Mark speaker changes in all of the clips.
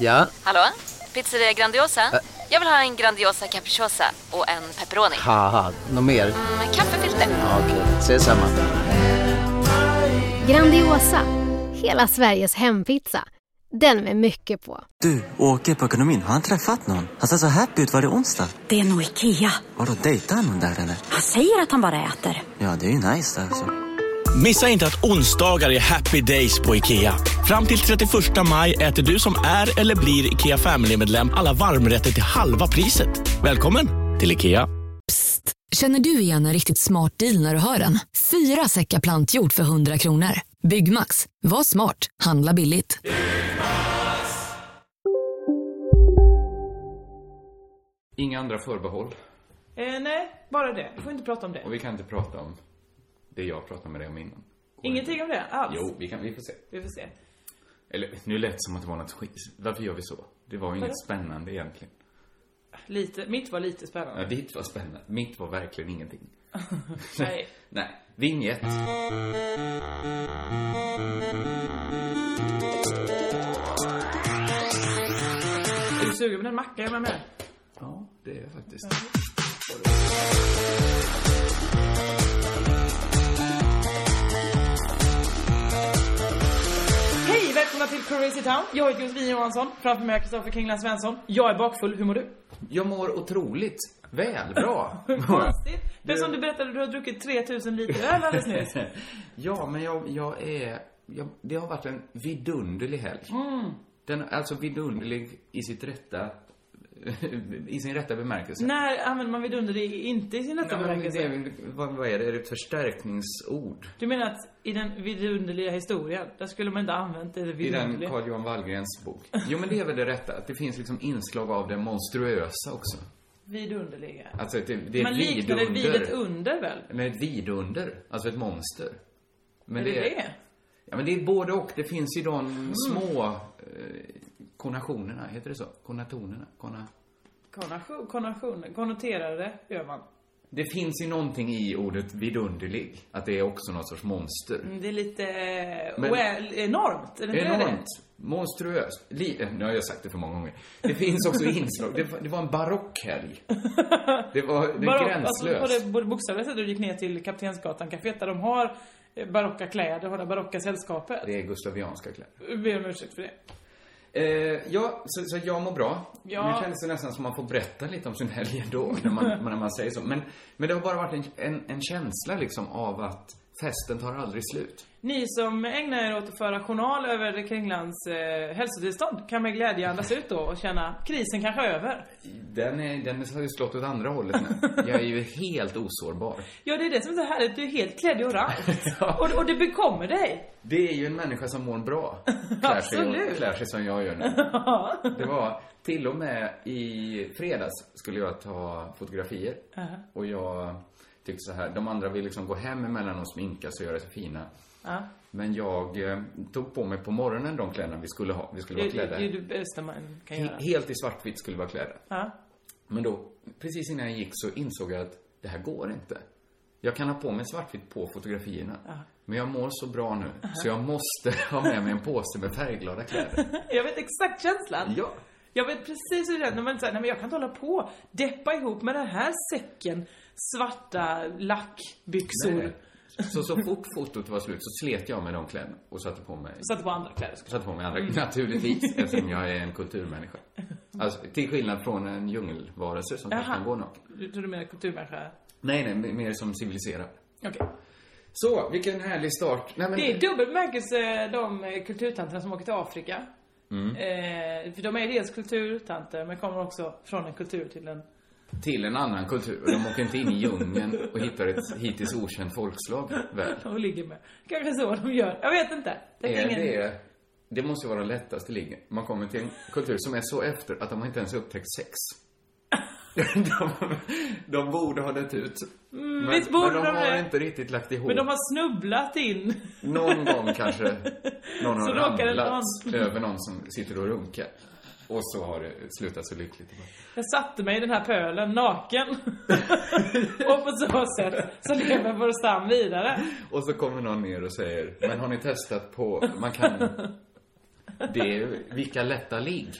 Speaker 1: Ja,
Speaker 2: Hallå? Pizzeria Grandiosa? Jag vill ha en Grandiosa capriciosa och en pepperoni.
Speaker 1: haha, något mer?
Speaker 2: Mm, kaffefilter.
Speaker 1: Ja, Okej, ses samma.
Speaker 3: Grandiosa, hela Sveriges hempizza. Den med mycket på.
Speaker 4: Du, åker på ekonomin. Har han träffat någon? Han ser så happy ut. Var det onsdag?
Speaker 5: Det är nog Ikea.
Speaker 4: Vadå, dejtar han någon där eller?
Speaker 5: Han säger att han bara äter.
Speaker 4: Ja, det är ju nice alltså.
Speaker 6: Missa inte att onsdagar är happy days på IKEA. Fram till 31 maj äter du som är eller blir IKEA Family-medlem alla varmrätter till halva priset. Välkommen till IKEA.
Speaker 7: Känner du igen en riktigt smart deal när du hör den? Fyra säckar plantjord för 100 kronor. Byggmax, var smart, handla billigt.
Speaker 8: Inga andra förbehåll.
Speaker 9: Eh, nej, bara det. Vi får inte prata om det.
Speaker 8: Och vi kan inte prata om det jag pratade med dig om innan. Går
Speaker 9: Ingenting om det alls.
Speaker 8: inte. Jo, vi, kan, vi får se.
Speaker 9: Vi får se.
Speaker 8: Eller, nu lät det som att det var något skit. Varför gör vi så? Det var ju inget spännande egentligen.
Speaker 9: Lite, mitt var lite spännande.
Speaker 8: Ja, ditt var spännande. Mitt var verkligen ingenting.
Speaker 9: Nej.
Speaker 8: Nej. Vinge ett.
Speaker 9: Är du sugen på en macka? Är man med?
Speaker 8: Ja, det är jag faktiskt.
Speaker 9: Hej, välkomna till Crazy Town. Jag heter Josefin Johansson. Framför mig är Kristoffer Kringland Svensson. Jag är bakfull. Hur mår du?
Speaker 8: Jag mår otroligt väl. Bra.
Speaker 9: Konstigt. För som du berättade, du har druckit 3000 liter öl alldeles nyss.
Speaker 8: ja, men jag, jag är... Jag, det har varit en vidunderlig helg.
Speaker 9: Mm.
Speaker 8: Den, alltså vidunderlig i sitt rätta... I sin rätta bemärkelse.
Speaker 9: När använder man vidunder i- inte i sin rätta
Speaker 8: Ja, men det är
Speaker 9: bemärkelse?
Speaker 8: väl- vad, vad är det? Är det ett förstärkningsord?
Speaker 9: Du menar att i den vidunderliga historien, där skulle man inte ha använt det
Speaker 8: I den
Speaker 9: vidunderliga?
Speaker 8: Carl Johan Wallgrens bok. Jo, men det är väl det rätta. Att det finns liksom inslag av det monstruösa också.
Speaker 9: Vidunderliga.
Speaker 8: Alltså, det, det är
Speaker 9: Man
Speaker 8: ett
Speaker 9: liknar det
Speaker 8: vidunder.
Speaker 9: vid ett under väl?
Speaker 8: Men ett vidunder. Alltså ett monster. Men
Speaker 9: Är det det?
Speaker 8: Ja, men det är både och. Det finns ju de
Speaker 9: Mm.
Speaker 8: små eh, konationerna. Heter det så? Konatonerna? Kona...
Speaker 9: Konation, konation, konnoterade gör man.
Speaker 8: Det finns ju någonting i ordet vidunderlig. Att det är också någon sorts monster.
Speaker 9: Mm, Det är lite eh,
Speaker 8: Men-
Speaker 9: well, enormt. Är det inte det?
Speaker 8: Enormt. Monstruöst. Li- eh, nu har jag sagt det för många gånger. Det finns också inslag. Det, var- det var en barock helg. Det var det
Speaker 9: Barock,
Speaker 8: är gränslöst.
Speaker 9: Alltså, på det både bokstavliga sättet du gick ner till Kaptensgatan caféet där de har eh, barocka kläder, har det barocka sällskapet.
Speaker 8: det... är gustavianska kläder.
Speaker 9: Jag ber om ursäkt för det.
Speaker 8: Eh, ja, så, så jag mår bra.
Speaker 9: Ja.
Speaker 8: Nu känns det nästan som att man får berätta lite om sin helg ändå, när man, när man säger så. Men, men det har bara varit en, en, en känsla liksom av att festen tar aldrig slut.
Speaker 9: Ni som ägnar er åt att föra journal över Kringlands eh, hälsotillstånd kan med glädje andas ut då och känna krisen kanske är över.
Speaker 8: Den, är, den har ju slått åt andra hållet nu. Jag är ju helt osårbar.
Speaker 9: Ja, det är det som är så härligt. Du är helt klädd i orange.
Speaker 8: Ja.
Speaker 9: och, och det bekommer dig.
Speaker 8: Det är ju en människa som mår bra. Klär sig,
Speaker 9: Absolut.
Speaker 8: klär sig som jag gör nu. Det var till och med i fredags skulle jag ta fotografier. Och jag tyckte så här, de andra vill liksom gå hem emellan och sminka sig och göra sig fina.
Speaker 9: Ja.
Speaker 8: Men jag eh, tog på mig på morgonen de kläderna vi skulle ha. Vi skulle
Speaker 9: Det
Speaker 8: vara
Speaker 9: det
Speaker 8: klädda.
Speaker 9: är det bästa man kan göra.
Speaker 8: he- Helt i svartvitt skulle vi vara klädda.
Speaker 9: Ja.
Speaker 8: Men då, precis innan jag gick så insåg jag att det här går inte. Jag kan ha på mig svartvitt på fotografierna. Men jag mår så bra nu, så jag måste ha med mig en påse med färgglada kläder.
Speaker 9: Jag vet exakt känslan.
Speaker 8: Ja.
Speaker 9: Jag vet precis hur det känns när man säger, nej men jag kan inte hålla på. Deppa ihop med den här säcken svarta lackbyxor.
Speaker 8: Så, så fort fotot var slut så slet jag med de kläderna och satte på mig,
Speaker 9: Satte på andra kläder såklart.
Speaker 8: satte på mig andra, naturligtvis, eftersom jag är en kulturmänniska. Alltså, till skillnad från en djungelvarelse som kanske
Speaker 9: Jaha.
Speaker 8: kan gå naken.
Speaker 9: Du tror du menar kulturmänniska?
Speaker 8: Nej, nej, mer som civiliserad.
Speaker 9: Okej.
Speaker 8: Så, vilken härlig start. Nej, men...
Speaker 9: Det är dubbel bemärkelse de eh, kulturtanterna som åker till Afrika.
Speaker 8: Mm.
Speaker 9: Eh, för de är dels kulturtanter men kommer också från en kultur till en...
Speaker 8: till en annan kultur. Och de åker inte in i djungeln och hittar ett hittills okänt folkslag, väl?
Speaker 9: Och ligger med. Kanske så de gör. Jag vet inte. Det
Speaker 8: Är det, det måste ju vara den lättaste liggen. Man kommer till en kultur som är så efter att de inte ens har upptäckt sex. De, de borde ha dött ut. men,
Speaker 9: Mm, visst borde
Speaker 8: men de,
Speaker 9: de
Speaker 8: har
Speaker 9: det.
Speaker 8: inte riktigt lagt ihop.
Speaker 9: Men de har snubblat in.
Speaker 8: Någon gång kanske någon
Speaker 9: Så
Speaker 8: har
Speaker 9: råkar det
Speaker 8: ramlat
Speaker 9: någon.
Speaker 8: över någon som sitter och runkar. Och så har det slutat så lyckligt.
Speaker 9: Jag satte mig i den här pölen naken. och på så sätt så lever vår stam vidare.
Speaker 8: Och så kommer någon ner och säger, men har ni testat på, man kan... Det är vilka lätta ligg.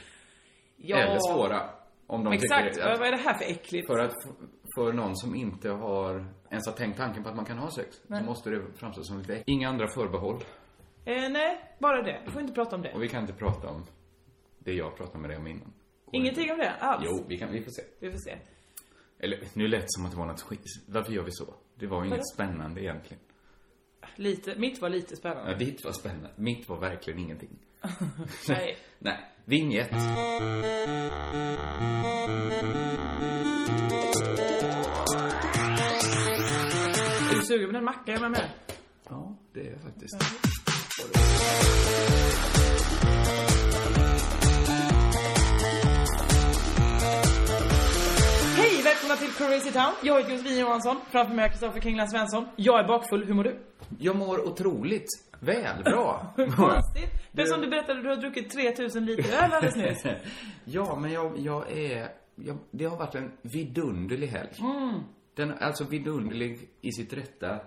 Speaker 9: Ja.
Speaker 8: Eller svåra. Om de
Speaker 9: Exakt,
Speaker 8: tycker
Speaker 9: vad,
Speaker 8: att,
Speaker 9: vad är det här för äckligt?
Speaker 8: för, att, för någon som inte har ens har tänkt tanken på att man kan ha sex. Då måste det framstå som lite äckligt. Inga andra förbehåll.
Speaker 9: Eh, nej, bara det. Vi får inte prata om det.
Speaker 8: Och vi kan inte prata om det jag pratade med dig om innan. Går
Speaker 9: Ingenting om det alls.
Speaker 8: inte. Jo, vi, kan, vi får se.
Speaker 9: Vi får se.
Speaker 8: Eller, nu lät det som att det var något skit. Varför gör vi så? Det var ju inget spännande egentligen.
Speaker 9: Lite, mitt var lite spännande.
Speaker 8: Ja, ditt var spännande. Mitt var verkligen ingenting.
Speaker 9: Nej.
Speaker 8: Nej. Vinjett.
Speaker 9: Är du sugen på en macka? Är man med?
Speaker 8: Ja, det är jag faktiskt.
Speaker 9: Hej, välkomna till Crazy Town. Jag heter Josefin Johansson. Framför mig är Kristoffer Kringland Svensson. Jag är bakfull. Hur mår du?
Speaker 8: Jag mår otroligt väl. Bra.
Speaker 9: Konstigt. Det är som du berättade, du har druckit 3000 liter öl alldeles nyss.
Speaker 8: ja, men jag, jag är... Jag, det har varit en vidunderlig helg.
Speaker 9: Mm.
Speaker 8: Den, alltså vidunderlig i sitt rätta...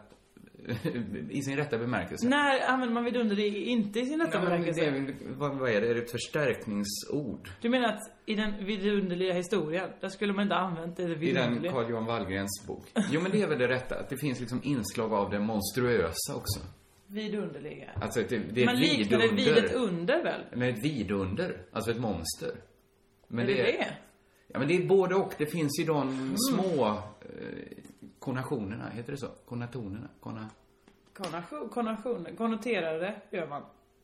Speaker 8: I sin rätta bemärkelse.
Speaker 9: När använder man vidunderlig inte i sin rätta
Speaker 8: Nej, men det är
Speaker 9: bemärkelse?
Speaker 8: väl- vad, vad är det? Är det ett förstärkningsord?
Speaker 9: Du menar att i den vidunderliga historien, där skulle man inte ha använt det
Speaker 8: I den
Speaker 9: vidunderliga?
Speaker 8: Carl Johan Wallgrens bok. Jo, men det är väl det rätta. Att det finns liksom inslag av det monstruösa också.
Speaker 9: Vidunderliga.
Speaker 8: Alltså, det, det är
Speaker 9: Man
Speaker 8: ett
Speaker 9: liknar det
Speaker 8: vidunder.
Speaker 9: vid ett under väl?
Speaker 8: Men ett vidunder. Alltså ett monster. Men
Speaker 9: Är det det?
Speaker 8: Ja, men det är både och. Det finns ju de
Speaker 9: Mm.
Speaker 8: små eh, konationerna. Heter det så? Konatonerna? Kona...
Speaker 9: Konation, konation, konnoterade gör man.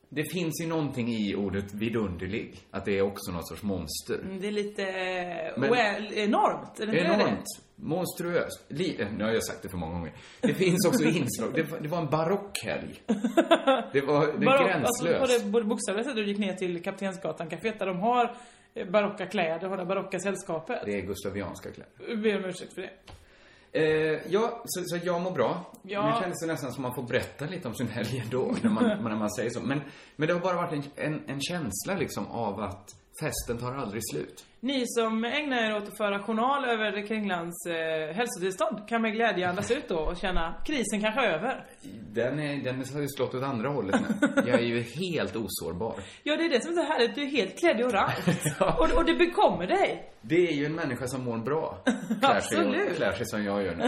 Speaker 8: Det finns ju någonting i ordet vidunderlig. Att det är också något sorts monster.
Speaker 9: Mm, Det är lite eh,
Speaker 8: Men-
Speaker 9: well, enormt, är det inte det?
Speaker 8: Enormt. Monstruöst. Li- eh, nu har jag sagt det för många gånger. Det finns också inslag. Det, var- det var en barockhelg. Det var det
Speaker 9: Barock,
Speaker 8: är gränslöst.
Speaker 9: Alltså, på det både bokstavliga sättet du gick ner till Kaptensgatan kaféet där de har eh, barocka kläder, har det barocka sällskapet.
Speaker 8: Det är gustavianska kläder.
Speaker 9: Jag ber om ursäkt för det.
Speaker 8: Eh, ja, så, så jag mår bra.
Speaker 9: Ja.
Speaker 8: Nu kändes det nästan som att man får berätta lite om sin helg ändå, när man, när man säger så. Men, men det har bara varit en, en, en känsla liksom av att festen tar aldrig slut.
Speaker 9: Ni som ägnar er åt att föra journal över Kringlands eh, hälsotillstånd kan med glädje andas ut då och känna krisen kanske är över.
Speaker 8: Den, är, den har ju slått åt andra hållet nu. Jag är ju helt osårbar.
Speaker 9: Ja, det är det som är så härligt. Du är helt klädd i orange.
Speaker 8: Ja.
Speaker 9: och, och det bekommer dig.
Speaker 8: Det är ju en människa som mår bra. Klär sig,
Speaker 9: Absolut.
Speaker 8: klär sig som jag gör nu.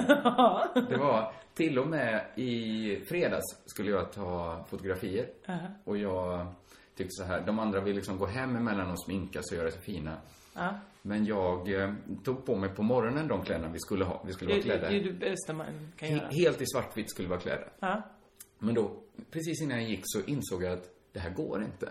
Speaker 8: Det var till och med i fredags skulle jag ta fotografier.
Speaker 9: Uh-huh.
Speaker 8: Och jag tyckte så här, de andra vill liksom gå hem emellan och sminka sig och göra sig fina.
Speaker 9: Ja.
Speaker 8: Men jag eh, tog på mig på morgonen de kläderna vi skulle ha. Vi skulle
Speaker 9: Det
Speaker 8: vara
Speaker 9: är
Speaker 8: klädda.
Speaker 9: det bästa man kan göra.
Speaker 8: he- Helt i svartvitt skulle vi vara klädda.
Speaker 9: Ja.
Speaker 8: Men då, precis innan jag gick så insåg jag att det här går inte.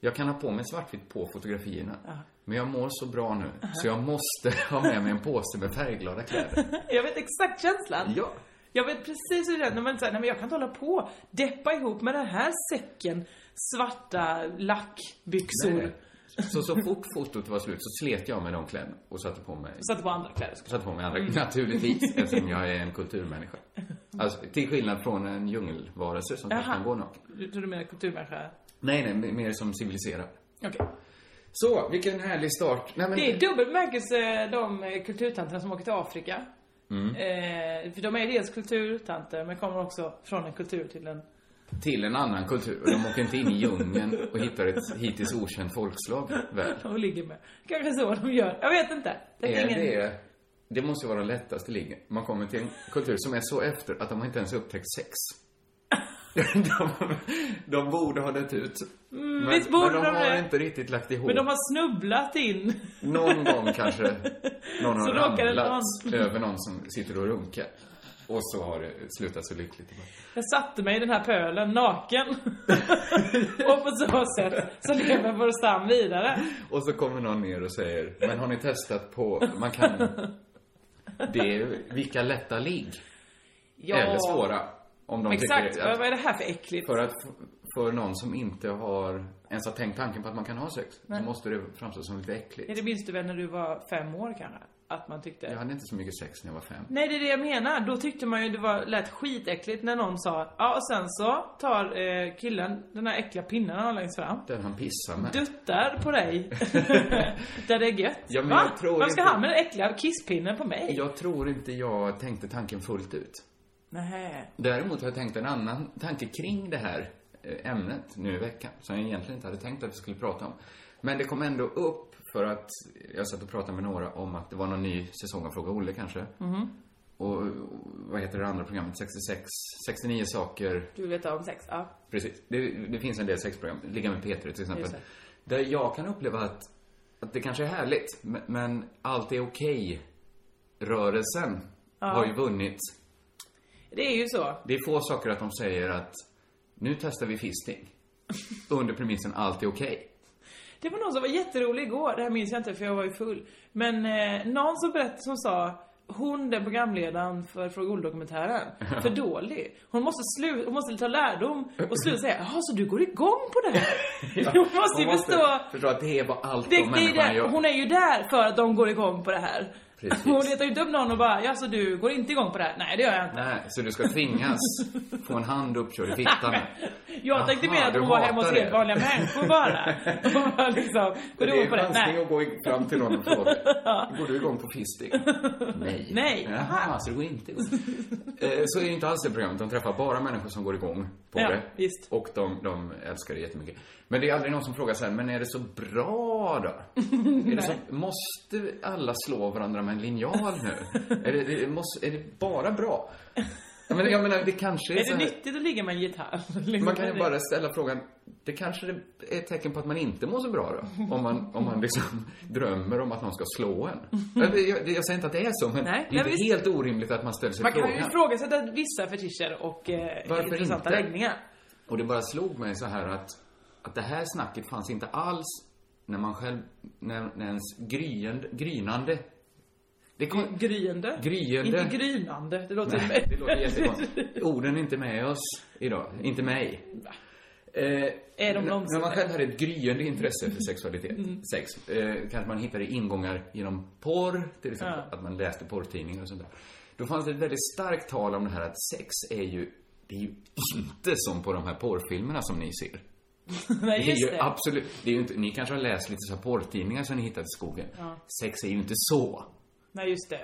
Speaker 8: Jag kan ha på mig svartvitt på fotografierna. Men jag mår så bra nu,
Speaker 9: Uh-huh.
Speaker 8: så jag måste ha med mig en påse med färgglada kläder.
Speaker 9: Jag vet exakt känslan.
Speaker 8: Ja.
Speaker 9: Jag vet precis hur det känns när man säger, nej men jag kan inte hålla på. Deppa ihop med den här säcken svarta lackbyxor.
Speaker 8: Så, så fort fotot var slut så slet jag med de kläderna och satte på mig,
Speaker 9: Satte på andra kläder. såklart.
Speaker 8: satte på mig andra, naturligtvis, eftersom jag är en kulturmänniska. Alltså, till skillnad från en djungelvarelse som kanske
Speaker 9: Jaha.
Speaker 8: kan gå naken.
Speaker 9: Du tror du menar kulturmänniska?
Speaker 8: Nej, nej, m- mer som civiliserad.
Speaker 9: Okej.
Speaker 8: Så, vilken härlig start. Nej, men...
Speaker 9: Det är dubbel bemärkelse de eh, kulturtanterna som åker till Afrika.
Speaker 8: Mm.
Speaker 9: Eh, för de är dels kulturtanter men kommer också från en kultur till en...
Speaker 8: till en annan kultur. Och de åker inte in i djungeln och hittar ett hittills okänt folkslag, väl?
Speaker 9: Och ligger med. Kanske så de gör. Jag vet inte. Det
Speaker 8: Är det... Det måste vara den lättaste linjen. Man kommer till en kultur som är så efter att de har inte ens upptäckt sex. De, de borde ha dött ut. men,
Speaker 9: Mm, visst borde
Speaker 8: men de,
Speaker 9: de
Speaker 8: har
Speaker 9: det.
Speaker 8: inte riktigt lagt ihop.
Speaker 9: Men de har snubblat in.
Speaker 8: Någon gång kanske någon
Speaker 9: Så
Speaker 8: har
Speaker 9: råkar det
Speaker 8: ramlat över någon som sitter och runkar. Och så har det slutat så lyckligt.
Speaker 9: Jag satte mig i den här pölen naken. och på så sätt så lever vår stam vidare.
Speaker 8: Och så kommer någon ner och säger, men har ni testat på, man kan... Det är ju vilka lätta ligg.
Speaker 9: Ja.
Speaker 8: Eller svåra. Om de
Speaker 9: Exakt,
Speaker 8: tycker
Speaker 9: vad, vad
Speaker 8: att,
Speaker 9: är det här för äckligt?
Speaker 8: för att för någon som inte har ens har tänkt tanken på att man kan ha sex, då måste det framstå som lite
Speaker 9: Är
Speaker 8: äckligt.
Speaker 9: det minns du väl när du var fem år kanske? Att man tyckte...
Speaker 8: Jag hade inte så mycket sex när jag var fem.
Speaker 9: Nej det är det jag menar. Då tyckte man ju det var, lät skitäckligt när någon sa ja och sen så tar eh, killen den här äckliga pinnen han har längst fram.
Speaker 8: Den han pissar med.
Speaker 9: Duttar på dig. Där det är gött.
Speaker 8: Ja, men
Speaker 9: Va?
Speaker 8: jag tror
Speaker 9: Varför ska
Speaker 8: inte-
Speaker 9: han med den äckliga kisspinnen på mig?
Speaker 8: Jag tror inte jag tänkte tanken fullt ut.
Speaker 9: Nej.
Speaker 8: Däremot har jag tänkt en annan tanke kring det här eh, ämnet nu i veckan, som jag egentligen inte hade tänkt att vi skulle prata om. Men det kom ändå upp för att jag satt och pratade med några om att det var någon ny säsong av Fråga Olle kanske.
Speaker 9: Mhm.
Speaker 8: Och, och vad heter det andra programmet? 66, 69 saker.
Speaker 9: Du vet om sex? Ja.
Speaker 8: Precis. Det, det finns en del sexprogram. Ligga med Peter till exempel.
Speaker 9: Just
Speaker 8: Där jag kan uppleva att, att det kanske är härligt, men, men allt är okej. Rörelsen har ju vunnit.
Speaker 9: Det är ju så.
Speaker 8: Det är få saker att de säger att nu testar vi fisting. Under premissen allt är okej.
Speaker 9: Det var någon som var jätterolig igår, det här minns jag inte för jag var ju full. Men eh, någon som berättade som sa hon, den programledaren för Fråga Olle-dokumentären, för dålig. Hon måste, slu- hon måste ta lärdom och sluta säga jaha så du går igång på det här? hon måste ju
Speaker 8: Man
Speaker 9: förstå.
Speaker 8: förstå att det är vad allt
Speaker 9: Det,
Speaker 8: de
Speaker 9: det är
Speaker 8: människorna
Speaker 9: där,
Speaker 8: gör.
Speaker 9: hon är ju där för att de går igång på det här.
Speaker 8: Precis.
Speaker 9: Hon letar ju inte upp någon och bara ja så du går inte igång på det här? Nej det gör jag inte.
Speaker 8: Nej, så du ska tvingas få en hand uppkörd i fittan.
Speaker 9: Jag tänkte
Speaker 8: Aha,
Speaker 9: mer att
Speaker 8: du
Speaker 9: hon var hemma hos
Speaker 8: hatar det.
Speaker 9: helt vanliga människor bara. Hon bara liksom, går du igång på det?
Speaker 8: chansning
Speaker 9: Nej.
Speaker 8: att gå i- fram till någon och fråga. Går du igång på fisting? Nej.
Speaker 9: Nej,
Speaker 8: Jaha, så du går inte igång. Eh, Så är det inte alls det programmet. De träffar bara människor som går igång på
Speaker 9: Ja,
Speaker 8: det.
Speaker 9: visst.
Speaker 8: Och de, de älskar det jättemycket. Men det är aldrig någon som frågar så här, men är det så bra då? är det så, måste alla slå varandra med en linjal nu? är, det, det, måste, är det bara bra? Jag menar, jag menar det kanske är,
Speaker 9: Är
Speaker 8: så
Speaker 9: det
Speaker 8: här-
Speaker 9: nyttigt att ligga med en gitarr? Liksom,
Speaker 8: man kan
Speaker 9: det-
Speaker 8: ju bara ställa frågan, det kanske är ett tecken på att man inte mår så bra då? Om man, om man liksom drömmer om att någon ska slå en. Jag, jag, jag säger inte att det är så,
Speaker 9: Nej,
Speaker 8: men det är
Speaker 9: nej,
Speaker 8: inte
Speaker 9: visst.
Speaker 8: helt orimligt att man ställer sig
Speaker 9: Man kan
Speaker 8: frågan.
Speaker 9: ju ifrågasätta vissa fetischer och eh,
Speaker 8: Varför
Speaker 9: intressanta
Speaker 8: inte?
Speaker 9: läggningar.
Speaker 8: Och det bara slog mig så här att, att det här snacket fanns inte alls när man själv, när, när ens gryende, grynande det kom,
Speaker 9: Gryende.
Speaker 8: Gryende.
Speaker 9: Inte grynande. Det låter
Speaker 8: Nej, det låter jättekonstigt. Orden är inte med oss idag. Inte mig. Eh,
Speaker 9: Är de Mm.
Speaker 8: när man
Speaker 9: långsiktiga?
Speaker 8: själv hade ett gryende intresse för sexualitet, sex, eh, kanske man hittade ingångar genom porr, till exempel, att man läste porrtidningar och sånt där. Då fanns det ett väldigt starkt tal om det här att sex är ju, det är ju inte som på de här porrfilmerna som ni ser.
Speaker 9: Nej,
Speaker 8: Det är
Speaker 9: just
Speaker 8: ju
Speaker 9: det.
Speaker 8: absolut, det är ju inte, ni kanske har läst lite så här porrtidningar som ni hittade i skogen. Sex är ju inte så.
Speaker 9: Nej, just det.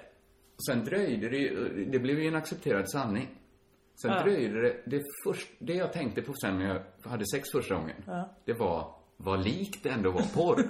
Speaker 8: Och Sen dröjde det ju, det blev ju en accepterad sanning. Sen dröjde det, det, först, det jag tänkte på sen när jag hade sex första gången, det var vad likt det ändå var porr.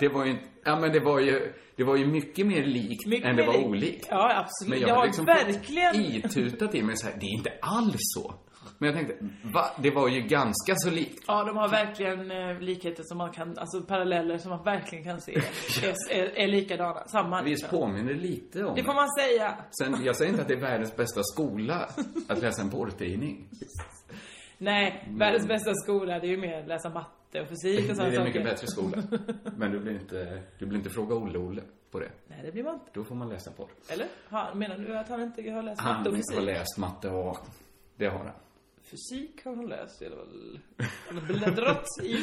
Speaker 8: det var ju, inte- ja men det var ju, det var ju mycket mer likt
Speaker 9: Mycket
Speaker 8: än det var
Speaker 9: mer likt.
Speaker 8: olikt.
Speaker 9: Ja, absolut.
Speaker 8: Men
Speaker 9: Det
Speaker 8: jag
Speaker 9: har
Speaker 8: hade liksom
Speaker 9: verkligen-
Speaker 8: fått itutat i mig så här, det är inte alls så. Men jag tänkte, va? Det var ju ganska så likt.
Speaker 9: Ja, de har verkligen eh, likheter som man kan, alltså paralleller som man verkligen kan se. är, är, är likadana. Samma. liksom.
Speaker 8: Visst påminner lite om
Speaker 9: Det får man säga.
Speaker 8: Sen, jag säger inte att det är världens bästa skola att läsa en porrtidning.
Speaker 9: Nej, världens bästa skola det är ju mer att läsa matte och fysik och
Speaker 8: Mm. Det
Speaker 9: sådana
Speaker 8: är en
Speaker 9: saker.
Speaker 8: mycket bättre skola. Men du blir inte, du blir inte fråga Olle-Olle på det.
Speaker 9: Nej, det blir man inte.
Speaker 8: Då får man läsa på.
Speaker 9: Eller? Ha, menar du att han inte har läst
Speaker 8: Han
Speaker 9: matte och
Speaker 8: har
Speaker 9: fysik?
Speaker 8: läst matte och det har han.
Speaker 9: Fysik har han läst i alla fall. Han har bläddrat i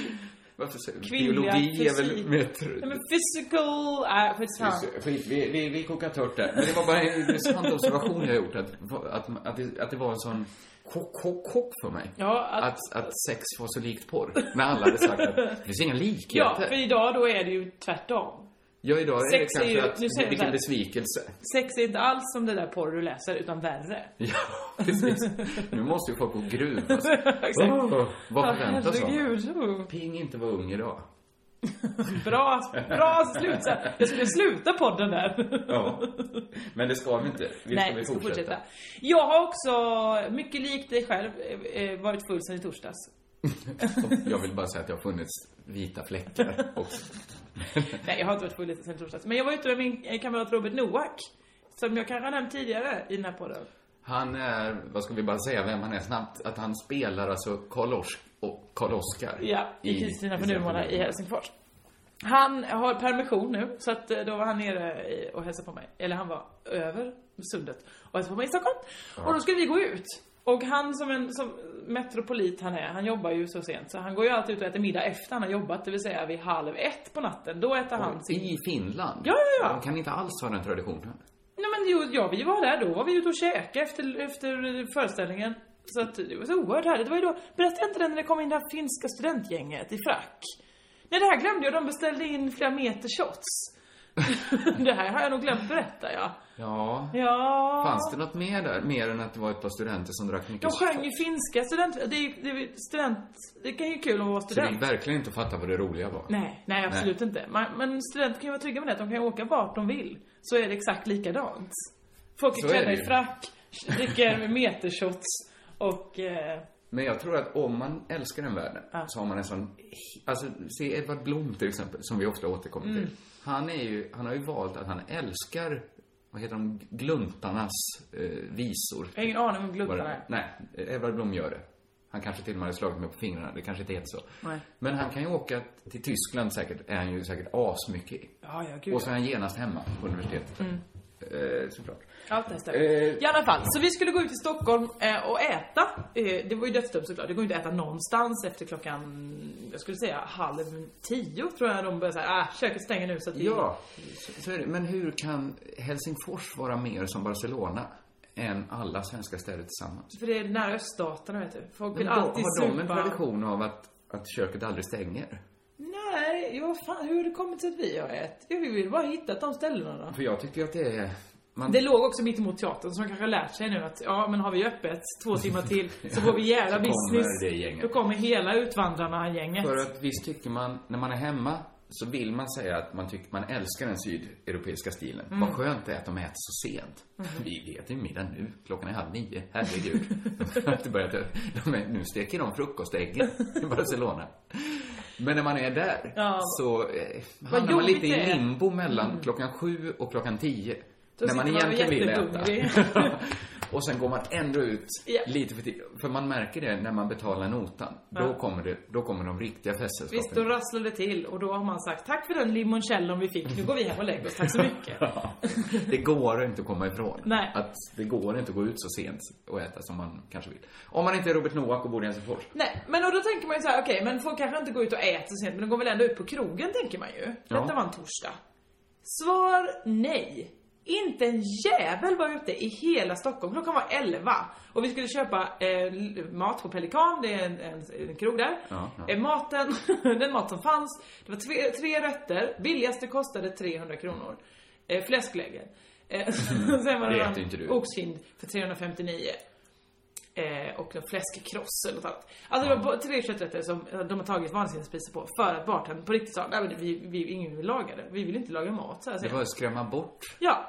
Speaker 8: Varför säger du?
Speaker 9: kvinnliga
Speaker 8: Biologi är väl
Speaker 9: fysik.
Speaker 8: mer
Speaker 9: Nej men
Speaker 8: tr-
Speaker 9: physical, nej skitsamma.
Speaker 8: Skit, vi, vi, vi kokar tört där. Men det var bara en intressant observation jag gjort. Att, att, att, det, att det var en sån chock, chock, chock för mig.
Speaker 9: Ja, att-
Speaker 8: att... Att, sex var så likt porr. När alla hade sagt att det finns inga
Speaker 9: Ja,
Speaker 8: likheter.
Speaker 9: för idag då är det ju tvärtom.
Speaker 8: Ja, idag är
Speaker 9: Sex är
Speaker 8: det kanske
Speaker 9: ju-
Speaker 8: att,
Speaker 9: nu säger jag så
Speaker 8: vilken
Speaker 9: här.
Speaker 8: besvikelse.
Speaker 9: Sex är inte alls som det där porr du läser, utan värre.
Speaker 8: Ja, precis. Nu måste ju folk gå och gruva sig.
Speaker 9: Exakt.
Speaker 8: Åh,
Speaker 9: Ja,
Speaker 8: Vad förväntas av mig?
Speaker 9: Herregud. oh.
Speaker 8: Ping inte vara ung idag.
Speaker 9: Bra, bra slutsats. Jag skulle sluta podden där.
Speaker 8: Ja. Men det ska vi inte. Vi
Speaker 9: Nej,
Speaker 8: ska vi
Speaker 9: ska
Speaker 8: fortsätta.
Speaker 9: Jag har också, mycket likt dig själv, eh, varit full sen i torsdags.
Speaker 8: Och Jag vill bara säga att jag har funnits vita fläckar också.
Speaker 9: Nej, jag har inte varit full sen i torsdags. Men jag var ute med min eh, kamrat Robert Noak. Som jag kanske har nämnt tidigare i den här podden.
Speaker 8: Han är, vad ska vi bara säga vem han är snabbt? Att han spelar alltså Karl Ors- och Karl Oskar.
Speaker 9: Ja, i Kristina från Umeå i Helsingfors. Han har permission nu, så att eh, då var han nere i- och hälsade på mig. Eller han var över sundet och hälsade på mig i Stockholm. Och då skulle vi gå ut. Och han som en som metropolit han är, han jobbar ju så sent så han går ju alltid ut och äter middag efter han har jobbat, det vill säga vid halv ett på natten. Då äter han sin...
Speaker 8: I Finland?
Speaker 9: Ja, ja, ja.
Speaker 8: De kan inte alls ha den traditionen.
Speaker 9: Nej men jo, ja, vi var där då, var vi ute och käkade efter, efter föreställningen. Så att det var så oerhört härligt. Det var ju då, berättade jag inte det när det kom in det här finska studentgänget i frack? Nej det här glömde jag, de beställde in flera meter shots. det här har jag nog glömt berätta, ja.
Speaker 8: Ja.
Speaker 9: Ja.
Speaker 8: Fanns det något mer där? Mer än att det var ett par studenter som drack mycket
Speaker 9: De sjöng ju finska student... Det är ju det är ju student... Det kan ju vara kul att vara
Speaker 8: Så det gick
Speaker 9: student.
Speaker 8: verkligen inte att fatta vad det roliga var.
Speaker 9: Nej, nej absolut inte. Man, men studenter kan ju vara trygga med det, att de kan ju åka vart de vill. Så är det exakt likadant. Folk
Speaker 8: Så
Speaker 9: är
Speaker 8: är
Speaker 9: klädda
Speaker 8: det
Speaker 9: i
Speaker 8: ju.
Speaker 9: frack, dricker metershots och... Eh,
Speaker 8: Men jag tror att om man älskar den världen så har man en sån... Alltså, se Edvard Blom till exempel, som vi ofta återkommer
Speaker 9: Mm.
Speaker 8: till. Han är ju, han har ju valt att han älskar, vad heter de, gluntarnas eh, visor.
Speaker 9: jag har ingen aning om gluttarna
Speaker 8: Vad det-
Speaker 9: är.
Speaker 8: Nej, Edvard Blom gör det. Han kanske till och med hade slagit mig på fingrarna, det kanske inte heter så.
Speaker 9: Nej.
Speaker 8: Men han kan ju åka till Tyskland säkert, är han ju säkert asmycket i.
Speaker 9: Ja, ja, Mm. gud.
Speaker 8: Och så är han genast hemma på universitetet. Eh, såklart.
Speaker 9: Allt det här stämmer.
Speaker 8: Eh.
Speaker 9: I alla fall, så vi skulle gå ut i Stockholm eh, och äta. Eh, det var ju dödsdömt såklart. Det går ju inte att äta någonstans efter klockan, jag skulle säga halv tio tror jag de börjar såhär, ah, köket stänger nu så att vi...
Speaker 8: Ja, så- så är det. Men hur kan Helsingfors vara mer som Barcelona än alla svenska städer tillsammans?
Speaker 9: För det är nära öststaterna vet du. Folk
Speaker 8: Men
Speaker 9: vill
Speaker 8: då,
Speaker 9: alltid
Speaker 8: har de
Speaker 9: supa.
Speaker 8: en tradition av att, att köket aldrig stänger?
Speaker 9: Nej, ja, fan, hur har det kommit sig att vi har ätit? Ja, vi vill bara hitta de ställena då.
Speaker 8: För jag tycker ju att det är... Man,
Speaker 9: Det låg också mitt emot teatern, så de kanske har lärt sig nu att ja, men har vi öppet två timmar till så får vi
Speaker 8: Så
Speaker 9: jävla
Speaker 8: kommer
Speaker 9: business.
Speaker 8: det gänget.
Speaker 9: Då kommer hela Utvandrarna-gänget.
Speaker 8: För att visst tycker man, när man är hemma så vill man säga att man tycker man älskar den sydeuropeiska stilen.
Speaker 9: Mm.
Speaker 8: Vad skönt det är att de äter så sent. Vi vet ju middag nu. Klockan är halv nio. Herregud. de har inte börjat ä- de är, Nu steker de frukostäggen i Barcelona. Men när man är där
Speaker 9: Ja.
Speaker 8: så eh, hamnar man
Speaker 9: jobbigt
Speaker 8: lite i
Speaker 9: det är. Mm.
Speaker 8: limbo mellan klockan sju och klockan tio.
Speaker 9: Då
Speaker 8: när man
Speaker 9: sitter man
Speaker 8: egentligen vill
Speaker 9: jättehungrig.
Speaker 8: äta. och sen går man ändå ut
Speaker 9: Ja.
Speaker 8: lite för tidigt. För man märker det när man betalar notan. Då, kommer det, då kommer de riktiga festsällskapen.
Speaker 9: Visst, då rasslar det till och då har man sagt tack för den limoncellon vi fick, nu går vi hem och lägger oss, tack så mycket.
Speaker 8: Ja. Det går inte att komma ifrån.
Speaker 9: Nej.
Speaker 8: Att det går inte att gå ut så sent och äta som man kanske vill. Om man inte är Robert Noak och bor i Helsingfors.
Speaker 9: Nej, men och då tänker man ju så här: okej, men folk kanske inte går ut och äter så sent, men de går väl ändå ut på krogen tänker man ju.
Speaker 8: Ja.
Speaker 9: Detta var en torsdag. Svar nej. Inte en jävel var ute i hela Stockholm. Klockan var 11 och vi skulle köpa eh, l- mat på Pelikan, det är en, en, en krog där.
Speaker 8: Ja, ja.
Speaker 9: Eh, maten, den mat som fanns, det var tre, tre rätter, billigaste kostade 300 kronor. Eh, fläskläger. Eh, sen var
Speaker 8: det
Speaker 9: det
Speaker 8: äter inte du.
Speaker 9: någon oxkind för 359. Eh, och någon fläskkross eller något annat. Alltså det var bo- tre kötträtter som eh, de har tagit vansinnespriser på för att bartendern på riktigt sa nej men vi, vi, ingen vill laga det. Vi vill inte laga mat så här
Speaker 8: Det
Speaker 9: sent."
Speaker 8: var att skrämma bort
Speaker 9: Ja.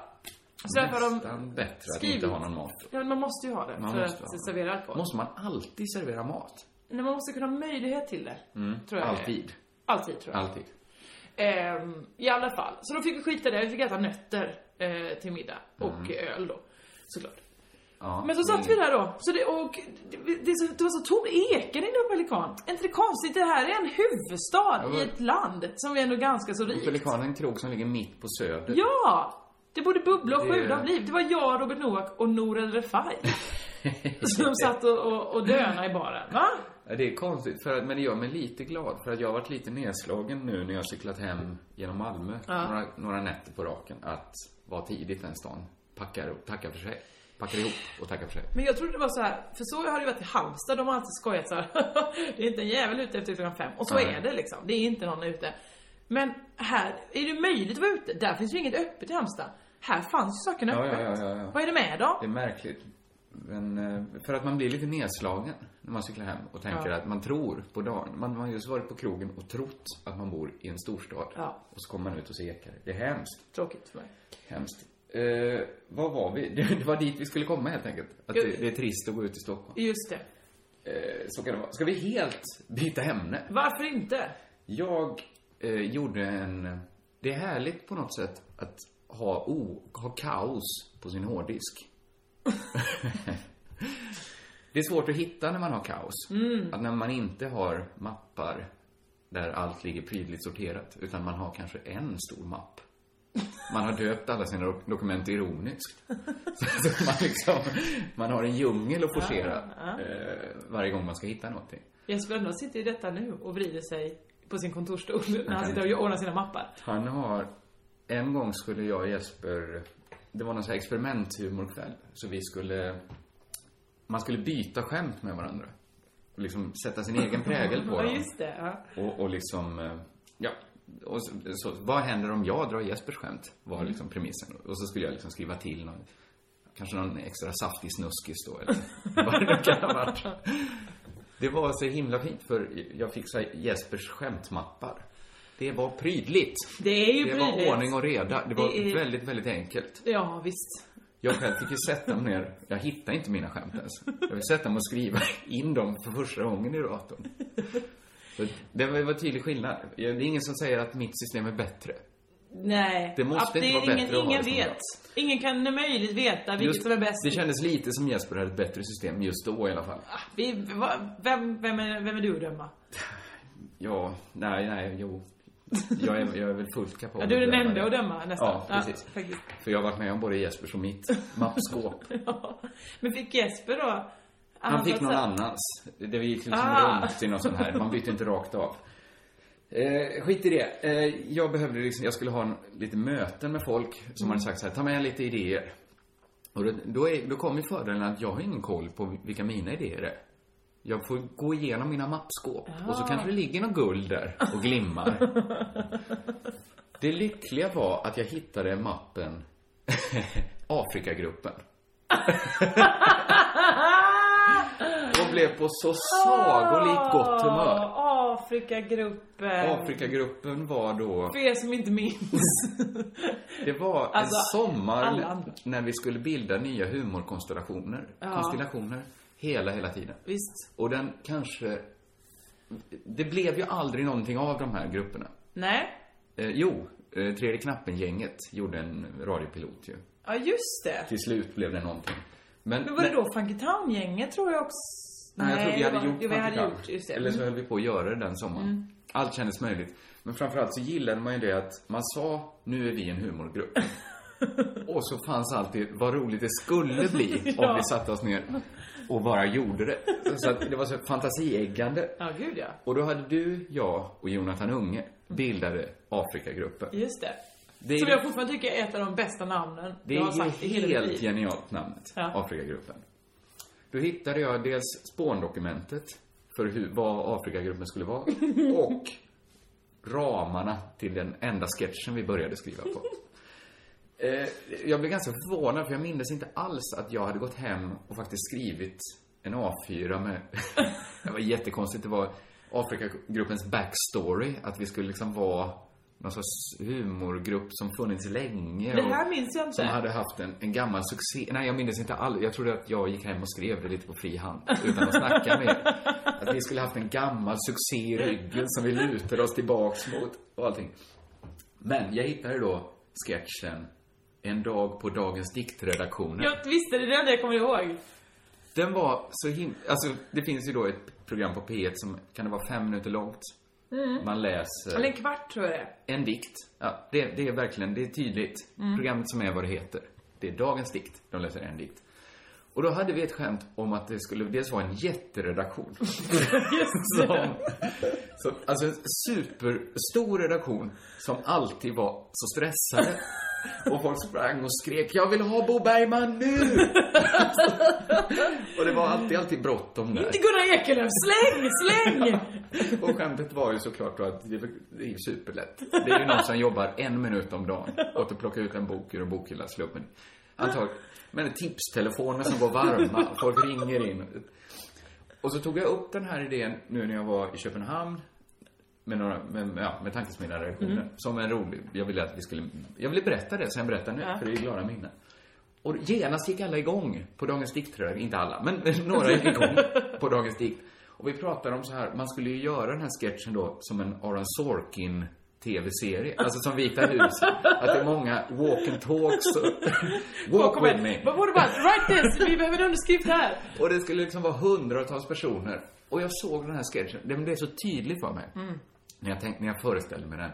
Speaker 9: Så därför har de
Speaker 8: nästan bättre att
Speaker 9: skrivit-
Speaker 8: inte ha någon mat.
Speaker 9: Ja, men man måste ju ha det
Speaker 8: Man
Speaker 9: för
Speaker 8: måste ha
Speaker 9: att
Speaker 8: det.
Speaker 9: servera alkohol.
Speaker 8: Måste man alltid servera mat?
Speaker 9: Nej, man måste kunna ha möjlighet till det. Tror jag det är.
Speaker 8: Mm. Alltid.
Speaker 9: Alltid tror jag.
Speaker 8: Alltid.
Speaker 9: Ehm, I alla fall. Så då fick vi skita i det. Vi fick äta nötter eh, till middag. Och
Speaker 8: Mm.
Speaker 9: öl då. Såklart.
Speaker 8: Ja,
Speaker 9: Men så satt vi där då. Så det, och det, det, är så- det var så tom eken inne på Pelikan. Är inte det konstigt? Det här är en huvudstad
Speaker 8: Ja, men-
Speaker 9: i ett land som är ändå ganska så rikt.
Speaker 8: Pelikanen är en krog som ligger mitt på söder.
Speaker 9: Ja! Det borde bubbla och
Speaker 8: Det-
Speaker 9: sjuda av liv. Det var jag, Robert Noak och Nour El Refai. som satt och, och, och döna i baren. Va?
Speaker 8: Ja, Det är konstigt, för att, men det gör mig lite glad. För att jag har varit lite nedslagen nu när jag har cyklat hem genom Malmö några, några nätter på raken. Att vara tidigt den stan. Packar, och- tackar för sig. Packar ihop och tackar för sig.
Speaker 9: Men jag trodde det var så här, för så har det varit i Halmstad, de har alltid skojat så här. det är inte en jävel ute efter klockan fem. Och så
Speaker 8: Nej.
Speaker 9: är det liksom, det är inte någon ute. Men här är det möjligt att vara ute, där finns ju inget öppet i Halmstad. Här fanns ju sakerna
Speaker 8: Ja,
Speaker 9: öppet.
Speaker 8: ja, ja, ja, ja.
Speaker 9: Vad är det med då?
Speaker 8: Det är märkligt. Men, eh, för att man blir lite nedslagen när man cyklar hem och tänker
Speaker 9: Ja.
Speaker 8: att man tror på dagen. Man har just varit på krogen och trott att man bor i en storstad.
Speaker 9: Ja.
Speaker 8: Och så kommer man ut och så ekar det. Det är hemskt.
Speaker 9: Tråkigt för mig.
Speaker 8: Hemskt. Eh, vad var vi? Det var dit vi skulle komma helt enkelt. Att det, det är trist att gå ut i Stockholm.
Speaker 9: Just det.
Speaker 8: Eh, Så kan det vara. Ska vi helt byta ämne?
Speaker 9: Varför inte?
Speaker 8: Jag eh, gjorde en... Det är härligt på något sätt att ha, o, ha kaos på sin hårddisk. det är svårt att hitta när man har kaos. Att när man inte har mappar där allt ligger prydligt sorterat, utan man har kanske en stor mapp. Man har döpt alla sina dok- dokument ironiskt. Så att man, liksom, man har en djungel att forcera eh, varje gång man ska hitta någonting.
Speaker 9: Jesper Rönndahl sitter i detta nu och vrider sig på sin kontorsstol när han
Speaker 8: kan
Speaker 9: sitter och ordnar sina mappar.
Speaker 8: Han har... En gång skulle jag och Jesper... Det var någon sån här experimenthumorkväll. Så vi skulle... Man skulle byta skämt med varandra. Och liksom sätta sin egen prägel på
Speaker 9: Ja,
Speaker 8: dem.
Speaker 9: just det. Ja.
Speaker 8: Och, och liksom... eh, Ja, och så, så, vad händer om jag drar Jespers skämt? Var
Speaker 9: Mm.
Speaker 8: liksom premissen. Och så skulle jag liksom skriva till någon, kanske någon extra saftig snuskis då eller vad det nu kan ha varit. Det var så himla fint för jag fick så här Jespers skämtmappar. Det var prydligt.
Speaker 9: Det är ju
Speaker 8: Det
Speaker 9: prydligt.
Speaker 8: var ordning och reda. Det var
Speaker 9: Det är-
Speaker 8: väldigt, väldigt enkelt.
Speaker 9: Ja, visst.
Speaker 8: Jag själv fick ju sätta mig ner. Jag hittade inte mina skämt ens. Jag fick sätta mig och skriva in dem för första gången i datorn. Så det var det var tydlig skillnad. Det är ingen som säger att mitt system är bättre.
Speaker 9: Nej.
Speaker 8: Det måste
Speaker 9: Att
Speaker 8: inte vara
Speaker 9: ingen,
Speaker 8: bättre att ha
Speaker 9: Ingen
Speaker 8: det som
Speaker 9: vet. Ingen kan möjligt veta vilket
Speaker 8: Just-
Speaker 9: som är bäst.
Speaker 8: Det kändes lite som Jesper hade ett bättre system just då i alla fall.
Speaker 9: Vi, va, vem, vem, är, vem är du att döma?
Speaker 8: Ja, nej, nej, jo. Jag är, jag är väl fullt kapabel.
Speaker 9: Ja, du är
Speaker 8: att
Speaker 9: den
Speaker 8: döma
Speaker 9: enda
Speaker 8: det.
Speaker 9: att döma nästan.
Speaker 8: Ja, precis.
Speaker 9: faktiskt.
Speaker 8: För jag har varit med om både Jespers och mitt mappskåp.
Speaker 9: Ja. Men fick Jesper då...
Speaker 8: Han fick
Speaker 9: satt
Speaker 8: någon
Speaker 9: så-
Speaker 8: annans. Det gick liksom
Speaker 9: Ah.
Speaker 8: runt i något sånt här. Man bytte inte rakt av. Eh, skit i det. Eh, jag behövde liksom, jag skulle ha en, lite möten med folk som
Speaker 9: Mm.
Speaker 8: hade sagt så här, ta med lite idéer. Och då, då, är, då kom ju fördelen att jag har ingen koll på vilka mina idéer är. Jag får gå igenom mina mappskåp och
Speaker 9: Ah.
Speaker 8: så kanske det ligger något guld där och glimmar. det lyckliga var att jag hittade mappen Afrikagruppen. och blev på så sagolikt gott humör.
Speaker 9: Åh, Afrikagruppen.
Speaker 8: Afrikagruppen var då,
Speaker 9: För er som inte minns.
Speaker 8: det var
Speaker 9: Alltså,
Speaker 8: en sommar
Speaker 9: alla andra.
Speaker 8: när vi skulle bilda nya humorkonstellationer. Konstellationer. Hela, hela tiden.
Speaker 9: Visst.
Speaker 8: Och den kanske, det blev ju aldrig någonting av de här grupperna.
Speaker 9: Nej.
Speaker 8: Eh, jo, eh, Tredje Knappen-gänget gjorde en radiopilot ju.
Speaker 9: Ja, just det.
Speaker 8: Till slut blev det någonting. Men,
Speaker 9: Men var det då Funky Town-gänget tror jag också?
Speaker 8: Nej, jag tror vi
Speaker 9: det
Speaker 8: hade
Speaker 9: var-
Speaker 8: gjort
Speaker 9: jo, vi
Speaker 8: Funky
Speaker 9: hade
Speaker 8: Town.
Speaker 9: gjort, just det. Mm.
Speaker 8: Eller så höll vi på att göra det den sommaren. Allt kändes möjligt. Men framförallt så gillade man ju det att man sa, nu är vi en humorgrupp. och så fanns alltid, vad roligt det skulle bli om vi satte oss ner och bara gjorde det. Så att det var så fantasieggande.
Speaker 9: Ja, gud ja.
Speaker 8: Och då hade du, jag och Jonathan Unge bildade Afrikagruppen.
Speaker 9: Just det.
Speaker 8: Det är
Speaker 9: Som
Speaker 8: ju-
Speaker 9: jag fortfarande tycker är ett av de bästa namnen
Speaker 8: Det
Speaker 9: jag har
Speaker 8: är
Speaker 9: sagt i
Speaker 8: ju
Speaker 9: hela mitt
Speaker 8: helt
Speaker 9: liv.
Speaker 8: genialt namnet,
Speaker 9: Ja.
Speaker 8: Afrikagruppen. Då hittade jag dels spåndokumentet för hur, vad Afrikagruppen skulle vara och ramarna till den enda sketchen vi började skriva på. Eh, jag blev ganska förvånad för jag minns inte alls att jag hade gått hem och faktiskt skrivit en A4 med... det var jättekonstigt. Det var Afrikagruppens backstory. Att vi skulle liksom vara någon sorts humorgrupp som funnits länge.
Speaker 9: Det här
Speaker 8: och
Speaker 9: minns jag inte.
Speaker 8: Som hade haft en, en gammal succé. Nej, jag minns inte alls. Jag trodde att jag gick hem och skrev det lite på fri hand utan att snacka med er. Att vi skulle haft en gammal succé i ryggen som vi lutade oss tillbaks mot och allting. Men jag hittade då sketchen En dag på Dagens Diktredaktionen.
Speaker 9: Jag visste det, det är det enda jag kommer ihåg.
Speaker 8: Den var så himla... Alltså, det finns ju då ett program på P1 som kan det vara fem minuter långt. Man läser
Speaker 9: Eller en kvart tror jag det är.
Speaker 8: en dikt. Ja, det, det är verkligen, det är tydligt. Programmet som är vad det heter. Det är dagens dikt. De läser en dikt. Och då hade vi ett skämt om att det skulle dels vara en jätteredaktion. som, som, alltså en superstor redaktion som alltid var så stressade. Och folk sprang och skrek 'Jag vill ha Bo Bergman nu!' och det var alltid, alltid bråttom där.
Speaker 9: Inte Gunnar Ekelöf! Släng, släng!
Speaker 8: Och skämtet var ju såklart då att det det är ju superlätt. Det är ju någon som jobbar en minut om dagen åt att plocka ut en bok ur en bokhylla, slå upp en... Antagligen. Men tipstelefoner som går varma, folk ringer in. Och så tog jag upp den här idén nu när jag var i Köpenhamn med några, med, ja, med tankesmedjan reaktioner. Som en rolig, jag ville att vi skulle, jag ville berätta det så jag berättar nu, för det är glada minnen. Och genast gick alla igång på Dagens Dikt, tror jag. Inte alla, men några gick igång på Dagens Dikt. Och vi pratade om så här, man skulle ju göra den här sketchen då som en Aaron Sorkin TV-serie, alltså som Vita huset. Att det är många walk and talks och walk with me.
Speaker 9: Vad borde bara, write this, vi behöver en underskrift här.
Speaker 8: Och det skulle liksom vara hundratals personer. Och jag såg den här sketchen, det, men det är så tydligt för mig. När, jag tänkte, när jag föreställde mig den.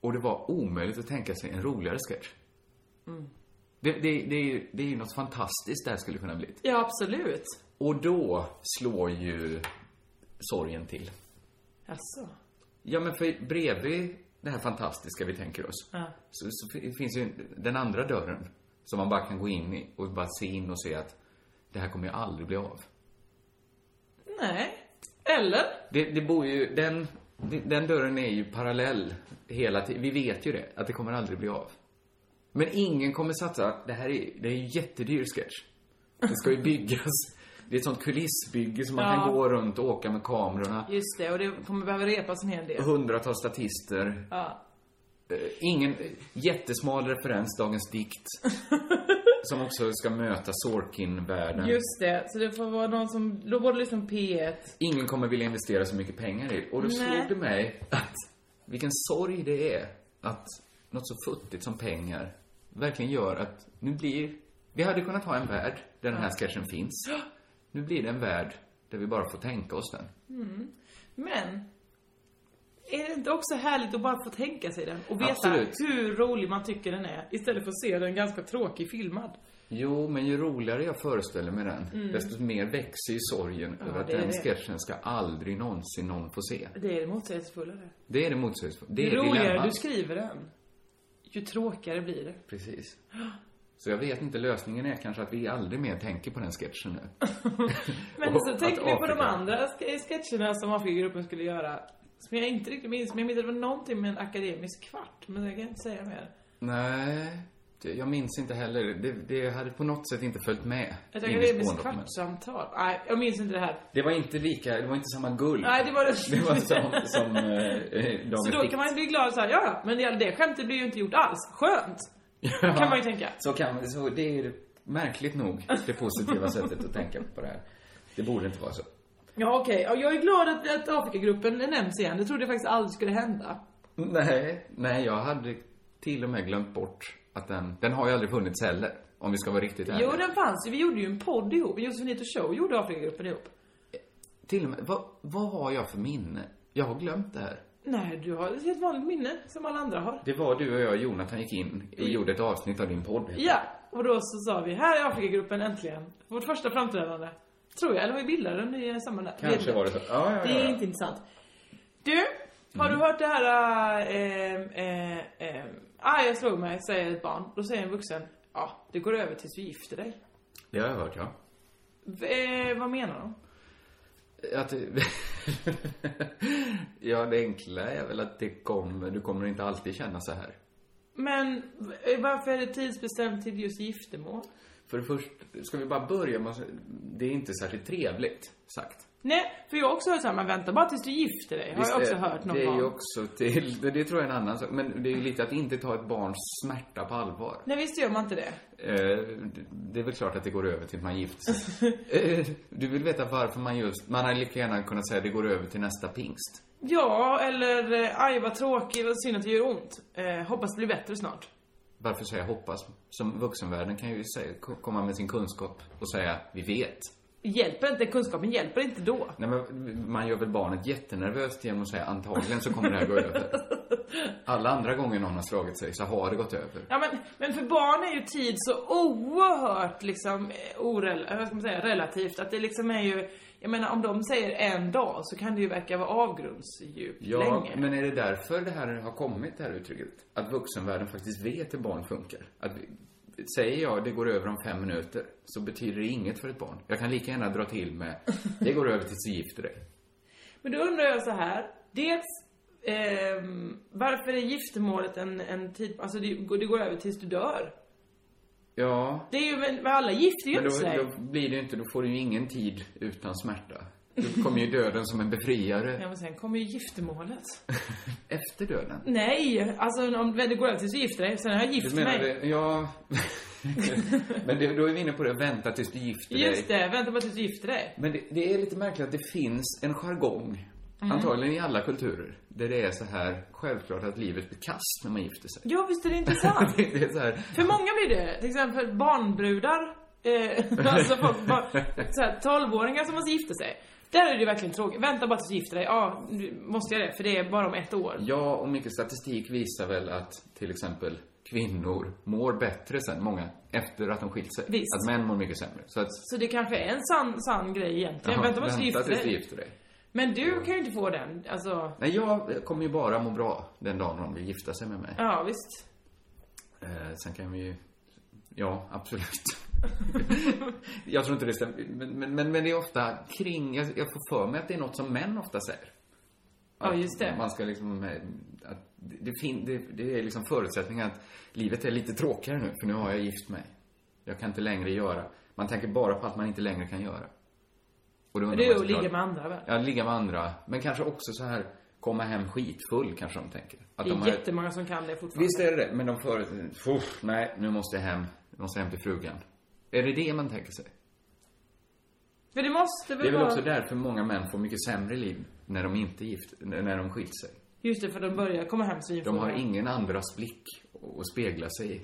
Speaker 8: Och det var omöjligt att tänka sig en roligare sketch. Det, det, det, är ju, det är ju något fantastiskt det här skulle kunna bli.
Speaker 9: Ja, absolut.
Speaker 8: Och då slår ju sorgen till.
Speaker 9: Jaså?
Speaker 8: Ja, men för bredvid det här fantastiska vi tänker oss
Speaker 9: Ja.
Speaker 8: så, så fi- finns ju den andra dörren som man bara kan gå in i och bara se in och se att det här kommer ju aldrig bli av.
Speaker 9: Nej. Eller?
Speaker 8: Det, det bor ju, den Den dörren är ju parallell hela tiden. Vi vet ju det, att det kommer aldrig bli av. Men ingen kommer satsa. Det här är, det är en jättedyr sketch. Det ska ju byggas. Det är ett sånt kulissbygge som man
Speaker 9: Ja.
Speaker 8: kan gå runt och åka med kamerorna.
Speaker 9: Just det, och det kommer behöva repas en hel del.
Speaker 8: Hundratals statister.
Speaker 9: Ja.
Speaker 8: Eh, Ingen eh, jättesmal referens, Dagens Dikt. som också ska möta Sorkin-världen.
Speaker 9: Just det, så det får vara någon som, då borde liksom P1.
Speaker 8: Ingen kommer vilja investera så mycket pengar i det. Och då
Speaker 9: Nej.
Speaker 8: slog det mig att vilken sorg det är att något så futtigt som pengar verkligen gör att nu blir... Vi hade kunnat ha en värld där den här sketchen finns. Nu blir det en värld där vi bara får tänka oss den.
Speaker 9: Men, är det inte också härligt att bara få tänka sig den och veta
Speaker 8: Absolut.
Speaker 9: hur rolig man tycker den är istället för att se den ganska tråkig filmad?
Speaker 8: Jo, men ju roligare jag föreställer mig den, desto mer växer ju sorgen över att
Speaker 9: Mm. det är
Speaker 8: den
Speaker 9: det.
Speaker 8: sketchen ska aldrig någonsin någon få se.
Speaker 9: Det är det motsägelsefulla det.
Speaker 8: Det är det motsägelsefulla. Det
Speaker 9: Ju
Speaker 8: är
Speaker 9: roligare du
Speaker 8: dilemmat.
Speaker 9: skriver den, ju tråkigare blir det.
Speaker 8: Precis. Så jag vet inte, lösningen är kanske att vi aldrig mer tänker på den sketchen nu.
Speaker 9: Men
Speaker 8: Och
Speaker 9: så
Speaker 8: att
Speaker 9: tänker vi på de
Speaker 8: Afrika-
Speaker 9: andra ske- sketcherna som Afrikagruppen skulle göra. Som jag inte riktigt minns, men jag minns att det var någonting med en akademisk kvart. Men jag kan inte säga mer.
Speaker 8: Nej, det, jag minns inte heller. Det, det hade på något sätt inte följt med.
Speaker 9: Ett
Speaker 8: in i
Speaker 9: akademiskt
Speaker 8: spåndokumentet.
Speaker 9: kvartssamtal. Nej, jag minns inte det här.
Speaker 8: Det var inte lika, det var inte samma guld.
Speaker 9: Nej, det var det.
Speaker 8: Det var som, som eh,
Speaker 9: Så då kan man bli glad såhär, ja men det, det skämtet blir ju inte gjort alls. Skönt! kan man ju tänka.
Speaker 8: Så kan så det är ju märkligt nog det positiva sättet att tänka på det här. Det borde inte vara så.
Speaker 9: Ja okej, Ja, jag är glad att, att Afrikagruppen nämns igen. Det trodde jag faktiskt aldrig skulle hända.
Speaker 8: Nej, nej, jag hade till och med glömt bort att den, den har ju aldrig funnits heller. Om vi ska vara riktigt ärliga.
Speaker 9: Jo den fanns ju, vi gjorde ju en podd ihop. Josefinito Show gjorde Afrikagruppen ihop.
Speaker 8: Till och med, vad, vad har jag för minne? Jag har glömt det här.
Speaker 9: Nej, du har ett helt vanligt minne som alla andra har.
Speaker 8: Det var du och jag, Jonathan, gick in och gjorde ett avsnitt av din podd.
Speaker 9: Ja, och då så sa vi, här är Afrikagruppen äntligen. Vårt första framträdande. Tror jag, eller vi bildade den i samma nä-
Speaker 8: Kanske
Speaker 9: vet
Speaker 8: var det
Speaker 9: inte.
Speaker 8: så. Ja, ja, Mm.
Speaker 9: Det
Speaker 8: ja.
Speaker 9: är inte intressant. Du, har du hört det här, äh, äh, äh, ah jag slog mig, säger ett barn. Då säger en vuxen, ja, det går över tills du gifter dig.
Speaker 8: Det har jag hört, ja.
Speaker 9: V- eh, vad menar de?
Speaker 8: Att, ja, det enkla är väl att det kommer, du kommer inte alltid känna så här.
Speaker 9: Men v- eh, varför är det tidsbestämt till just giftermål?
Speaker 8: För det först, ska vi bara börja med, att- det är inte särskilt trevligt sagt.
Speaker 9: Nej, för jag har också hört såhär, man väntar bara tills du gifter dig. Har
Speaker 8: Visst,
Speaker 9: jag också
Speaker 8: det-
Speaker 9: hört någon
Speaker 8: Det är
Speaker 9: gång.
Speaker 8: ju också till, det, det tror jag är en annan sak, men det är ju lite att inte ta ett barns smärta på allvar.
Speaker 9: Nej, visst gör man inte det?
Speaker 8: Eh, det är väl klart att det går över till att man gifter sig. Eh, du vill veta varför man just... Man hade lika gärna kunnat säga att det går över till nästa pingst.
Speaker 9: Ja, eller eh, aj vad tråkig, vad synd att det gör ont. Eh, hoppas det blir bättre snart.
Speaker 8: Varför säga hoppas? Som vuxenvärlden kan ju säga, ko- komma med sin kunskap och säga vi vet.
Speaker 9: Hjälper inte, kunskapen hjälper inte då.
Speaker 8: Nej, men man gör väl barnet jättenervöst genom att säga antagligen så kommer det här gå över. Alla andra gånger någon har slagit sig så har det gått över.
Speaker 9: Ja men, men för barn är ju tid så oerhört liksom eh, orel, eh, vad ska man säga, relativt. Att det liksom är ju, jag menar om de säger en dag så kan det ju verka vara avgrundsdjupt
Speaker 8: Ja,
Speaker 9: länge.
Speaker 8: men är det därför det här har kommit, det här uttrycket? Att vuxenvärlden faktiskt vet hur barn funkar? Att, vi- säger jag det går över om fem minuter, så betyder det inget för ett barn. Jag kan lika gärna dra till med, det går över tills du gifter dig.
Speaker 9: Men då undrar jag så här. Dels, ehm, varför är giftermålet en, en tid, alltså det, går- det går över tills du dör.
Speaker 8: Ja,
Speaker 9: Det är ju, men men alla gifter ju
Speaker 8: men
Speaker 9: inte
Speaker 8: då,
Speaker 9: sig.
Speaker 8: då blir det ju inte, då får du ju ingen tid utan smärta. Då kommer ju döden som en befriare
Speaker 9: Ja men sen kommer ju giftermålet.
Speaker 8: efter döden.
Speaker 9: Nej, alltså om det går över tills du gifter dig, sen har jag gift
Speaker 8: Du menar
Speaker 9: mig.
Speaker 8: det, ja... men det, då är vi inne på det, vänta tills du gifter dig.
Speaker 9: Just det, vänta bara tills du gifter dig.
Speaker 8: Men det, det är lite märkligt att det finns en jargong,
Speaker 9: Mm.
Speaker 8: antagligen i alla kulturer, där det är så här självklart att livet blir kast när man gifter sig.
Speaker 9: Ja visst är det intressant.
Speaker 8: Det, det är så här,
Speaker 9: För många blir det. Till exempel barnbrudar. Eh, alltså folk, barn, såhär, 12-åringar som måste gifta sig. Där är det ju verkligen tråkigt. Vänta bara tills du gifter dig. Ja, nu måste jag det. För det är bara om ett år.
Speaker 8: ja, och mycket statistik visar väl att till exempel kvinnor mår bättre sen, många, efter att de skilt sig.
Speaker 9: Visst.
Speaker 8: Att män mår mycket sämre. Så att,
Speaker 9: Så det kanske är en sann, sann grej egentligen.
Speaker 8: ja,
Speaker 9: vänta bara tills du gifter
Speaker 8: tills du
Speaker 9: dig.
Speaker 8: gifter dig.
Speaker 9: Men du kan ju inte få den. Alltså,
Speaker 8: Nej, jag kommer ju bara må bra den dagen de vill gifta sig med mig.
Speaker 9: ja visst.
Speaker 8: Eh, sen kan vi ju... Ja, absolut. jag tror inte det stämmer. Men, men, men, men det är ofta kring... Jag, jag får för mig att det är något som män ofta säger.
Speaker 9: Ja, just det.
Speaker 8: Man ska liksom... eh, Att det, det, fin, det, det är liksom förutsättningen att livet är lite tråkigare nu, för nu har jag gift mig. Jag kan inte längre göra... Man tänker bara på allt man inte längre kan göra. Och då undrar
Speaker 9: Det är
Speaker 8: man
Speaker 9: ju att
Speaker 8: såklart-
Speaker 9: ligga med andra väl?
Speaker 8: Ja, ligga med andra. Men kanske också så här, komma hem skitfull kanske de tänker. Att
Speaker 9: Det
Speaker 8: de
Speaker 9: är
Speaker 8: har-
Speaker 9: jättemånga som kan det fortfarande.
Speaker 8: Visst är det det, men de förut... Fuff, nej, nu måste jag hem. Jag måste hem till frugan. Är det det man tänker sig?
Speaker 9: För det måste väl,
Speaker 8: Det är väl
Speaker 9: vara...
Speaker 8: också därför många män får mycket sämre liv när de inte är gift, när de skilt sig.
Speaker 9: Just det, för de börjar komma hem
Speaker 8: De
Speaker 9: svinfulla.
Speaker 8: har ingen andras blick att spegla sig i.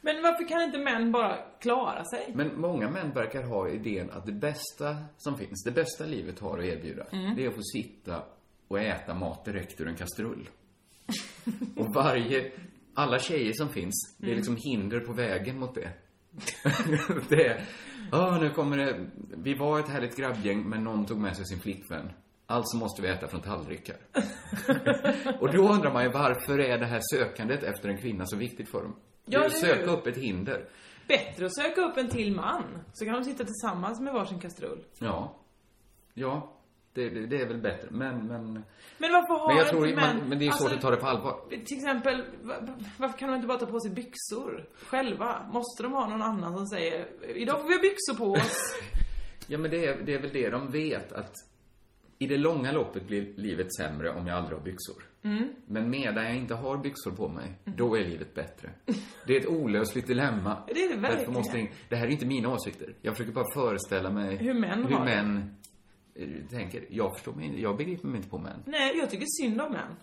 Speaker 9: Men varför kan inte män bara klara sig?
Speaker 8: Men många män verkar ha idén att det bästa som finns, det bästa livet har att erbjuda, det är att få sitta och äta mat direkt ur en kastrull. och varje, alla tjejer som finns, det är liksom hinder på vägen mot det. det är, "Åh, nu kommer det, vi var ett härligt grabbgäng men någon tog med sig sin flickvän. Alltså måste vi äta från tallrikar. och då undrar man ju varför är det här sökandet efter en kvinna så viktigt för dem? Det är
Speaker 9: Ja,
Speaker 8: att
Speaker 9: det är
Speaker 8: söka
Speaker 9: ju-
Speaker 8: upp ett hinder.
Speaker 9: Bättre att söka upp en till man. Så kan de sitta tillsammans med varsin kastrull.
Speaker 8: Ja. Ja. Det, det, det är väl bättre. Men, men...
Speaker 9: Men varför har
Speaker 8: men jag tror
Speaker 9: inte
Speaker 8: ju-
Speaker 9: män...
Speaker 8: man, Men det är ju svårt
Speaker 9: alltså,
Speaker 8: att ta det på allvar.
Speaker 9: Till exempel, va- varför kan de inte bara ta på sig byxor själva? Måste de ha någon annan som säger Idag får vi ha byxor på oss.
Speaker 8: Ja, men det är, det är väl det de vet att i det långa loppet blir livet sämre om jag aldrig har byxor.
Speaker 9: Mm.
Speaker 8: Men medan jag inte har byxor på mig, då är livet bättre. Det är ett olösligt dilemma.
Speaker 9: Det är det
Speaker 8: Därför
Speaker 9: verkligen.
Speaker 8: Måste, in- det här är inte mina åsikter. Jag försöker bara föreställa mig
Speaker 9: Hur män
Speaker 8: hur
Speaker 9: har det.
Speaker 8: män eh, tänker. Jag förstår mig inte- jag begriper mig inte på män.
Speaker 9: Nej, jag tycker synd om män.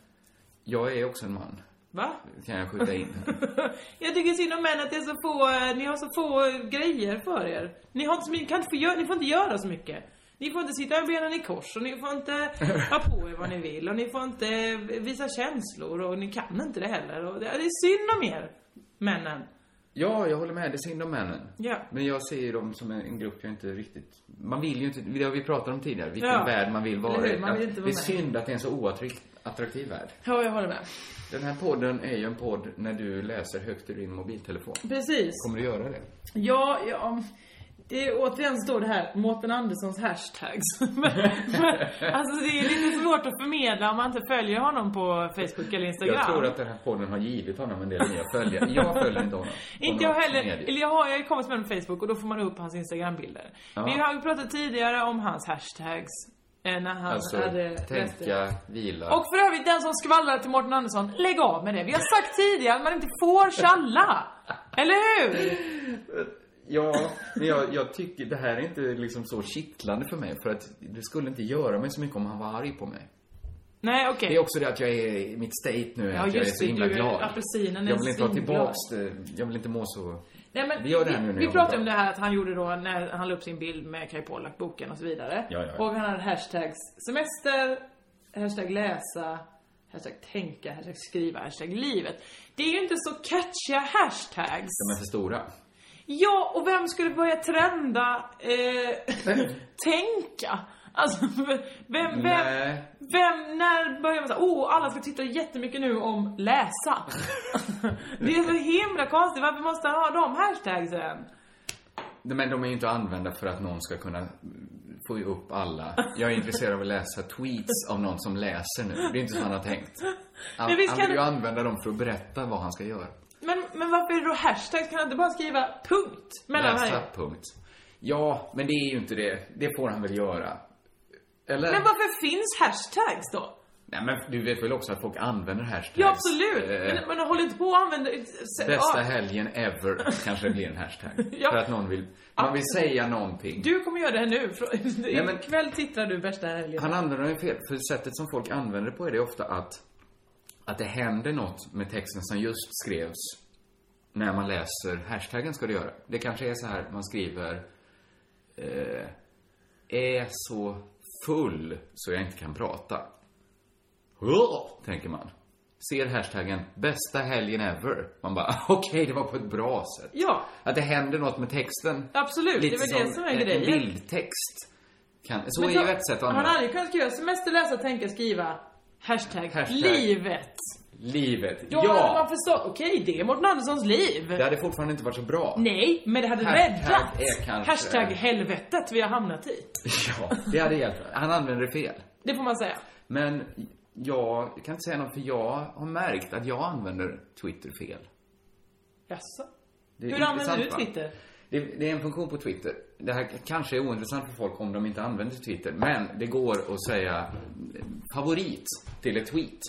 Speaker 8: Jag är också en man,
Speaker 9: Va?
Speaker 8: kan jag skjuta in här.
Speaker 9: Jag tycker synd om män att det är så få, eh, ni har så få eh, grejer för er. Ni, har inte, så mycket- kan inte få, göra- ni får inte göra så mycket. Ni får inte sitta med benen i kors och ni får inte ha på er vad ni vill och ni får inte eh, visa känslor och ni kan inte det heller. Och det, det är synd om er, männen.
Speaker 8: Ja, jag håller med. Det är synd om männen.
Speaker 9: Ja.
Speaker 8: Men jag ser ju dem som en, en grupp jag inte riktigt... Man vill ju inte... Det har vi pratat om tidigare. Vilken
Speaker 9: Ja.
Speaker 8: värld man vill vara
Speaker 9: Eller hur?
Speaker 8: i.
Speaker 9: Man
Speaker 8: Att
Speaker 9: vill inte vara
Speaker 8: det är
Speaker 9: med.
Speaker 8: synd att det är en så oattraktiv värld.
Speaker 9: Ja, jag håller med.
Speaker 8: Den här podden är ju en podd när du läser högt ur din mobiltelefon.
Speaker 9: Precis.
Speaker 8: Kommer du göra det?
Speaker 9: Ja, ja. Det är, återigen står det här Mårten Anderssons hashtags. Men- men, alltså det är lite svårt att förmedla om man inte följer honom på Facebook eller Instagram.
Speaker 8: Jag tror att den här podden har givit honom en del nya följare. Jag följer inte honom.
Speaker 9: Inte jag
Speaker 8: Honom
Speaker 9: heller.
Speaker 8: på media.
Speaker 9: Eller jag har, jag har ju kommit med honom på Facebook och då får man upp hans Instagram-bilder.
Speaker 8: Ja.
Speaker 9: Vi har ju pratat tidigare om hans hashtags. eh, När han
Speaker 8: Alltså,
Speaker 9: hade...
Speaker 8: tänka, vila.
Speaker 9: Och för övrigt, den som skvallrar till Mårten Andersson, lägg av med det. Vi har sagt tidigare att man inte får tjalla. Eller hur?
Speaker 8: Ja, men jag, jag tycker det här är inte liksom så kittlande för mig. För att det skulle inte göra mig så mycket om han var arg på mig.
Speaker 9: Nej, okej.
Speaker 8: Det är också det att jag är, mitt state nu är
Speaker 9: Ja,
Speaker 8: att jag är
Speaker 9: just
Speaker 8: så
Speaker 9: det,
Speaker 8: himla
Speaker 9: du är-
Speaker 8: glad.
Speaker 9: apelsinen är
Speaker 8: jag vill inte ha
Speaker 9: svinglad.
Speaker 8: tillbaks det. Jag vill inte må så...
Speaker 9: Nej, men
Speaker 8: Vi gör det här nu när
Speaker 9: vi
Speaker 8: jag
Speaker 9: pratade
Speaker 8: mår
Speaker 9: om det
Speaker 8: bra.
Speaker 9: här att han gjorde då när han la upp sin bild med Kai Pollak-boken och så vidare.
Speaker 8: Ja, ja, ja.
Speaker 9: Och han hade hashtags semester, hashtag läsa, hashtag tänka, hashtag skriva, hashtag livet. Det är ju inte så catchiga hashtags.
Speaker 8: De är för stora.
Speaker 9: Ja, och vem skulle börja trenda eh, tänka? Alltså, vem, vem,
Speaker 8: Nej.
Speaker 9: vem, när börjar man säga åh, alla ska titta jättemycket nu om läsa? det är så himla konstigt, varför måste han ha de hashtagsen?
Speaker 8: Nej, Men de är ju inte använda för att någon ska kunna få ju upp alla. Jag är intresserad av att läsa tweets av någon som läser nu. Det är inte så han har tänkt. Han,
Speaker 9: Men visst
Speaker 8: han
Speaker 9: kan
Speaker 8: vill ju
Speaker 9: du-
Speaker 8: använda dem för att berätta vad han ska göra.
Speaker 9: Men, men varför är det då hashtags? Kan han inte bara skriva punkt mellan
Speaker 8: Läsa,
Speaker 9: varje?
Speaker 8: punkt. Ja, men det är ju inte det. Det får han väl göra. Eller?
Speaker 9: Men varför finns hashtags då?
Speaker 8: Nej, men du vet väl också att folk använder hashtags?
Speaker 9: Ja, absolut.
Speaker 8: Eh,
Speaker 9: Men, men håll inte på att använda... se-
Speaker 8: Bästa
Speaker 9: ja,
Speaker 8: helgen ever kanske det blir en hashtag.
Speaker 9: Ja.
Speaker 8: För att någon vill, man vill säga någonting.
Speaker 9: Du kommer göra det här nu.
Speaker 8: Nej, men-
Speaker 9: Ikväll tittar du bästa helgen.
Speaker 8: Han använder den fel, för sättet som folk använder det på är det ofta att, att det händer något med texten som just skrevs när man läser hashtaggen ska du göra. Det kanske är så här, man skriver eh, är så full så jag inte kan prata. Åh, tänker man. Ser hashtaggen bästa helgen ever. Man bara, okej, det var på ett bra sätt.
Speaker 9: Ja.
Speaker 8: Att det händer något med texten.
Speaker 9: Absolut, det är väl det som är
Speaker 8: en-
Speaker 9: grejen.
Speaker 8: En bildtext. Kan, så
Speaker 9: Men
Speaker 8: är
Speaker 9: så-
Speaker 8: ju ett sätt att
Speaker 9: Han
Speaker 8: använda
Speaker 9: hade ju kunnat skriva semester, läsa, tänka, skriva. Hashtag,
Speaker 8: Hashtag.
Speaker 9: livet.
Speaker 8: livet.
Speaker 9: Då hade man
Speaker 8: ja!
Speaker 9: förstått, okej det är Mårten Anderssons liv.
Speaker 8: Det hade fortfarande inte varit så bra.
Speaker 9: Nej, men det hade
Speaker 8: Hashtag är
Speaker 9: räddat.
Speaker 8: kanske-
Speaker 9: Hashtag helvetet vi har hamnat i.
Speaker 8: Ja, det hade hjälpt. Han använde det fel.
Speaker 9: Det får man säga.
Speaker 8: Men jag kan inte säga något för jag har märkt att jag använder Twitter fel.
Speaker 9: Jaså?
Speaker 8: Det
Speaker 9: Hur
Speaker 8: är intressant,
Speaker 9: använder du
Speaker 8: va?
Speaker 9: Twitter?
Speaker 8: Det, det är en funktion på Twitter. Det här kanske är ointressant för folk om de inte använder Twitter, men det går att säga favorit till ett tweet.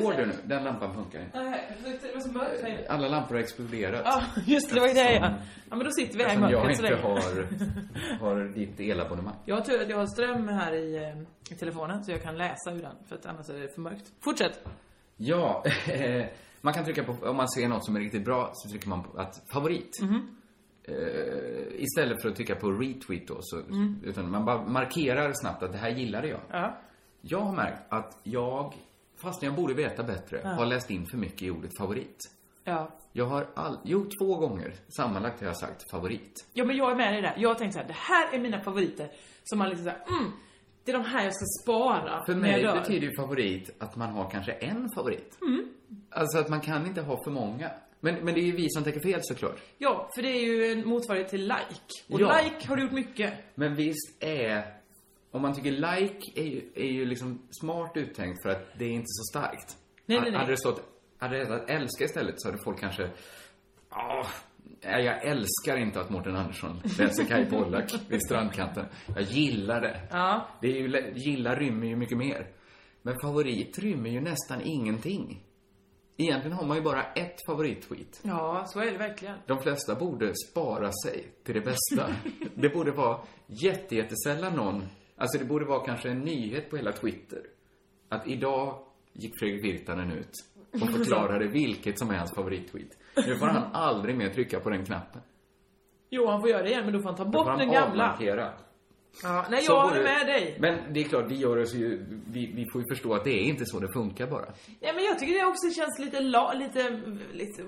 Speaker 8: går det nu? Den lampan funkar inte.
Speaker 9: Nej, det var så mörkt här inne.
Speaker 8: Alla lampor har exploderat.
Speaker 9: Ja, just det, det var ju det ja. Ja men då sitter vi här i
Speaker 8: Eftersom jag
Speaker 9: mörkret så
Speaker 8: inte
Speaker 9: länge.
Speaker 8: har, har ditt elabonnemang.
Speaker 9: Jag har tur att jag har ström här i, eh, i telefonen så jag kan läsa ur den, för att annars är det för mörkt. Fortsätt!
Speaker 8: Ja, eh, man kan trycka på, om man ser något som är riktigt bra så trycker man på att favorit.
Speaker 9: Mhm.
Speaker 8: Eh, istället för att trycka på retweet då, så, utan man bara markerar snabbt att det här gillade jag.
Speaker 9: Mm. Ja.
Speaker 8: Jag har märkt att jag, fast jag borde veta bättre, har läst in för mycket i ordet favorit.
Speaker 9: Ja.
Speaker 8: Jag har all, jo, två gånger sammanlagt har jag sagt favorit.
Speaker 9: ja, men jag är med dig där. Jag tänkte så här, det här är mina favoriter som man liksom såhär, mm, det är de här jag ska spara
Speaker 8: För
Speaker 9: när jag
Speaker 8: mig
Speaker 9: dör. Mm.
Speaker 8: betyder ju favorit att man har kanske en favorit. Alltså att man kan inte ha för många. Men, men det är ju vi som tänker fel såklart.
Speaker 9: Ja, för det är ju en motsvarighet till like. Och
Speaker 8: Ja.
Speaker 9: like har du gjort mycket.
Speaker 8: Men visst är... Om man tycker like är ju, är ju liksom smart uttänkt för att det är inte så starkt.
Speaker 9: Nej, nej, nej.
Speaker 8: Hade det stått hade det stått älska istället så hade folk kanske... "Ah, nej, jag älskar inte att Mårten Andersson läser Kaj Pollak vid strandkanten. Jag gillar det.
Speaker 9: Ja.
Speaker 8: det är ju, lä- gilla rymmer ju mycket mer. Men favorit rymmer ju nästan ingenting. Egentligen har man ju bara ett favorittweet.
Speaker 9: Ja, så är det verkligen.
Speaker 8: De flesta borde spara sig till det bästa. det borde vara jätte, jättesällan någon... Alltså det borde vara kanske en nyhet på hela Twitter. Att idag gick Fredrik Virtanen ut och förklarade vilket som är hans favorittweet. Nu får han aldrig mer trycka på den knappen.
Speaker 9: Jo, han får göra det igen, men då får han ta
Speaker 8: Då får
Speaker 9: bort
Speaker 8: han
Speaker 9: den gamla.
Speaker 8: avmarkera.
Speaker 9: Ja, nej,
Speaker 8: Så
Speaker 9: jag håller
Speaker 8: borde-
Speaker 9: med dig.
Speaker 8: Men det är klart, vi gör oss ju... Vi, vi får ju förstå att det är inte så det funkar bara.
Speaker 9: Nej, men jag tycker det också känns lite, la, lite, lite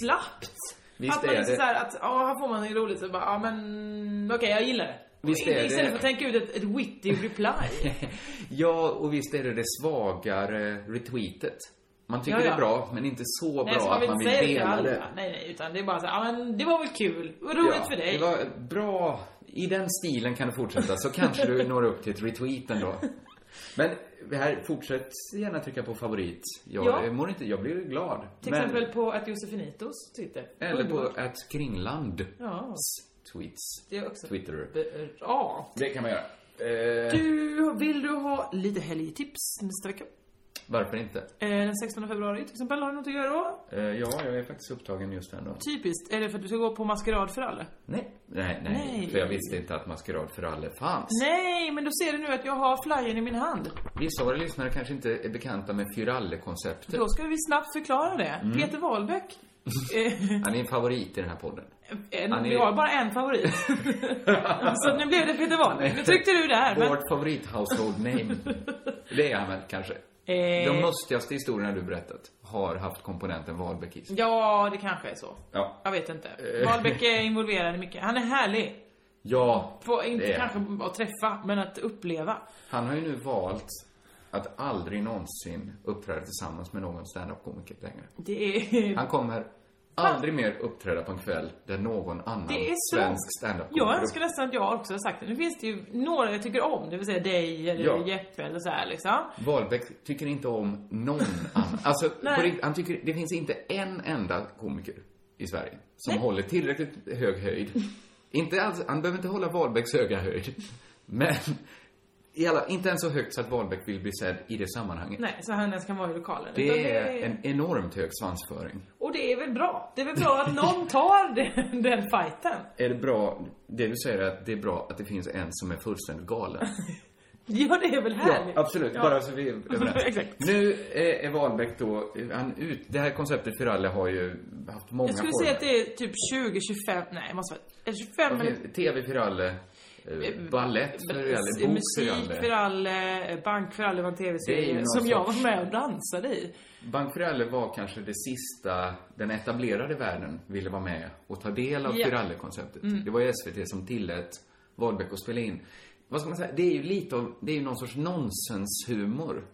Speaker 9: slappt.
Speaker 8: Visst
Speaker 9: att man
Speaker 8: är
Speaker 9: liksom
Speaker 8: det.
Speaker 9: såhär att, ja, här får man en roligt så bara, ja men okej, jag gillar det.
Speaker 8: Visst är det.
Speaker 9: Istället för att tänka ut ett, ett witty reply.
Speaker 8: Ja, och visst är det det svagare retweetet. Man tycker
Speaker 9: Ja, ja.
Speaker 8: det är bra, men inte så
Speaker 9: nej, så
Speaker 8: bra
Speaker 9: man
Speaker 8: att
Speaker 9: vill
Speaker 8: man
Speaker 9: inte
Speaker 8: vill
Speaker 9: säga det till
Speaker 8: dela
Speaker 9: alla.
Speaker 8: det.
Speaker 9: Nej, nej, utan det är bara såhär, ja men det var väl kul. Vad roligt
Speaker 8: Ja,
Speaker 9: för dig.
Speaker 8: Det var bra. I den stilen kan du fortsätta, så kanske du når upp till ett retweet ändå. Men det här, fortsätt gärna trycka på favorit. Jag
Speaker 9: Ja.
Speaker 8: eh, mår inte, jag blir glad.
Speaker 9: till
Speaker 8: Men- Eh.
Speaker 9: exempel på att Josefinitos Twitter.
Speaker 8: Eller på
Speaker 9: Underbart.
Speaker 8: att Kringland
Speaker 9: Ja.
Speaker 8: tweets.
Speaker 9: Det är också...
Speaker 8: Twitter.
Speaker 9: Bra.
Speaker 8: Det kan man göra. Eh,
Speaker 9: Du, vill du ha lite helgtips nästa vecka?
Speaker 8: varför inte?
Speaker 9: Eh, Den 16 februari till exempel, har du något att göra då?
Speaker 8: Eh, ja, jag är faktiskt upptagen just den dagen.
Speaker 9: Typiskt. Är det för att du ska gå på maskerad för alla?
Speaker 8: Nej. Nej, nej,
Speaker 9: Nej.
Speaker 8: För jag visste inte att Maskerad för alla fanns.
Speaker 9: Nej, men då ser du nu att jag har flyern i min hand.
Speaker 8: Vissa av våra lyssnare kanske inte är bekanta med Fyralle-konceptet.
Speaker 9: Då ska vi snabbt förklara det.
Speaker 8: Mm.
Speaker 9: Peter Wahlbeck. eh,
Speaker 8: Han är en favorit i den här podden.
Speaker 9: en,
Speaker 8: Han är-
Speaker 9: Vi har bara en favorit. Så nu blev det Peter Wahlbeck. Nu tryckte du där. Men,
Speaker 8: Vårt favorit-household name. Det är han väl kanske.
Speaker 9: Eh.
Speaker 8: De mustigaste historierna du berättat har haft komponenten Wahlbeck i sig.
Speaker 9: ja, det kanske är så.
Speaker 8: Ja.
Speaker 9: Jag vet
Speaker 8: Eh.
Speaker 9: inte. Wahlbeck är involverad i mycket. Han är härlig.
Speaker 8: Ja,
Speaker 9: På,
Speaker 8: det
Speaker 9: inte
Speaker 8: är han.
Speaker 9: kanske att träffa, men att uppleva.
Speaker 8: Han har ju nu valt att aldrig någonsin uppträda tillsammans med någon standup-komiker längre.
Speaker 9: Det är...
Speaker 8: Han kommer aldrig mer uppträda på en kväll där någon annan
Speaker 9: Det är så.
Speaker 8: svensk standup-komiker
Speaker 9: Jag önskar nästan att jag också har sagt det. Nu finns det ju några jag tycker om, det vill säga dig eller
Speaker 8: Ja.
Speaker 9: Jeppe eller så här liksom.
Speaker 8: Wahlbeck tycker inte om någon annan. Alltså,
Speaker 9: Nej.
Speaker 8: på riktigt, han tycker, det finns inte en enda komiker i Sverige som håller tillräckligt hög höjd. inte alls, han behöver inte hålla Wahlbecks höga höjd. Men, i alla, inte ens så högt så att Wahlbeck vill bli sedd i det sammanhanget.
Speaker 9: Nej, så han ens kan vara i lokalen. Utan
Speaker 8: Det är en enormt hög svansföring.
Speaker 9: Och det är väl bra? Det är väl bra att någon tar den, den fighten?
Speaker 8: Är det bra, det du säger är att det är bra att det finns en som är fullständigt galen.
Speaker 9: Ja, det är väl härligt?
Speaker 8: absolut. Bara så vi är överens.
Speaker 9: Exakt.
Speaker 8: Nu eh, är är Wahlbeck då, han ut, det här konceptet för alla har ju haft många
Speaker 9: Jag skulle
Speaker 8: former.
Speaker 9: säga att det är typ 20, 25, nej det måste vara är det 25 eller...
Speaker 8: Okej, TV för alla, eh, ballett för alla, bok för
Speaker 9: Musik för
Speaker 8: alla.
Speaker 9: all, eh, bank för all, det var en
Speaker 8: Det är ju
Speaker 9: tv-serie
Speaker 8: någon
Speaker 9: som jag var
Speaker 8: sorts-
Speaker 9: med och dansade i.
Speaker 8: Bank för alla var kanske det sista den etablerade världen ville vara med och ta del av
Speaker 9: Ja. Mm.
Speaker 8: yeah. konceptet Det var ju SVT som tillät Wahlbeck att spela in. Vad ska man säga? Det är ju lite av, det är ju någon sorts nonsenshumor.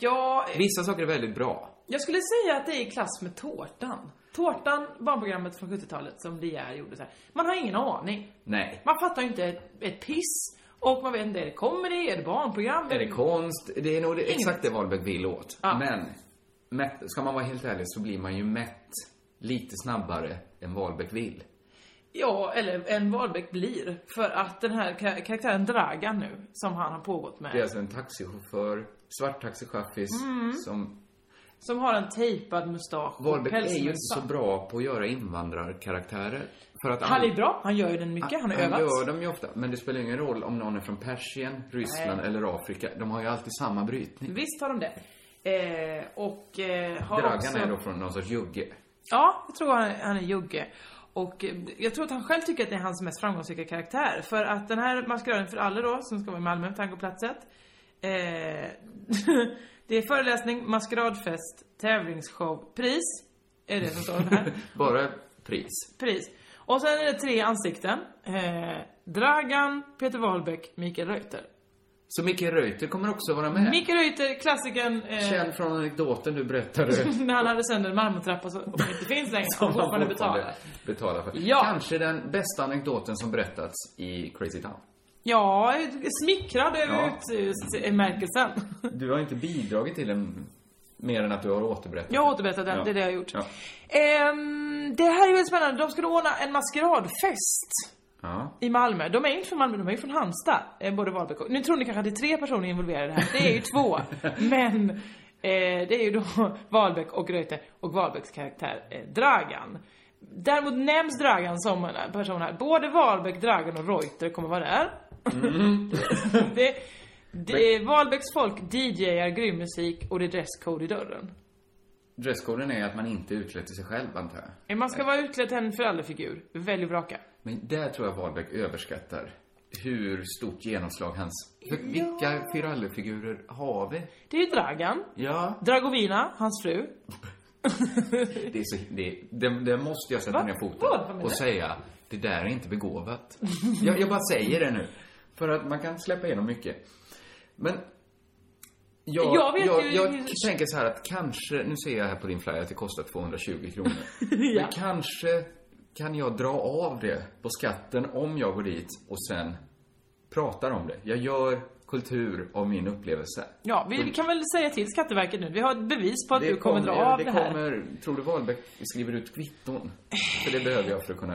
Speaker 9: Ja,
Speaker 8: Vissa saker är väldigt bra.
Speaker 9: Jag skulle säga att det är i klass med Tårtan. Tårtan, barnprogrammet från 70-talet som De Geer gjorde så här. Man har ingen aning.
Speaker 8: Nej.
Speaker 9: Man fattar ju inte ett, ett piss. Och man vet inte, är det comedy, är det barnprogram?
Speaker 8: Är det konst? Det är nog det, exakt det Wahlbeck vill åt.
Speaker 9: Mm. Ja.
Speaker 8: Men, mätt, ska man vara helt ärlig så blir man ju mätt lite snabbare än Wahlbeck vill.
Speaker 9: Ja, eller en Wahlbeck blir. För att den här ka- karaktären Dragan nu, som han har pågått med.
Speaker 8: Det är alltså en taxichaufför, svart taxichaffis,
Speaker 9: Mm.
Speaker 8: som...
Speaker 9: Som har en tejpad mustasch och
Speaker 8: Wahlbeck är ju inte
Speaker 9: pälsmössa.
Speaker 8: så bra på att göra invandrarkaraktärer. För att
Speaker 9: Han är bra, han gör ju den mycket, han har övat.
Speaker 8: gör dem ju ofta, men det spelar ju ingen roll om någon är från Persien, Ryssland
Speaker 9: Nej.
Speaker 8: eller Afrika. De har ju alltid samma brytning.
Speaker 9: Visst har de det. Eh, och eh, har
Speaker 8: Dragan
Speaker 9: också...
Speaker 8: är då från någon sorts jugge.
Speaker 9: Ja, jag tror han, han är jugge. Och eh, jag tror att han själv tycker att det är hans mest framgångsrika karaktär. För att den här Maskeraden för alla då, som ska vara i Malmö, Tangoplatset. Eh, det är föreläsning, maskeradfest, tävlingsshow, pris. Är det som står här.
Speaker 8: Bara pris.
Speaker 9: pris. Och sen är det tre ansikten. Eh, Dragan, Peter Wahlbeck, Mikael Reuter.
Speaker 8: Så Micke Reuter kommer också vara med.
Speaker 9: Mikael Reuter, klassikern. Eh,
Speaker 8: Känd från anekdoten du berättade.
Speaker 9: när han hade sönder en marmortrappa som inte finns längre. Som han fortfarande betalar.
Speaker 8: betalar för.
Speaker 9: Ja.
Speaker 8: Kanske den bästa anekdoten som berättats i Crazy Town.
Speaker 9: Ja, smickrad över
Speaker 8: Ja.
Speaker 9: utmärkelsen.
Speaker 8: Du har inte bidragit till den mer än att du har återberättat.
Speaker 9: Jag har återberättat den,
Speaker 8: Ja.
Speaker 9: det är det jag har gjort.
Speaker 8: Ja.
Speaker 9: Ehm, det här är väldigt spännande. De skulle ordna en maskeradfest
Speaker 8: Ja.
Speaker 9: i Malmö. De är ju inte från Malmö, de är ju från Halmstad. Eh, både Wahlbeck och... Nu tror ni kanske att det är tre personer involverade här. Det är ju två. Men eh, det är ju då Wahlbeck och Reuter och Wahlbecks karaktär eh, Dragan. Däremot nämns Dragan som en person här. Både Wahlbeck, Dragan och Reuter kommer vara där. det, det, Wahlbecks folk DJar grym musik och det är dresscode i dörren.
Speaker 8: Dresskoden är att man inte utklädd till sig själv, antar jag.
Speaker 9: Man ska vara utklädd till en föräldrafigur. Välj och vraka.
Speaker 8: Men där tror jag Wahlbeck överskattar hur stort genomslag hans... För Vilka Firalli-figurer har vi?
Speaker 9: Det är ju Dragan,
Speaker 8: Ja.
Speaker 9: Dragovina, hans fru.
Speaker 8: Det är så, det, det, det måste jag sätta
Speaker 9: Va?
Speaker 8: ner foten
Speaker 9: Vad? Vad menar
Speaker 8: och
Speaker 9: du?
Speaker 8: säga, det där är inte begåvat. jag, jag bara säger det nu. För att man kan släppa igenom mycket. Men jag,
Speaker 9: Jag
Speaker 8: jag,
Speaker 9: vet
Speaker 8: jag,
Speaker 9: ju-
Speaker 8: tänker så här att kanske, nu ser jag här på din flyer att det kostar 220 kronor.
Speaker 9: Ja.
Speaker 8: Men kanske kan jag dra av det på skatten om jag går dit och sen pratar om det. Jag gör kultur av min upplevelse.
Speaker 9: Ja, vi kan väl säga till Skatteverket nu. Vi har ett bevis på att du kommer dra
Speaker 8: ja,
Speaker 9: av Mm. det, här.
Speaker 8: kommer, tror du Wahlbeck skriver ut kvitton? För det behöver jag för att kunna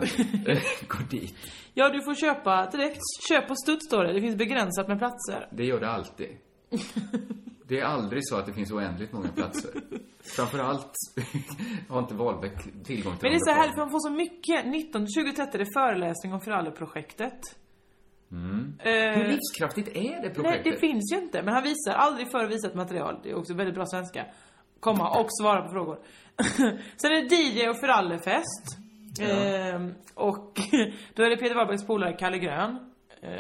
Speaker 8: gå dit.
Speaker 9: Ja, du får köpa direkt. Köp på Studs står det. Det finns begränsat med platser.
Speaker 8: Det gör det alltid. Det är aldrig så att det finns oändligt många platser. Framförallt har inte Wahlbeck tillgång till
Speaker 9: Men det är så
Speaker 8: de
Speaker 9: här,
Speaker 8: lokalerna.
Speaker 9: man får så mycket. 19, 20, 30 är det föreläsning om Föralleprojektet. Mm.
Speaker 8: Hur livskraftigt är det
Speaker 9: nej,
Speaker 8: projektet?
Speaker 9: det finns ju inte. Men han visar aldrig förr visat material. Det är också väldigt bra svenska. Komma och svara på frågor. Sen är det DJ och Förallefest. Ehm, och då är det Peter Wahlbergs polare Kalle Grön.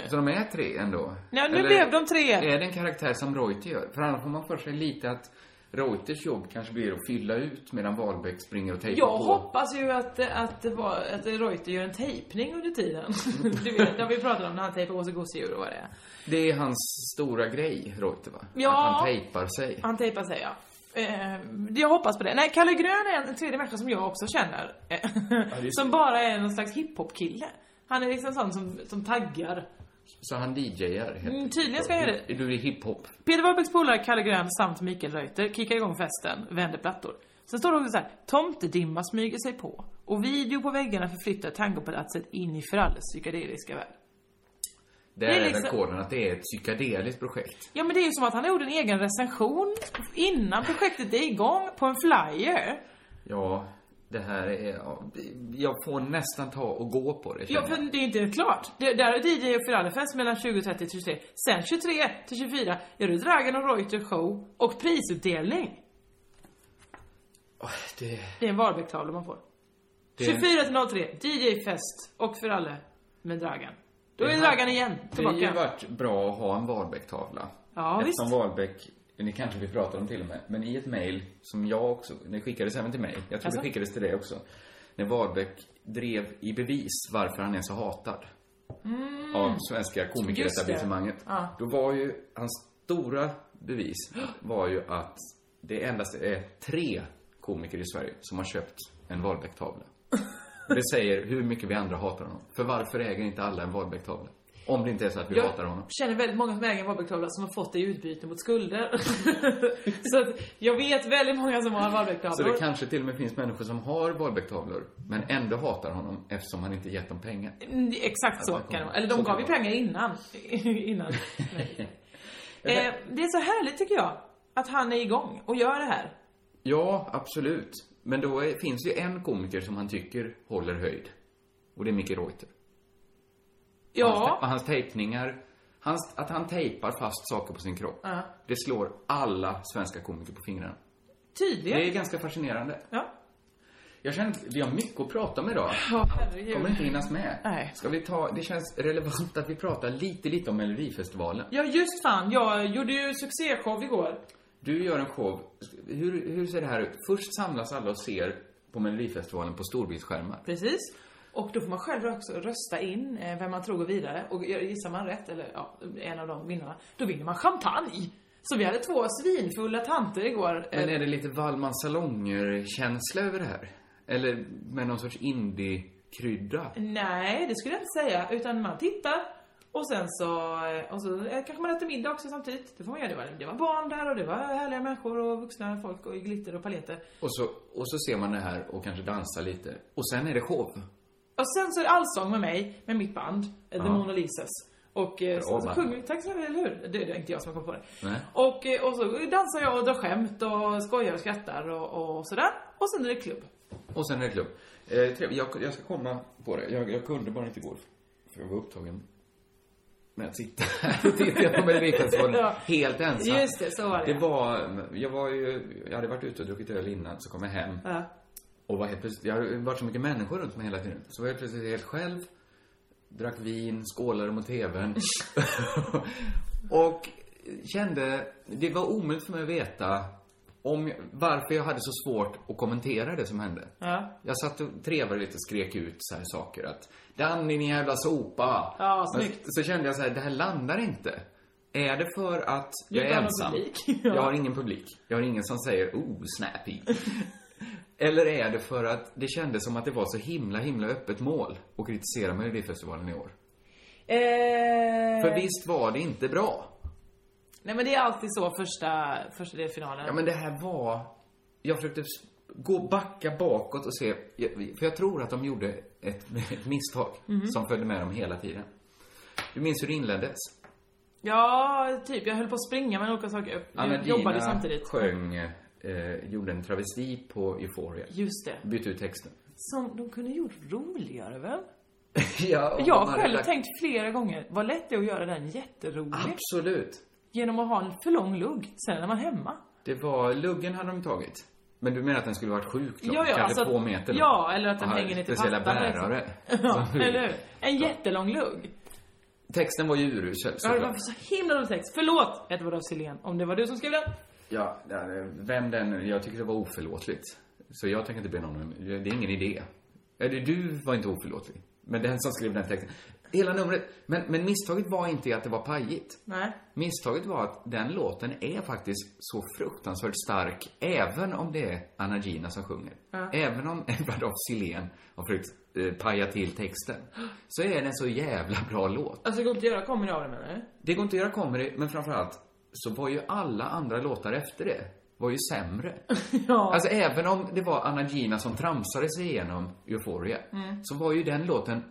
Speaker 8: Så de är tre ändå?
Speaker 9: Ja, nu
Speaker 8: Eller
Speaker 9: blev de tre.
Speaker 8: Är det en karaktär som Reuter gör? För annars får man för sig lite att Reuters jobb kanske blir att fylla ut medan Wahlbeck springer och tejpar
Speaker 9: Jag
Speaker 8: på.
Speaker 9: hoppas ju att, att, det var, att Reuter gör en tejpning under tiden. Du vet, det har vi pratat om när han tejpar Åse Gosedjur och vad det är.
Speaker 8: Det är hans stora grej, Reuter, va?
Speaker 9: Ja.
Speaker 8: Att han tejpar sig.
Speaker 9: Han tejpar sig, ja. Eh, jag hoppas på det. Nej, Kalle Grön är en tredje människa som jag också känner. Eh, som bara är någon slags hiphop-kille. Han är liksom sån som, som taggar.
Speaker 8: Så han DJar, heter
Speaker 9: Mm, tydligen ska jag göra det.
Speaker 8: det. Du är hiphop.
Speaker 9: Peter Wahlbecks polare Kalle Grön samt Mikael Reuter kickar igång festen, vänder plattor. Sen står det också så här, tomtedimma smyger sig på och video på väggarna förflyttar tangopalatset in i Fralles psykedeliska värld.
Speaker 8: Där
Speaker 9: Det är
Speaker 8: är
Speaker 9: liksom-
Speaker 8: den koden att det är ett psykedeliskt projekt.
Speaker 9: Ja men det är ju som att han gjorde en egen recension innan projektet är igång på en flyer.
Speaker 8: Ja, det här är... ja, det- Jag får nästan ta och gå på det,
Speaker 9: Ja
Speaker 8: känner
Speaker 9: för
Speaker 8: jag.
Speaker 9: det är inte klart. Det, där är DJ och Firallefest mellan 20.30 till 23. Sen 23 till 24 gör du Dragan och Reuter show och prisutdelning.
Speaker 8: Åh, det...
Speaker 9: Det är en Wahlbeck-tavla man får. 24 till 03, DJ-fest och Firalle med Dragan. Då är Dragan igen,
Speaker 8: Det hade ju
Speaker 9: tillbaka.
Speaker 8: varit bra att ha en Wahlbeck-tavla.
Speaker 9: Ja,
Speaker 8: Eftersom
Speaker 9: visst.
Speaker 8: Wahlbeck, det kanske vi pratade om till och med, men i ett mejl som jag också, det skickades även till mig, jag tror
Speaker 9: Alltså?
Speaker 8: det skickades till dig också, när Wahlbeck drev i bevis varför han är så hatad av svenska komikeretablissemanget.
Speaker 9: Ja.
Speaker 8: Då var ju, hans stora bevis var ju att det endast är tre komiker i Sverige som har köpt en Wahlbeck-tavla. Och Det säger hur mycket vi andra hatar honom. För varför äger inte alla en Wahlbeck-tavla? Om det inte är så att vi hatar honom.
Speaker 9: känner väldigt många som äger en Varbergtavla som har fått det i utbyte mot skulder. så att jag vet väldigt många som har
Speaker 8: Så det
Speaker 9: Varbergtavlor.
Speaker 8: kanske till och med finns människor som har Wahlbeck-tavlor, men ändå hatar honom eftersom han inte gett dem pengar.
Speaker 9: Mm, Exakt så
Speaker 8: där
Speaker 9: kan
Speaker 8: kommer
Speaker 9: det
Speaker 8: det.
Speaker 9: vara. Eller de
Speaker 8: Så kan
Speaker 9: gav ju
Speaker 8: det vara.
Speaker 9: pengar innan. innan. Nej. eh, det är så härligt tycker jag. Att han är igång och gör det här.
Speaker 8: Ja, absolut. Men då är, finns ju en komiker som han tycker håller höjd. Och det är Micke Reuter.
Speaker 9: Ja.
Speaker 8: Hans, te- hans tejpningar, hans, att han tejpar fast saker på sin kropp. Det slår alla svenska komiker på fingrarna. Det
Speaker 9: Tydligen.
Speaker 8: är ganska fascinerande.
Speaker 9: Ja.
Speaker 8: Jag känner att vi har mycket att prata om idag.
Speaker 9: Ja,
Speaker 8: kommer
Speaker 9: herregud.
Speaker 8: inte hinnas med.
Speaker 9: Nej.
Speaker 8: Ska vi ta, det känns relevant att vi pratar lite, lite om Melodifestivalen.
Speaker 9: Ja, just fan. Jag gjorde ju succéshow igår.
Speaker 8: Du gör en show. Hur, hur ser det här ut? Först samlas alla och ser på Melodifestivalen på storbildsskärmar.
Speaker 9: Precis. Och då får man själv också rösta in eh, vem man tror går vidare. Och gissar man rätt, eller ja, en av de vinnarna, då vinner man champagne. Så vi hade två svinfulla tanter igår. Eh,
Speaker 8: Men är det lite Wallmans salonger-känsla över det här? Eller med någon sorts indie-krydda?
Speaker 9: Nej, det skulle jag inte säga. Utan man tittar och sen så, eh, och så eh, kanske man äter middag också samtidigt. Det får man göra. Det var, det var barn där och det var härliga människor och vuxna folk och i glitter och paletter.
Speaker 8: Och så, och så ser man det här och kanske dansar lite. Och sen är det show.
Speaker 9: Och sen så är det allsång med mig, med mitt band, eh, The
Speaker 8: Ja.
Speaker 9: Mona Lisas. Och eh, så,
Speaker 8: Bra
Speaker 9: så
Speaker 8: band.
Speaker 9: sjunger vi, tack så mycket, eller hur? Det är inte jag som har kommit på det.
Speaker 8: Nej.
Speaker 9: Och, eh, och så dansar jag och drar skämt och skojar och skrattar och, och sådär. Och sen är det klubb.
Speaker 8: Och sen är det klubb. Eh, trevligt. jag, jag ska komma på det. Jag, jag kunde bara inte igår. För jag var upptagen med att sitta här och titta på Melodifestivalen
Speaker 9: Ja.
Speaker 8: helt ensam.
Speaker 9: Just det, så var det.
Speaker 8: Det var, jag var ju, jag hade varit ute och druckit öl innan, så kom jag hem.
Speaker 9: Ja.
Speaker 8: Och var helt plötsligt, jag hade varit så mycket människor runt mig hela tiden. Så var jag plötsligt helt själv. Drack vin, skålade mot TVn. och kände, det var omöjligt för mig att veta om, jag- varför jag hade så svårt att kommentera det som hände.
Speaker 9: Ja.
Speaker 8: Jag satt och trevade lite och skrek ut så här saker att Danny din jävla sopa.
Speaker 9: Ja,
Speaker 8: Men
Speaker 9: snyggt.
Speaker 8: Så kände jag så här, det här landar inte. Är det för att jag
Speaker 9: inte
Speaker 8: är
Speaker 9: har någon
Speaker 8: ensam?
Speaker 9: publik?
Speaker 8: Jag har ingen publik. Jag har ingen som säger oh, snappy. Eller är det för att det kändes som att det var så himla, himla öppet mål att kritisera Melodifestivalen i år?
Speaker 9: Eh...
Speaker 8: För visst var det inte bra?
Speaker 9: Nej men det är alltid så första, första delfinalen.
Speaker 8: Ja, men det här var... Jag försökte s- gå backa bakåt och se... jag- För jag tror att de gjorde ett, ett misstag
Speaker 9: Mhm.
Speaker 8: som följde med dem hela tiden. Du minns hur det inleddes?
Speaker 9: Ja, typ. Jag höll på att springa med olika saker. Jag jobbade samtidigt.
Speaker 8: sjöng, eh, gjorde en travesti på Euphoria.
Speaker 9: Just det.
Speaker 8: Bytte ut texten.
Speaker 9: Som de kunde gjort roligare väl?
Speaker 8: ja, och
Speaker 9: Jag
Speaker 8: de
Speaker 9: har
Speaker 8: hade
Speaker 9: själv
Speaker 8: lagt-
Speaker 9: tänkt flera gånger, vad lätt det är att göra den jätterolig.
Speaker 8: Absolut.
Speaker 9: Genom att ha en för lång lugg, sen är man hemma.
Speaker 8: Det var... Luggen hade de tagit. Men du menar att den skulle varit sjukt lång?
Speaker 9: Ja, ja,
Speaker 8: kanske
Speaker 9: alltså-
Speaker 8: två meter lång?
Speaker 9: Ja, eller att den
Speaker 8: Och hade
Speaker 9: hänger ner till
Speaker 8: Speciella
Speaker 9: pattan,
Speaker 8: bärare.
Speaker 9: Ja,
Speaker 8: Som-
Speaker 9: eller hur? En jättelång lugg.
Speaker 8: Texten var ju urusel.
Speaker 9: Ja, det var
Speaker 8: såklart.
Speaker 9: så himla rolig text. Förlåt, Edward af Sillén, om det var du som skrev den.
Speaker 8: Ja, ja, vem den... Jag tycker det var oförlåtligt. Så jag tänker inte be någon om... Det är ingen idé. Eller du var inte oförlåtlig. Men den som skrev den texten. Hela numret. Men, men misstaget var inte att det var pajigt.
Speaker 9: Nej.
Speaker 8: Misstaget var att den låten är faktiskt så fruktansvärt stark, även om det är Anna Gina som sjunger. Även om Edward af Sillén har försökt eh, paja till texten, så är den så jävla bra låt.
Speaker 9: Alltså, det går inte att göra comedy av det menar du?
Speaker 8: Det går inte att göra comedy, men framförallt så var ju alla andra låtar efter det var ju sämre.
Speaker 9: Ja.
Speaker 8: Alltså även om det var Anna Gina som tramsade sig igenom Euphoria,
Speaker 9: Mm.
Speaker 8: så var ju den låten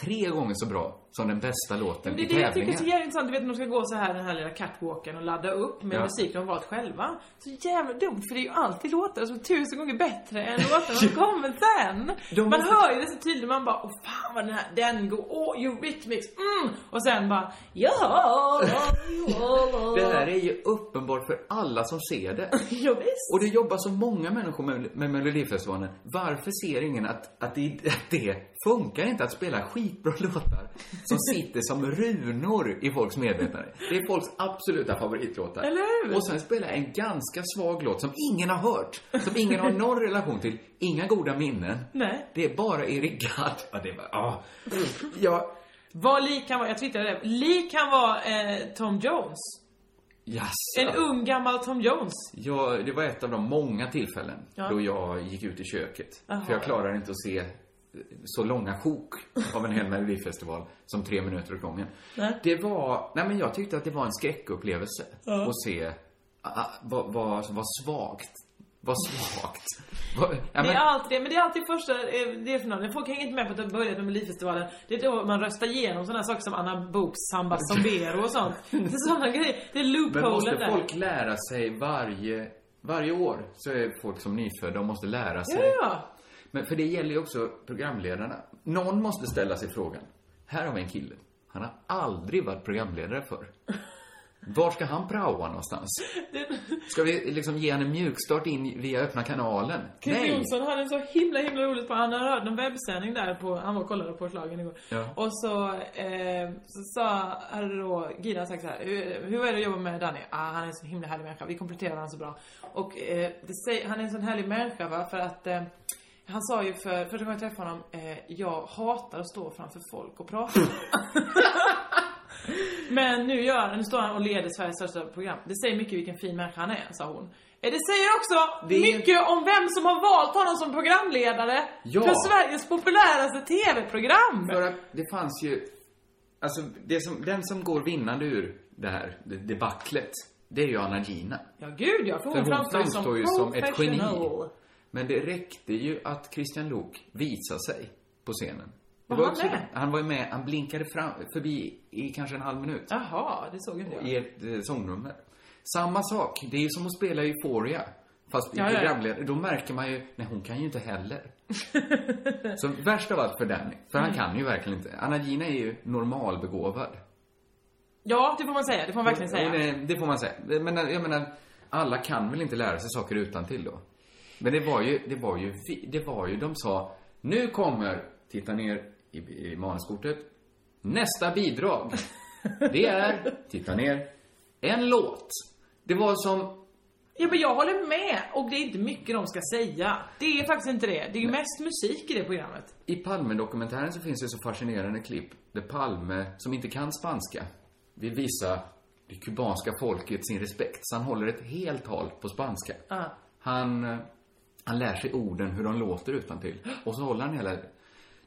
Speaker 8: tre gånger så bra som den bästa låten
Speaker 9: Det
Speaker 8: i
Speaker 9: är det jag tycker är
Speaker 8: tävlingen.
Speaker 9: så jävla intressant. Du vet när de ska gå så här den här lilla catwalken och ladda upp med
Speaker 8: Ja.
Speaker 9: musik de valt själva. Så jävla dumt för det är ju alltid låtar som är tusen gånger bättre än låtarna som kommer sen.
Speaker 8: De
Speaker 9: man
Speaker 8: måste-
Speaker 9: hör ju det så tydligt. Man bara åh fan vad den här, den går, åh Eurythmics, mm! Och sen bara ja,
Speaker 8: Det här är ju uppenbart för alla som ser det.
Speaker 9: ja visst.
Speaker 8: Och det jobbar så många människor med, med Melodifestivalen. Varför ser ingen att, att, det, att det funkar inte att spela skitbra låtar som sitter som runor i folks medvetande? Det är folks absoluta favoritlåtar.
Speaker 9: Eller hur?
Speaker 8: Och sen spela en ganska svag låt som ingen har hört, som ingen har någon relation till, inga goda minnen.
Speaker 9: Nej.
Speaker 8: Det är bara Eric Gadd. Ja, det är bara, ah. ja,
Speaker 9: Vad Lee kan vara, jag twittrade det. Lee kan vara eh, Tom Jones.
Speaker 8: jaså.
Speaker 9: En ung gammal Tom Jones.
Speaker 8: Ja, det var ett av de många tillfällen
Speaker 9: Ja.
Speaker 8: då jag gick ut i köket. För jag klarar inte att se eh, så långa sjok av en hel melodifestival som tre minuter åt gången. Det var, nej men jag tyckte att det var en skräckupplevelse att se ah, ah, vad, vad, vad svagt, vad svagt. Vad, nej, men,
Speaker 9: Det är alltid det, men det är alltid första eh, det är finalen. Folk hänger inte med på att det började med Melodifestivalen. Det är då man röstar igenom sådana saker som Anna Books Samba Sombero och sånt. Det är sådana grejer. Det är
Speaker 8: men
Speaker 9: loopholen
Speaker 8: måste
Speaker 9: där.
Speaker 8: folk lära sig varje, varje år så är folk som nyfödda och måste lära sig.
Speaker 9: Ja, ja.
Speaker 8: Men för det gäller ju också programledarna. Någon måste ställa sig frågan. Här har vi en kille. Han har aldrig varit programledare för. Var ska han praoa någonstans? Ska vi liksom ge han en mjukstart in via öppna kanalen?
Speaker 9: Christer
Speaker 8: Nej!
Speaker 9: Jonsson hade en så himla himla roligt på, han hörde en webbsändning där på, han var och kollade på slagen igår.
Speaker 8: Ja.
Speaker 9: Och så, eh, så sa, hade då Gina sagt så här, hur, hur är det att jobba med Danny? Ah, han är en så himla härlig människa, vi kompletterar varandra så bra. Och eh, det säger, han är en sån härlig människa va, för att eh, han sa ju för första gången jag träffade honom, eh, jag hatar att stå framför folk och prata. Men nu gör han, nu står han och leder Sveriges största program. Det säger mycket vilken fin människa han är, sa hon. Eh, Det säger också
Speaker 8: Det är ju-
Speaker 9: mycket om vem som har valt honom som programledare
Speaker 8: Ja.
Speaker 9: för Sveriges populäraste TV-program.
Speaker 8: För att det fanns ju... Alltså, det som, den som går vinnande ur det här det- debaclet, det är ju Anna Gina.
Speaker 9: Ja, gud ja, för hon,
Speaker 8: För hon
Speaker 9: framstår ju som,
Speaker 8: framstår ju som ett geni.
Speaker 9: professional.
Speaker 8: Men det räckte ju att Christian Lok visade sig på scenen. Det
Speaker 9: Var han
Speaker 8: också-
Speaker 9: med?
Speaker 8: Han var ju med. Han blinkade fram, förbi i kanske en halv minut.
Speaker 9: Jaha, det såg inte jag.
Speaker 8: I ett eh, sångnummer. Samma sak. Det är ju som att spela Euphoria. Fast i
Speaker 9: Ja, ja, ja.
Speaker 8: programledare. Då märker man ju, nej hon kan ju inte heller. Så värst av allt för Danny. För
Speaker 9: Mm.
Speaker 8: han kan ju verkligen inte. Anna Gina är ju normalbegåvad.
Speaker 9: Ja, det får man säga, det får man verkligen
Speaker 8: Jo,
Speaker 9: säga.
Speaker 8: nej, det får man säga. Men jag menar, alla kan väl inte lära sig saker utan till då? Men det var ju, det var ju, vi- det var ju, de sa, nu kommer, titta ner i, i manuskortet, nästa bidrag. Det är, titta ner, en låt. Det var som,
Speaker 9: Ja, men jag håller med. Och det är inte mycket de ska säga. Det är faktiskt inte det. Det är ju mest musik i det programmet.
Speaker 8: i Palme-dokumentären så finns det så fascinerande klipp där Palme, som inte kan spanska, vill visa det kubanska folket sin respekt. Så han håller ett helt tal på spanska.
Speaker 9: Ja.
Speaker 8: Han, eh, han lär sig orden, hur de låter utan till. Och så håller han hela...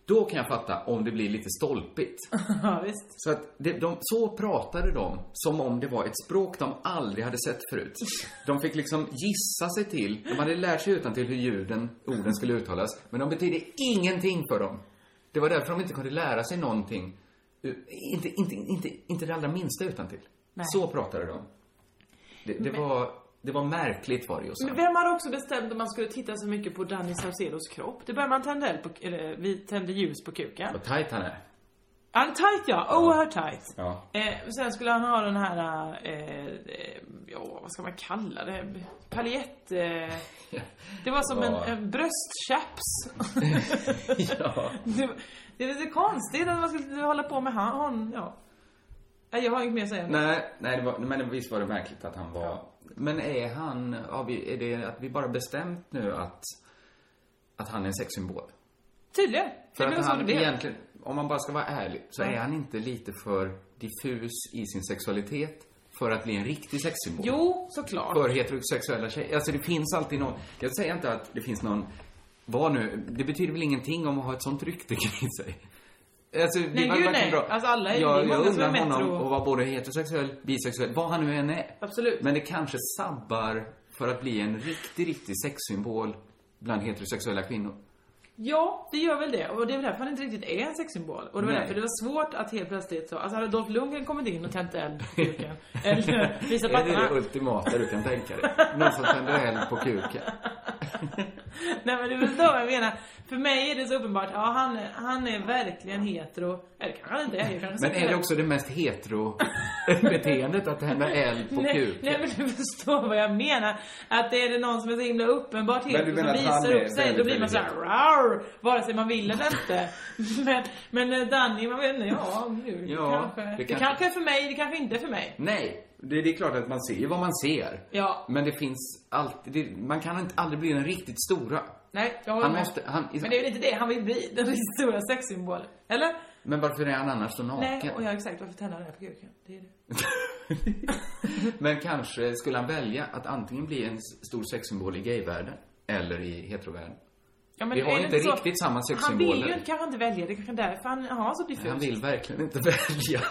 Speaker 8: Då kan jag fatta om det blir lite stolpigt.
Speaker 9: Ja, visst.
Speaker 8: Så att det, de, så pratade de som om det var ett språk de aldrig hade sett förut. De fick liksom gissa sig till, de hade lärt sig utan till hur ljuden, orden skulle uttalas, men de betydde ingenting för dem. Det var därför de inte kunde lära sig någonting, eh, inte, inte, inte, inte det allra minsta utan till. Så pratade de. Det, det, var, det var märkligt var det just.
Speaker 9: Men vem hade också bestämt om man skulle titta så mycket på Danny Saucedos kropp? Det började man tända eld på, eller vi tände ljus på kuken.
Speaker 8: Vad tajt han är.
Speaker 9: Han är tight ja, oerhört tight.
Speaker 8: Ja.
Speaker 9: Eh, och sen skulle han ha den här, eh, eh, ja vad ska man kalla det? Paljett... Eh, det var som en,
Speaker 8: Ja.
Speaker 9: en bröstchaps.
Speaker 8: Ja.
Speaker 9: det, det är lite konstigt att man skulle hålla på med han, hon, ja. Nej, jag har inget mer att säga.
Speaker 8: Nej, nej det var, men visst var det märkligt att han var... Men är han, har vi, är det att vi bara bestämt nu att, att han är en sexsymbol?
Speaker 9: Tydligen.
Speaker 8: För
Speaker 9: det blev
Speaker 8: att
Speaker 9: så det
Speaker 8: han
Speaker 9: blev.
Speaker 8: egentligen, om man bara ska vara ärlig, så är han inte lite för diffus i sin sexualitet för att bli en riktig sexsymbol?
Speaker 9: Jo, såklart.
Speaker 8: För heterosexuella tjejer. Alltså det finns alltid någon, jag säger inte att det finns någon, vad nu, det betyder väl ingenting om att ha ett sånt rykte kring sig? Alltså, det
Speaker 9: Nej,
Speaker 8: var
Speaker 9: gud,
Speaker 8: verkligen
Speaker 9: nej. Alltså, alla är- det är
Speaker 8: jag,
Speaker 9: många
Speaker 8: jag
Speaker 9: som är
Speaker 8: undrar
Speaker 9: metro.
Speaker 8: honom och vara både heterosexuell, bisexuell, vad han nu än är.
Speaker 9: Absolut.
Speaker 8: Men det kanske sabbar för att bli en riktig, riktig sexsymbol bland heterosexuella kvinnor.
Speaker 9: Ja, det gör väl det. Och det är väl därför han inte riktigt är en sexsymbol. Och det var
Speaker 8: Nej.
Speaker 9: därför det var svårt att helt plötsligt så... Alltså hade Dolph Lundgren kommit in och tänt eld på kuken, eller visat
Speaker 8: Är det det
Speaker 9: pattarna.
Speaker 8: ultimata du kan tänka dig? Någon som tänder eld på kuken.
Speaker 9: Nej men du förstår vad jag menar. För mig är det så uppenbart, ja han, han är verkligen hetero. Eller kanske han inte är. jag kanske
Speaker 8: Men är det också det mest hetero-beteendet att tända eld på
Speaker 9: Nej,
Speaker 8: kuken?
Speaker 9: nej men du förstår vad jag menar. Att är det någon som är så himla uppenbart hetero som
Speaker 8: menar att han
Speaker 9: visar
Speaker 8: är
Speaker 9: upp sig, då
Speaker 8: väldigt,
Speaker 9: blir man
Speaker 8: väldigt
Speaker 9: såhär rar Vare sig man vill eller inte. men, men eh, Danny, man vet inte, ja, nu,
Speaker 8: Ja,
Speaker 9: kanske.
Speaker 8: det
Speaker 9: Det,
Speaker 8: kanske-
Speaker 9: kanske är för mig, det kanske inte är för mig.
Speaker 8: Nej, det, det är klart att man ser ju vad man ser.
Speaker 9: Ja.
Speaker 8: Men det finns alltid, det, man kan inte aldrig bli den riktigt stora.
Speaker 9: Nej, jag håller
Speaker 8: Han
Speaker 9: med.
Speaker 8: måste, han,
Speaker 9: Men det är väl inte det han vill bli? Den riktigt stora sexsymbolen. Eller?
Speaker 8: men varför är han annars så naken?
Speaker 9: Nej, och jag exakt varför tänder han det här på kuken? Det är det.
Speaker 8: Men kanske skulle han välja att antingen bli en s- stor sexsymbol i gayvärlden eller i heterovärlden.
Speaker 9: Ja, men
Speaker 8: Vi har
Speaker 9: är det
Speaker 8: inte
Speaker 9: så-
Speaker 8: riktigt samma
Speaker 9: Han vill ju
Speaker 8: sexsymboler.
Speaker 9: kanske inte välja, det är kanske är därför han har så diffust.
Speaker 8: Han vill verkligen inte välja.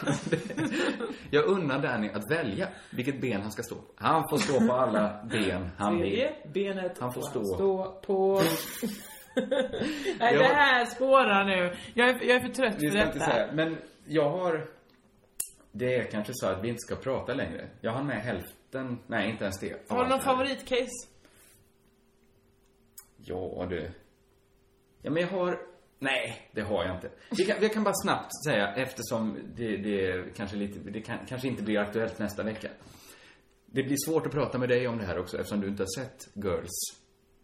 Speaker 8: Jag unnar Danny att välja vilket ben han ska stå på. Han får stå på alla ben han vill.
Speaker 9: Tredje benet
Speaker 8: Han får
Speaker 9: får
Speaker 8: stå.
Speaker 9: stå på... Nej, det här spårar nu. Jag är, jag är för trött
Speaker 8: Vi
Speaker 9: för
Speaker 8: ska inte
Speaker 9: detta.
Speaker 8: säga, men jag har... Det är kanske så att vi inte ska prata längre. Jag har med hälften, nej inte ens det.
Speaker 9: Har du någon favoritcase?
Speaker 8: Ja du. Ja men jag har... Nej, det har jag inte. Vi kan, vi kan bara snabbt säga, eftersom det, det, kanske, lite, det kan, kanske inte blir aktuellt nästa vecka. Det blir svårt att prata med dig om det här också eftersom du inte har sett Girls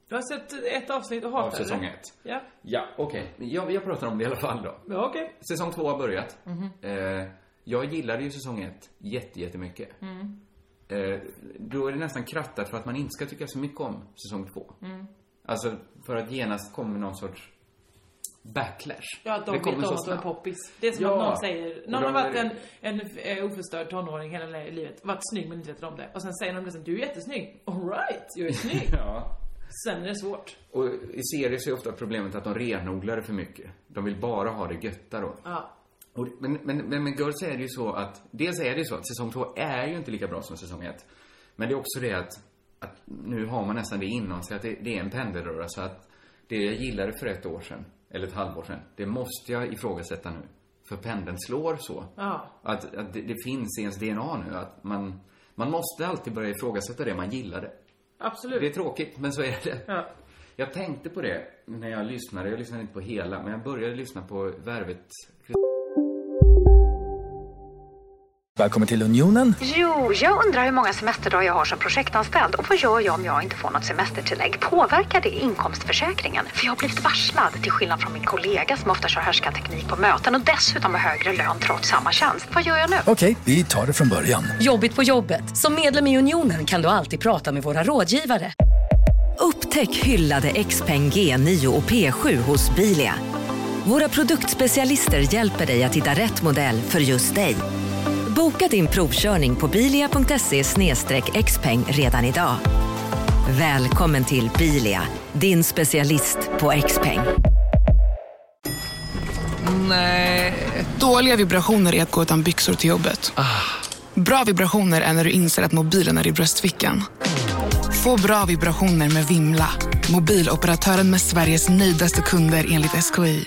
Speaker 9: Du har sett ett avsnitt och
Speaker 8: av
Speaker 9: hatar
Speaker 8: säsong
Speaker 9: det?
Speaker 8: ett.
Speaker 9: Ja.
Speaker 8: Ja, okej. Jag, jag pratar om det i alla fall då.
Speaker 9: ja Okej.
Speaker 8: Säsong två har börjat.
Speaker 9: Mhm.
Speaker 8: Eh, jag gillade ju säsong ett jätte, jättemycket.
Speaker 9: Mm.
Speaker 8: Eh, då är det nästan krattat för att man inte ska tycka så mycket om säsong två.
Speaker 9: Mm.
Speaker 8: Alltså, för att genast kommer någon sorts backlash.
Speaker 9: Ja, att de vet om att de är poppis. Det är som
Speaker 8: Ja.
Speaker 9: att någon säger,
Speaker 8: Och
Speaker 9: någon
Speaker 8: de
Speaker 9: har varit
Speaker 8: är-
Speaker 9: en, en eh, oförstörd tonåring hela li- livet, varit snygg men inte vetat om det. Och sen säger de liksom, du är jättesnygg. Alright, jag är snygg.
Speaker 8: Ja.
Speaker 9: Sen är det svårt.
Speaker 8: Och i serier så är ofta problemet att de renodlar det för mycket. De vill bara ha det götta då.
Speaker 9: Ja.
Speaker 8: Och, men, men, men med Girls är det ju så att, dels är det ju så att säsong två är ju inte lika bra som säsong ett. Men det är också det att, att nu har man nästan det inom sig att det, det är en pendelröra. Så att det jag gillade för ett år sedan, eller ett halvår sedan, det måste jag ifrågasätta nu. För pendeln slår så.
Speaker 9: Ja.
Speaker 8: Att, att det, det finns i ens DNA nu. Att man, man måste alltid börja ifrågasätta det man gillade.
Speaker 9: Absolut.
Speaker 8: Det är tråkigt, men så är det.
Speaker 9: Ja.
Speaker 8: Jag tänkte på det när jag lyssnade. Jag lyssnade inte på hela, men jag började lyssna på Värvet.
Speaker 4: Välkommen till Unionen.
Speaker 10: Jo, jag undrar hur många semesterdagar jag har som projektanställd och vad gör jag om jag inte får något semestertillägg? Påverkar det inkomstförsäkringen? För jag har blivit varslad, till skillnad från min kollega som ofta kör härskarteknik på möten och dessutom har högre lön trots samma tjänst. Vad gör jag nu?
Speaker 4: Okej, vi tar det från början.
Speaker 5: Jobbigt på jobbet. Som medlem i Unionen kan du alltid prata med våra rådgivare. Upptäck hyllade XPeng G9 och P7 hos Bilia. Våra produktspecialister hjälper dig att hitta rätt modell för just dig. Boka din provkörning på bilia.se xpeng redan idag. Välkommen till Bilia, din specialist på XPeng.
Speaker 11: Dåliga vibrationer är att gå utan byxor till jobbet. Bra vibrationer är när du inser att mobilen är i bröstfickan. Få bra vibrationer med Vimla. Mobiloperatören med Sveriges nöjdaste kunder enligt SKI.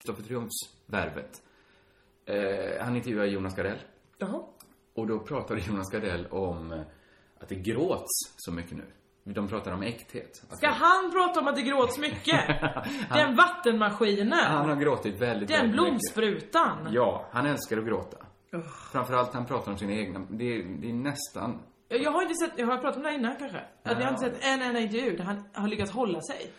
Speaker 8: Kristoffer Triumfs Värvet. Eh, han intervjuade Jonas Gardell.
Speaker 9: Jaha.
Speaker 8: Alltså- Och då pratade Jonas Gardell om eh, att det gråts så mycket nu. De pratar om äkthet. Att
Speaker 9: Ska han prata om att det gråts mycket? Den vattenmaskinen.
Speaker 8: han har gråtit väldigt,
Speaker 9: den
Speaker 8: väldigt mycket.
Speaker 9: blomsprutan.
Speaker 8: Ja, han älskar att gråta. Framförallt han pratar om sina egna. Det är, det är nästan...
Speaker 9: Jag jag har inte sett, jag har pratat om det här innan kanske. Att jag har inte
Speaker 8: Ja.
Speaker 9: sett en enda intervju där han har lyckats hålla sig.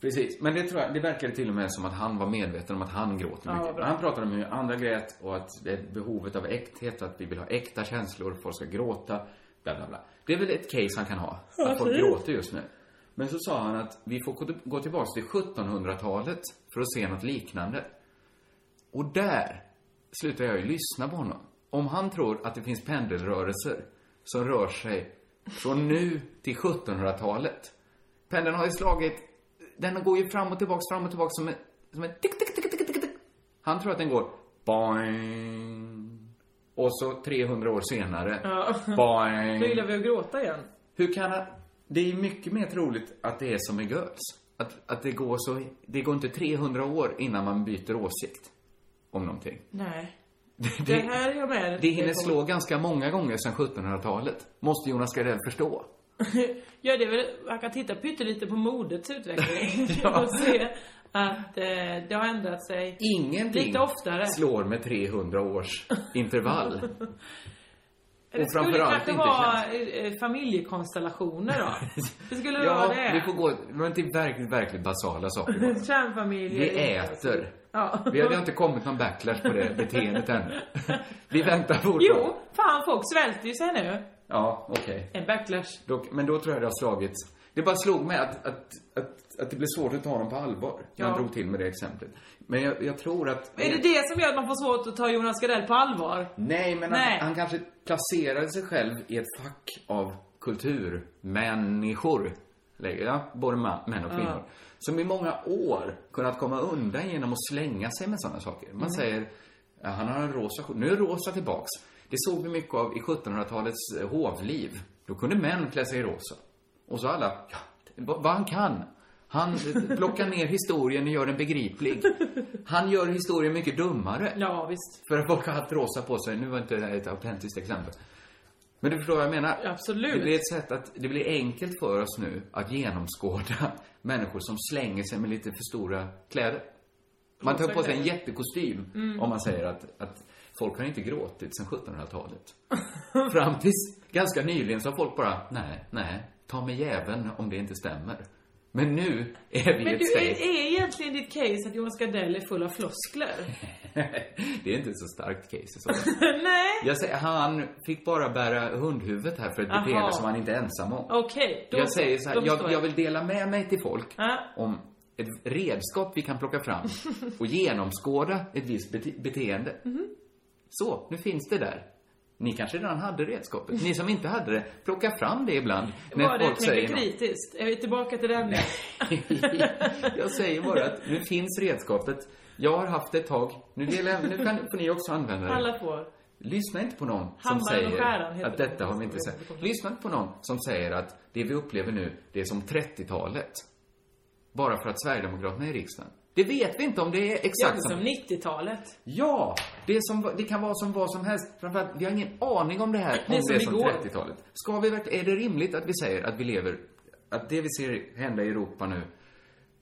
Speaker 8: Precis, men det tror jag, det verkade till och med som att han var medveten om att han gråter mycket.
Speaker 9: vad bra.
Speaker 8: han pratade om hur andra grät och att det är behovet av äkthet, att vi vill ha äkta känslor, folk ska gråta, bla bla bla. Det är väl ett case han kan ha, att folk gråter just nu. Men så sa han att vi får gå till- gå tillbaks till 1700-talet för att se något liknande. Och där slutar jag ju lyssna på honom. Om han tror att det finns pendelrörelser som rör sig från nu till 1700-talet. Pendeln har ju slagit, den går ju fram och tillbaks, fram och tillbaks som en, som en tick, tick, tick, tick, tick, tick. Han tror att den går boing. Och så 300 år senare,
Speaker 9: Ja. Nu
Speaker 8: boing.
Speaker 9: gillar vi att gråta igen.
Speaker 8: Hur kan han... Det är mycket mer troligt att det är som med Girls. Att, att det går så... Det går inte 300 år innan man byter åsikt om någonting.
Speaker 9: Nej.
Speaker 8: Det,
Speaker 9: Det här är jag med.
Speaker 8: det hinner slå ganska många gånger sedan 1700-talet. Måste Jonas Gardell förstå.
Speaker 9: Ja, det är väl, man kan titta pyttelite på modets utveckling. Och se att eh, det har ändrat sig.
Speaker 8: Ingenting
Speaker 9: Lite oftare.
Speaker 8: slår med 300 års intervall.
Speaker 9: Det
Speaker 8: och
Speaker 9: skulle
Speaker 8: framförallt
Speaker 9: kanske
Speaker 8: inte
Speaker 9: vara eh, familjekonstellationer då. Det skulle vara
Speaker 8: Ja,
Speaker 9: det.
Speaker 8: vi får gå... Men till verkligt, verkligt basala saker. bara.
Speaker 9: Kärnfamiljer.
Speaker 8: Vi äter.
Speaker 9: Ja.
Speaker 8: Vi har det har inte kommit någon backlash på det beteendet ännu. Vi väntar fortfarande.
Speaker 9: Jo, fan folk svälter ju sig nu.
Speaker 8: Ja, okej.
Speaker 9: En backlash.
Speaker 8: Då, men då tror jag det har slagits. Det bara slog mig att, att, att, att det blev svårt att ta dem på allvar. När
Speaker 9: Ja.
Speaker 8: Jag drog till med det exemplet. Men jag, jag tror att...
Speaker 9: Är det det som gör att man får svårt att ta Jonas Gardell på allvar?
Speaker 8: Nej, men
Speaker 9: Nej.
Speaker 8: Han, han kanske placerade sig själv i ett fack av kulturmänniskor. läger, ja, både man, män och
Speaker 12: Ja.
Speaker 8: kvinnor. Som i många år kunnat komma undan genom att slänga sig med sådana saker. Man
Speaker 12: Mm.
Speaker 8: säger, ja, han har en rosa skjorta. Nu är rosa tillbaks. Det såg vi mycket av i 1700-talets eh, hovliv. Då kunde män klä sig i rosa. Och så alla, ja, vad vad han kan. Han eh, plockar ner historien och gör den begriplig. Han gör historien mycket dummare.
Speaker 9: Ja, visst.
Speaker 8: För att folk har haft rosa på sig. Nu var inte det här ett autentiskt exempel. Men du förstår vad jag menar?
Speaker 9: Absolut.
Speaker 8: Det blir ett sätt att, det blir enkelt för oss nu att genomskåda människor som slänger sig med lite för stora kläder. Man tar
Speaker 9: Rosa
Speaker 8: på sig en
Speaker 9: kläder.
Speaker 8: jättekostym
Speaker 9: Mm.
Speaker 8: om man säger att, att folk har inte gråtit sedan 1700-talet. Fram tills ganska nyligen så har folk bara, nej, nej, ta med jäveln om det inte stämmer. Men nu är vi
Speaker 9: Men
Speaker 8: ett
Speaker 9: du,
Speaker 8: steg.
Speaker 9: är, är egentligen ditt case att Johan Gardell är full av floskler?
Speaker 8: det är inte ett så starkt case i så fall.
Speaker 9: Nej.
Speaker 8: Jag säger, han fick bara bära hundhuvudet här för ett
Speaker 9: Aha.
Speaker 8: beteende som han inte är ensam om.
Speaker 9: Okej, då
Speaker 8: jag säger så här,
Speaker 9: då förstår
Speaker 8: jag, jag vill dela med mig till folk om ett redskap vi kan plocka fram och genomskåda ett visst bete- beteende.
Speaker 9: Mhm.
Speaker 8: Så, nu finns det där. Ni kanske redan hade redskapet. Ni som inte hade det, plocka fram det ibland när
Speaker 9: Var det
Speaker 8: folk säger
Speaker 9: tänker
Speaker 8: något.
Speaker 9: kritiskt? Är vi tillbaka till den nu?
Speaker 8: Jag säger bara att nu finns redskapet. Jag har haft det ett tag. Nu, delar, jag- nu kan, får ni också använda det.
Speaker 9: Alla får.
Speaker 8: Lyssna inte på någon som
Speaker 9: Hammaren och skäran
Speaker 8: säger
Speaker 9: heter
Speaker 8: att
Speaker 9: det.
Speaker 8: detta har vi inte sett. Lyssna inte på någon som säger att det vi upplever nu, det är som 30-talet. Bara för att Sverigedemokraterna är i riksdagen. Det vet vi inte om det är
Speaker 9: Ja,
Speaker 8: exakt
Speaker 9: men som 90-talet.
Speaker 8: Ja! Det, är som, det kan vara som vad som helst. Framförallt, vi har ingen aning om det här, om
Speaker 9: Det
Speaker 8: det
Speaker 9: är
Speaker 8: är
Speaker 9: som
Speaker 8: som,
Speaker 9: igår.
Speaker 8: 30-talet. Ska vi verkligen, är det rimligt att vi säger att vi lever, att det vi ser hända i Europa nu,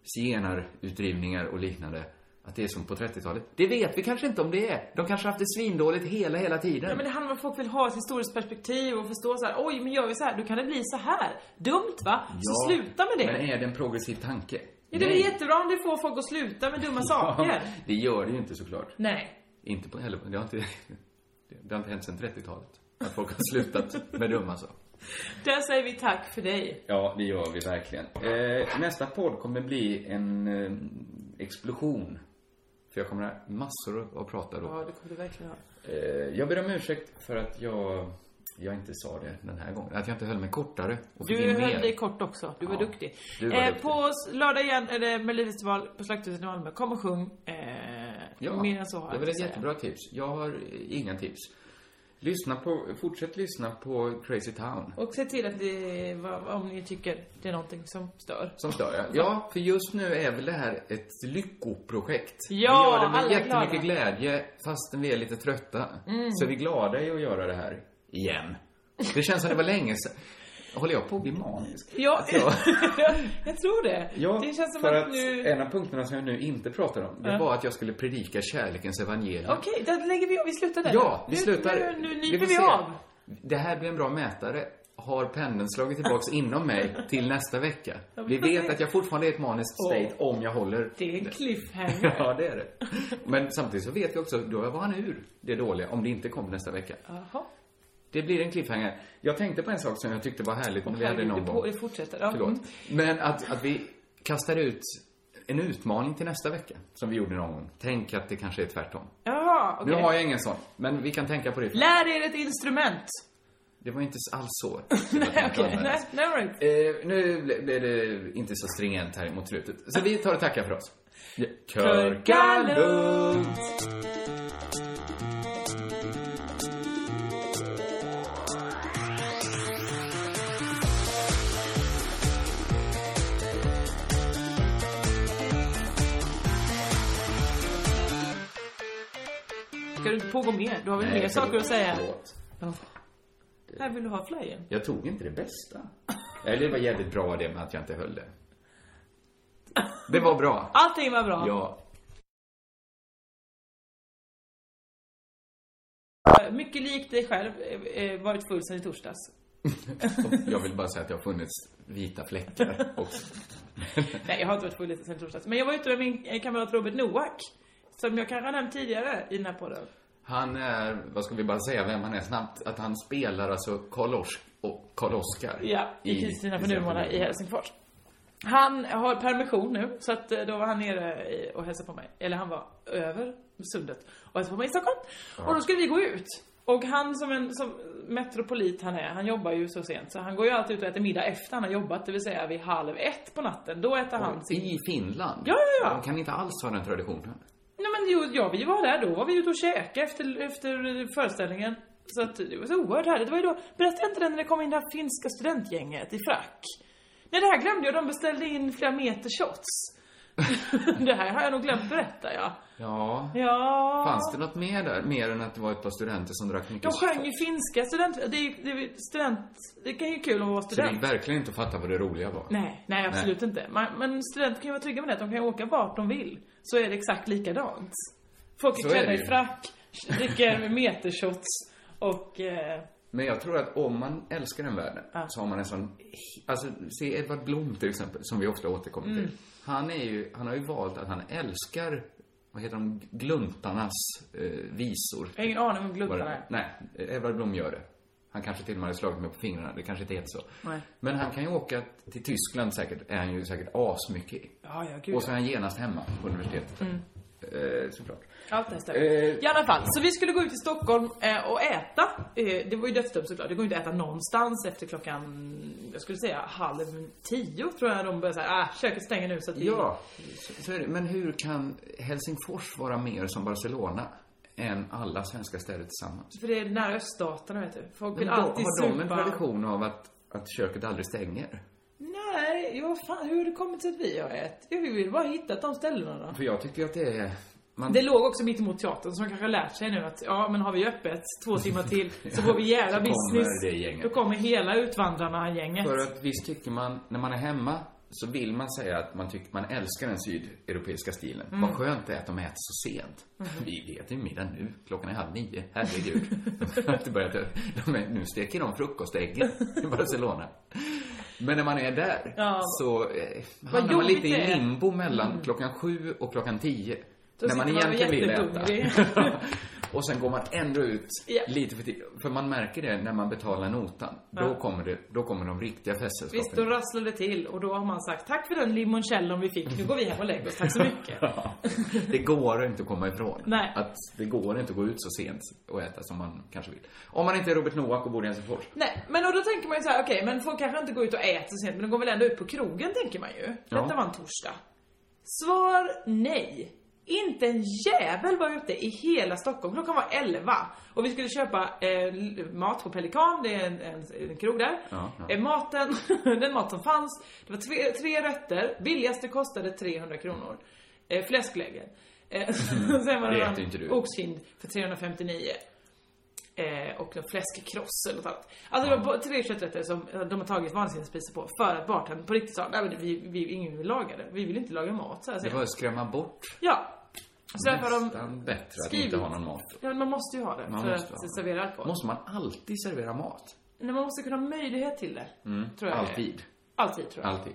Speaker 8: zigenarutdrivningar och liknande, att det är som på 30-talet? Det vet vi kanske inte om det är. De kanske har haft det svindåligt hela, hela tiden.
Speaker 9: Ja, men det handlar om att folk vill ha ett historiskt perspektiv och förstå så här. oj, men gör vi så här, då kan det bli så här. Dumt va? Så
Speaker 8: Ja,
Speaker 9: sluta med det.
Speaker 8: Men är det en progressiv tanke?
Speaker 9: Ja, det är väl
Speaker 8: Nej.
Speaker 9: jättebra om det får folk att sluta med dumma
Speaker 8: Ja,
Speaker 9: saker.
Speaker 8: det gör det ju inte såklart.
Speaker 9: Nej.
Speaker 8: Inte på heller. Det har inte, det har inte hänt sedan 30-talet. Att folk har slutat med alltså. dumma saker.
Speaker 9: Där säger vi tack för dig.
Speaker 8: Ja, det gör vi verkligen. Eh, nästa podd kommer bli en eh, explosion. För jag kommer ha massor att prata då.
Speaker 9: Ja, det kommer du verkligen ha.
Speaker 8: Eh, jag ber om ursäkt för att jag, jag inte sa det den här gången. Att jag inte höll mig kortare och fick
Speaker 9: Du
Speaker 8: in mer.
Speaker 9: höll dig kort också. Du var
Speaker 8: Ja,
Speaker 9: duktig.
Speaker 8: du var
Speaker 9: eh,
Speaker 8: duktig.
Speaker 9: på s- lördag igen är det Melodifestival på Slakthuset i Malmö. Kom och sjung. Eh, mer än så har
Speaker 8: det
Speaker 9: jag
Speaker 8: var
Speaker 9: inte att
Speaker 8: ett
Speaker 9: säga.
Speaker 8: jättebra tips. Jag har eh, inga tips. Lyssna på, fortsätt lyssna på Crazy Town.
Speaker 9: Och se till att det, vad- om ni tycker det är någonting som stör.
Speaker 8: Som stör jag. Ja, för just nu är väl det här ett lyckoprojekt.
Speaker 9: Ja,
Speaker 8: vi gör det med
Speaker 9: alla är
Speaker 8: jättemycket
Speaker 9: glada.
Speaker 8: glädje fastän vi är lite trötta.
Speaker 9: Mm.
Speaker 8: Så vi är glada i att göra det här igen. Det känns som det var länge sedan. Håller jag på att bli manisk?
Speaker 9: Ja,
Speaker 8: jag-
Speaker 9: jag tror det.
Speaker 8: Alltså, Ja,
Speaker 9: det känns som
Speaker 8: för
Speaker 9: att,
Speaker 8: att
Speaker 9: nu...
Speaker 8: en av punkterna som jag nu inte pratar om, det
Speaker 9: Ja.
Speaker 8: var att jag skulle predika kärlekens evangelium.
Speaker 9: Okej, där lägger vi av. Vi slutar där.
Speaker 8: Ja, vi
Speaker 9: Nu-
Speaker 8: slutar.
Speaker 9: Nu, nu,
Speaker 8: Vi
Speaker 9: nyper
Speaker 8: får
Speaker 9: vi
Speaker 8: se.
Speaker 9: av.
Speaker 8: Det här blir en bra mätare. Har pendeln slagit tillbaks inom mig till nästa vecka? Vi vet att jag fortfarande är i ett maniskt state om jag håller...
Speaker 9: Det är en cliffhanger.
Speaker 8: Ja, det är det. Men samtidigt så vet vi också, då var han ur det dåliga om det inte kommer nästa vecka.
Speaker 9: Jaha.
Speaker 8: Det blir en cliffhanger. Jag tänkte på en sak som jag tyckte var härligt när vi hade
Speaker 9: Herregud,
Speaker 8: någon
Speaker 9: det, på,
Speaker 8: gång.
Speaker 9: det fortsätter. Ja. mm.
Speaker 8: Förlåt. Men att, att vi kastar ut en utmaning till nästa vecka, som vi gjorde någon gång. Tänk att det kanske är tvärtom.
Speaker 9: Jaha, okej.
Speaker 8: Nu har jag ingen sån, men vi kan tänka på det.
Speaker 9: Lär er ett instrument.
Speaker 8: Det var inte alls så.
Speaker 9: Nej, okej. Nej, nej, all right.
Speaker 8: Eh, nu ble- blev det inte så stringent här mot slutet. Så vi tar och tackar för oss. Ja, Körka lugnt!
Speaker 9: Ska du pågå mer? Du har väl
Speaker 8: Nej,
Speaker 9: mer
Speaker 8: förlåt,
Speaker 9: saker att säga?
Speaker 8: förlåt.
Speaker 9: Ja. Här vill du ha flyen.
Speaker 8: Jag tog inte det bästa. Eller det var jävligt bra det med att jag inte höll det. Det var bra.
Speaker 9: Allting var bra.
Speaker 8: Ja.
Speaker 9: Eh, Mycket likt dig själv, eh, eh, varit full sen i torsdags.
Speaker 8: Jag vill bara säga att jag har funnits vita fläckar också.
Speaker 9: Nej, jag har inte varit full sen i torsdags. Men jag var ute med min eh, kamrat Robert Noak. Som jag kanske har nämnt tidigare i den här podden.
Speaker 8: Han är, vad ska vi bara säga, vem han är snabbt, att han spelar alltså Karl Ors- och Karl Oskar.
Speaker 9: Ja, i Kristina på Nurmala i Helsingfors. Han har permission nu, så att eh, då var han nere i- och hälsade på mig. Eller han var över sundet och hälsade på mig i Stockholm.
Speaker 8: Ja.
Speaker 9: Och då skulle vi gå ut. Och han som en som metropolit han är, han jobbar ju så sent så han går ju alltid ut och äter middag efter han har jobbat, det vill säga vid halv ett på natten. Då äter han sin...
Speaker 8: I Finland?
Speaker 9: Ja, ja, ja.
Speaker 8: De kan inte alls ha den traditionen.
Speaker 9: Nej men jo, ja, vi var där då, var vi ute och käkade efter, efter föreställningen. Så att det var så oerhört härligt. Det var ju då, berättade jag inte det när det kom in det här finska studentgänget i frack? Nej det här glömde jag, de beställde in flera meter shots. det här har jag nog glömt berätta ja.
Speaker 8: Ja.
Speaker 9: Ja.
Speaker 8: Fanns det något mer där? Mer än att det var ett par studenter som drack mycket
Speaker 9: De sjöng ju finska student... Det är ju det är ju student... Det kan ju vara kul att vara
Speaker 8: Så det är
Speaker 9: student.
Speaker 8: verkligen inte att fatta vad det roliga var.
Speaker 9: Nej, nej absolut inte. Man, men studenter kan ju vara trygga med det, att de kan ju åka vart de vill. Så är det exakt likadant. Folk är
Speaker 8: Så är
Speaker 9: klädda
Speaker 8: det
Speaker 9: i
Speaker 8: ju.
Speaker 9: frack, dricker metershots och... Eh,
Speaker 8: Men jag tror att om man älskar den världen så har man en sån... Alltså, se Edvard Blom till exempel, som vi ofta återkommer till.
Speaker 9: Mm.
Speaker 8: Han är ju, han har ju valt att han älskar, vad heter de, gluntarnas eh, visor.
Speaker 9: jag har ingen aning om
Speaker 8: Var
Speaker 9: gluttarna
Speaker 8: det-
Speaker 9: är.
Speaker 8: Nej, Edvard Blom gör det. Han kanske till och med hade slagit mig på fingrarna, det kanske inte heter så.
Speaker 9: Nej.
Speaker 8: Men han kan ju åka till Tyskland säkert, är han ju säkert asmycket i.
Speaker 9: Ja, ja, Mm. gud.
Speaker 8: Och så är han genast hemma på universitetet. Eh, såklart.
Speaker 9: Allt det här stämmer.
Speaker 8: Eh.
Speaker 9: I alla fall, så vi skulle gå ut i Stockholm eh, och äta. Eh, det var ju dödsdömt såklart. Det går ju inte att äta någonstans efter klockan, jag skulle säga halv tio tror jag de börjar säga. ah, köket stänger nu så att vi...
Speaker 8: Ja, så- så är det. Men hur kan Helsingfors vara mer som Barcelona än alla svenska städer tillsammans?
Speaker 9: För det är nära öststaterna vet du. Folk
Speaker 8: Men
Speaker 9: vill
Speaker 8: då,
Speaker 9: alltid
Speaker 8: har de en
Speaker 9: supa.
Speaker 8: tradition av att, att köket aldrig stänger?
Speaker 9: Nej, ja fan hur har det kommit sig att vi har ett? Ja, vi vill bara hitta de ställena då.
Speaker 8: För jag tycker ju att det är... Man,
Speaker 9: Det låg också mitt emot teatern som kanske har lärt sig nu att ja men har vi öppet två timmar till så får vi jävla
Speaker 8: Så kommer
Speaker 9: business.
Speaker 8: det gänget.
Speaker 9: Då kommer hela utvandrarna-gänget.
Speaker 8: för att visst tycker man, när man är hemma så vill man säga att man tycker man älskar den sydeuropeiska stilen.
Speaker 9: Mm.
Speaker 8: Vad skönt det är att de äter så sent. Vi äter ju middag nu, klockan är halv nio. Herregud. de har inte börjat äta. de är, nu steker de frukostäggen i Barcelona. Men när man är där
Speaker 9: Ja.
Speaker 8: så eh, hamnar man
Speaker 9: jobbigt
Speaker 8: lite i
Speaker 9: det är. Mm.
Speaker 8: limbo mellan klockan sju och klockan tio.
Speaker 9: Då
Speaker 8: när man
Speaker 9: sitter man
Speaker 8: egentligen vill
Speaker 9: jättehungrig.
Speaker 8: äta. och sen går man ändå ut
Speaker 9: Ja.
Speaker 8: lite för tidigt. För man märker det när man betalar notan. Då, kommer det, då kommer de riktiga
Speaker 9: Visst, då
Speaker 8: festsällskapen.
Speaker 9: rasslar det till och då har man sagt tack för den limoncellon vi fick, nu går vi hem och lägger oss, tack så mycket.
Speaker 8: Ja. det går inte att komma ifrån.
Speaker 9: Nej.
Speaker 8: Att det går inte att gå ut så sent och äta som man kanske vill. Om man inte är Robert Noak och bor i Helsingfors.
Speaker 9: Nej, men och då tänker man ju så här: okej, men folk kanske inte går ut och äter så sent, men de går väl ändå ut på krogen tänker man ju.
Speaker 8: Ja.
Speaker 9: Detta var en torsdag. Svar nej. Inte en jävel var ute i hela Stockholm. Klockan var 11 och vi skulle köpa eh, l- mat på Pelikan, det är en, en, en krog där.
Speaker 8: Ja, ja.
Speaker 9: Eh, maten, den mat som fanns, det var tre, tre rätter, billigaste kostade 300 kronor. Eh, fläskläggen. Eh, sen var
Speaker 8: det
Speaker 9: det,
Speaker 8: äter ju inte du.
Speaker 9: någon oxkind för 359. Eh, och någon fläskkross eller något annat. Alltså det var ba- tre kötträtter som eh, de har tagit vansinnespriser på för att bartendern på riktigt sa nej men vi, vi, ingen vill laga det. Vi vill inte laga mat så här
Speaker 8: Det
Speaker 9: sent."
Speaker 8: var att skrämma bort
Speaker 9: Ja. Så därför har de
Speaker 8: nästan bättre att
Speaker 9: skrivit-
Speaker 8: inte ha någon mat.
Speaker 9: Ja, men man måste ju ha det
Speaker 8: Man
Speaker 9: för
Speaker 8: måste ha
Speaker 9: att
Speaker 8: det.
Speaker 9: servera alkohol.
Speaker 8: Måste man alltid servera mat?
Speaker 9: Nej, man måste kunna ha möjlighet till det. Tror jag det är.
Speaker 8: Mm. Alltid.
Speaker 9: Alltid tror jag.
Speaker 8: Alltid.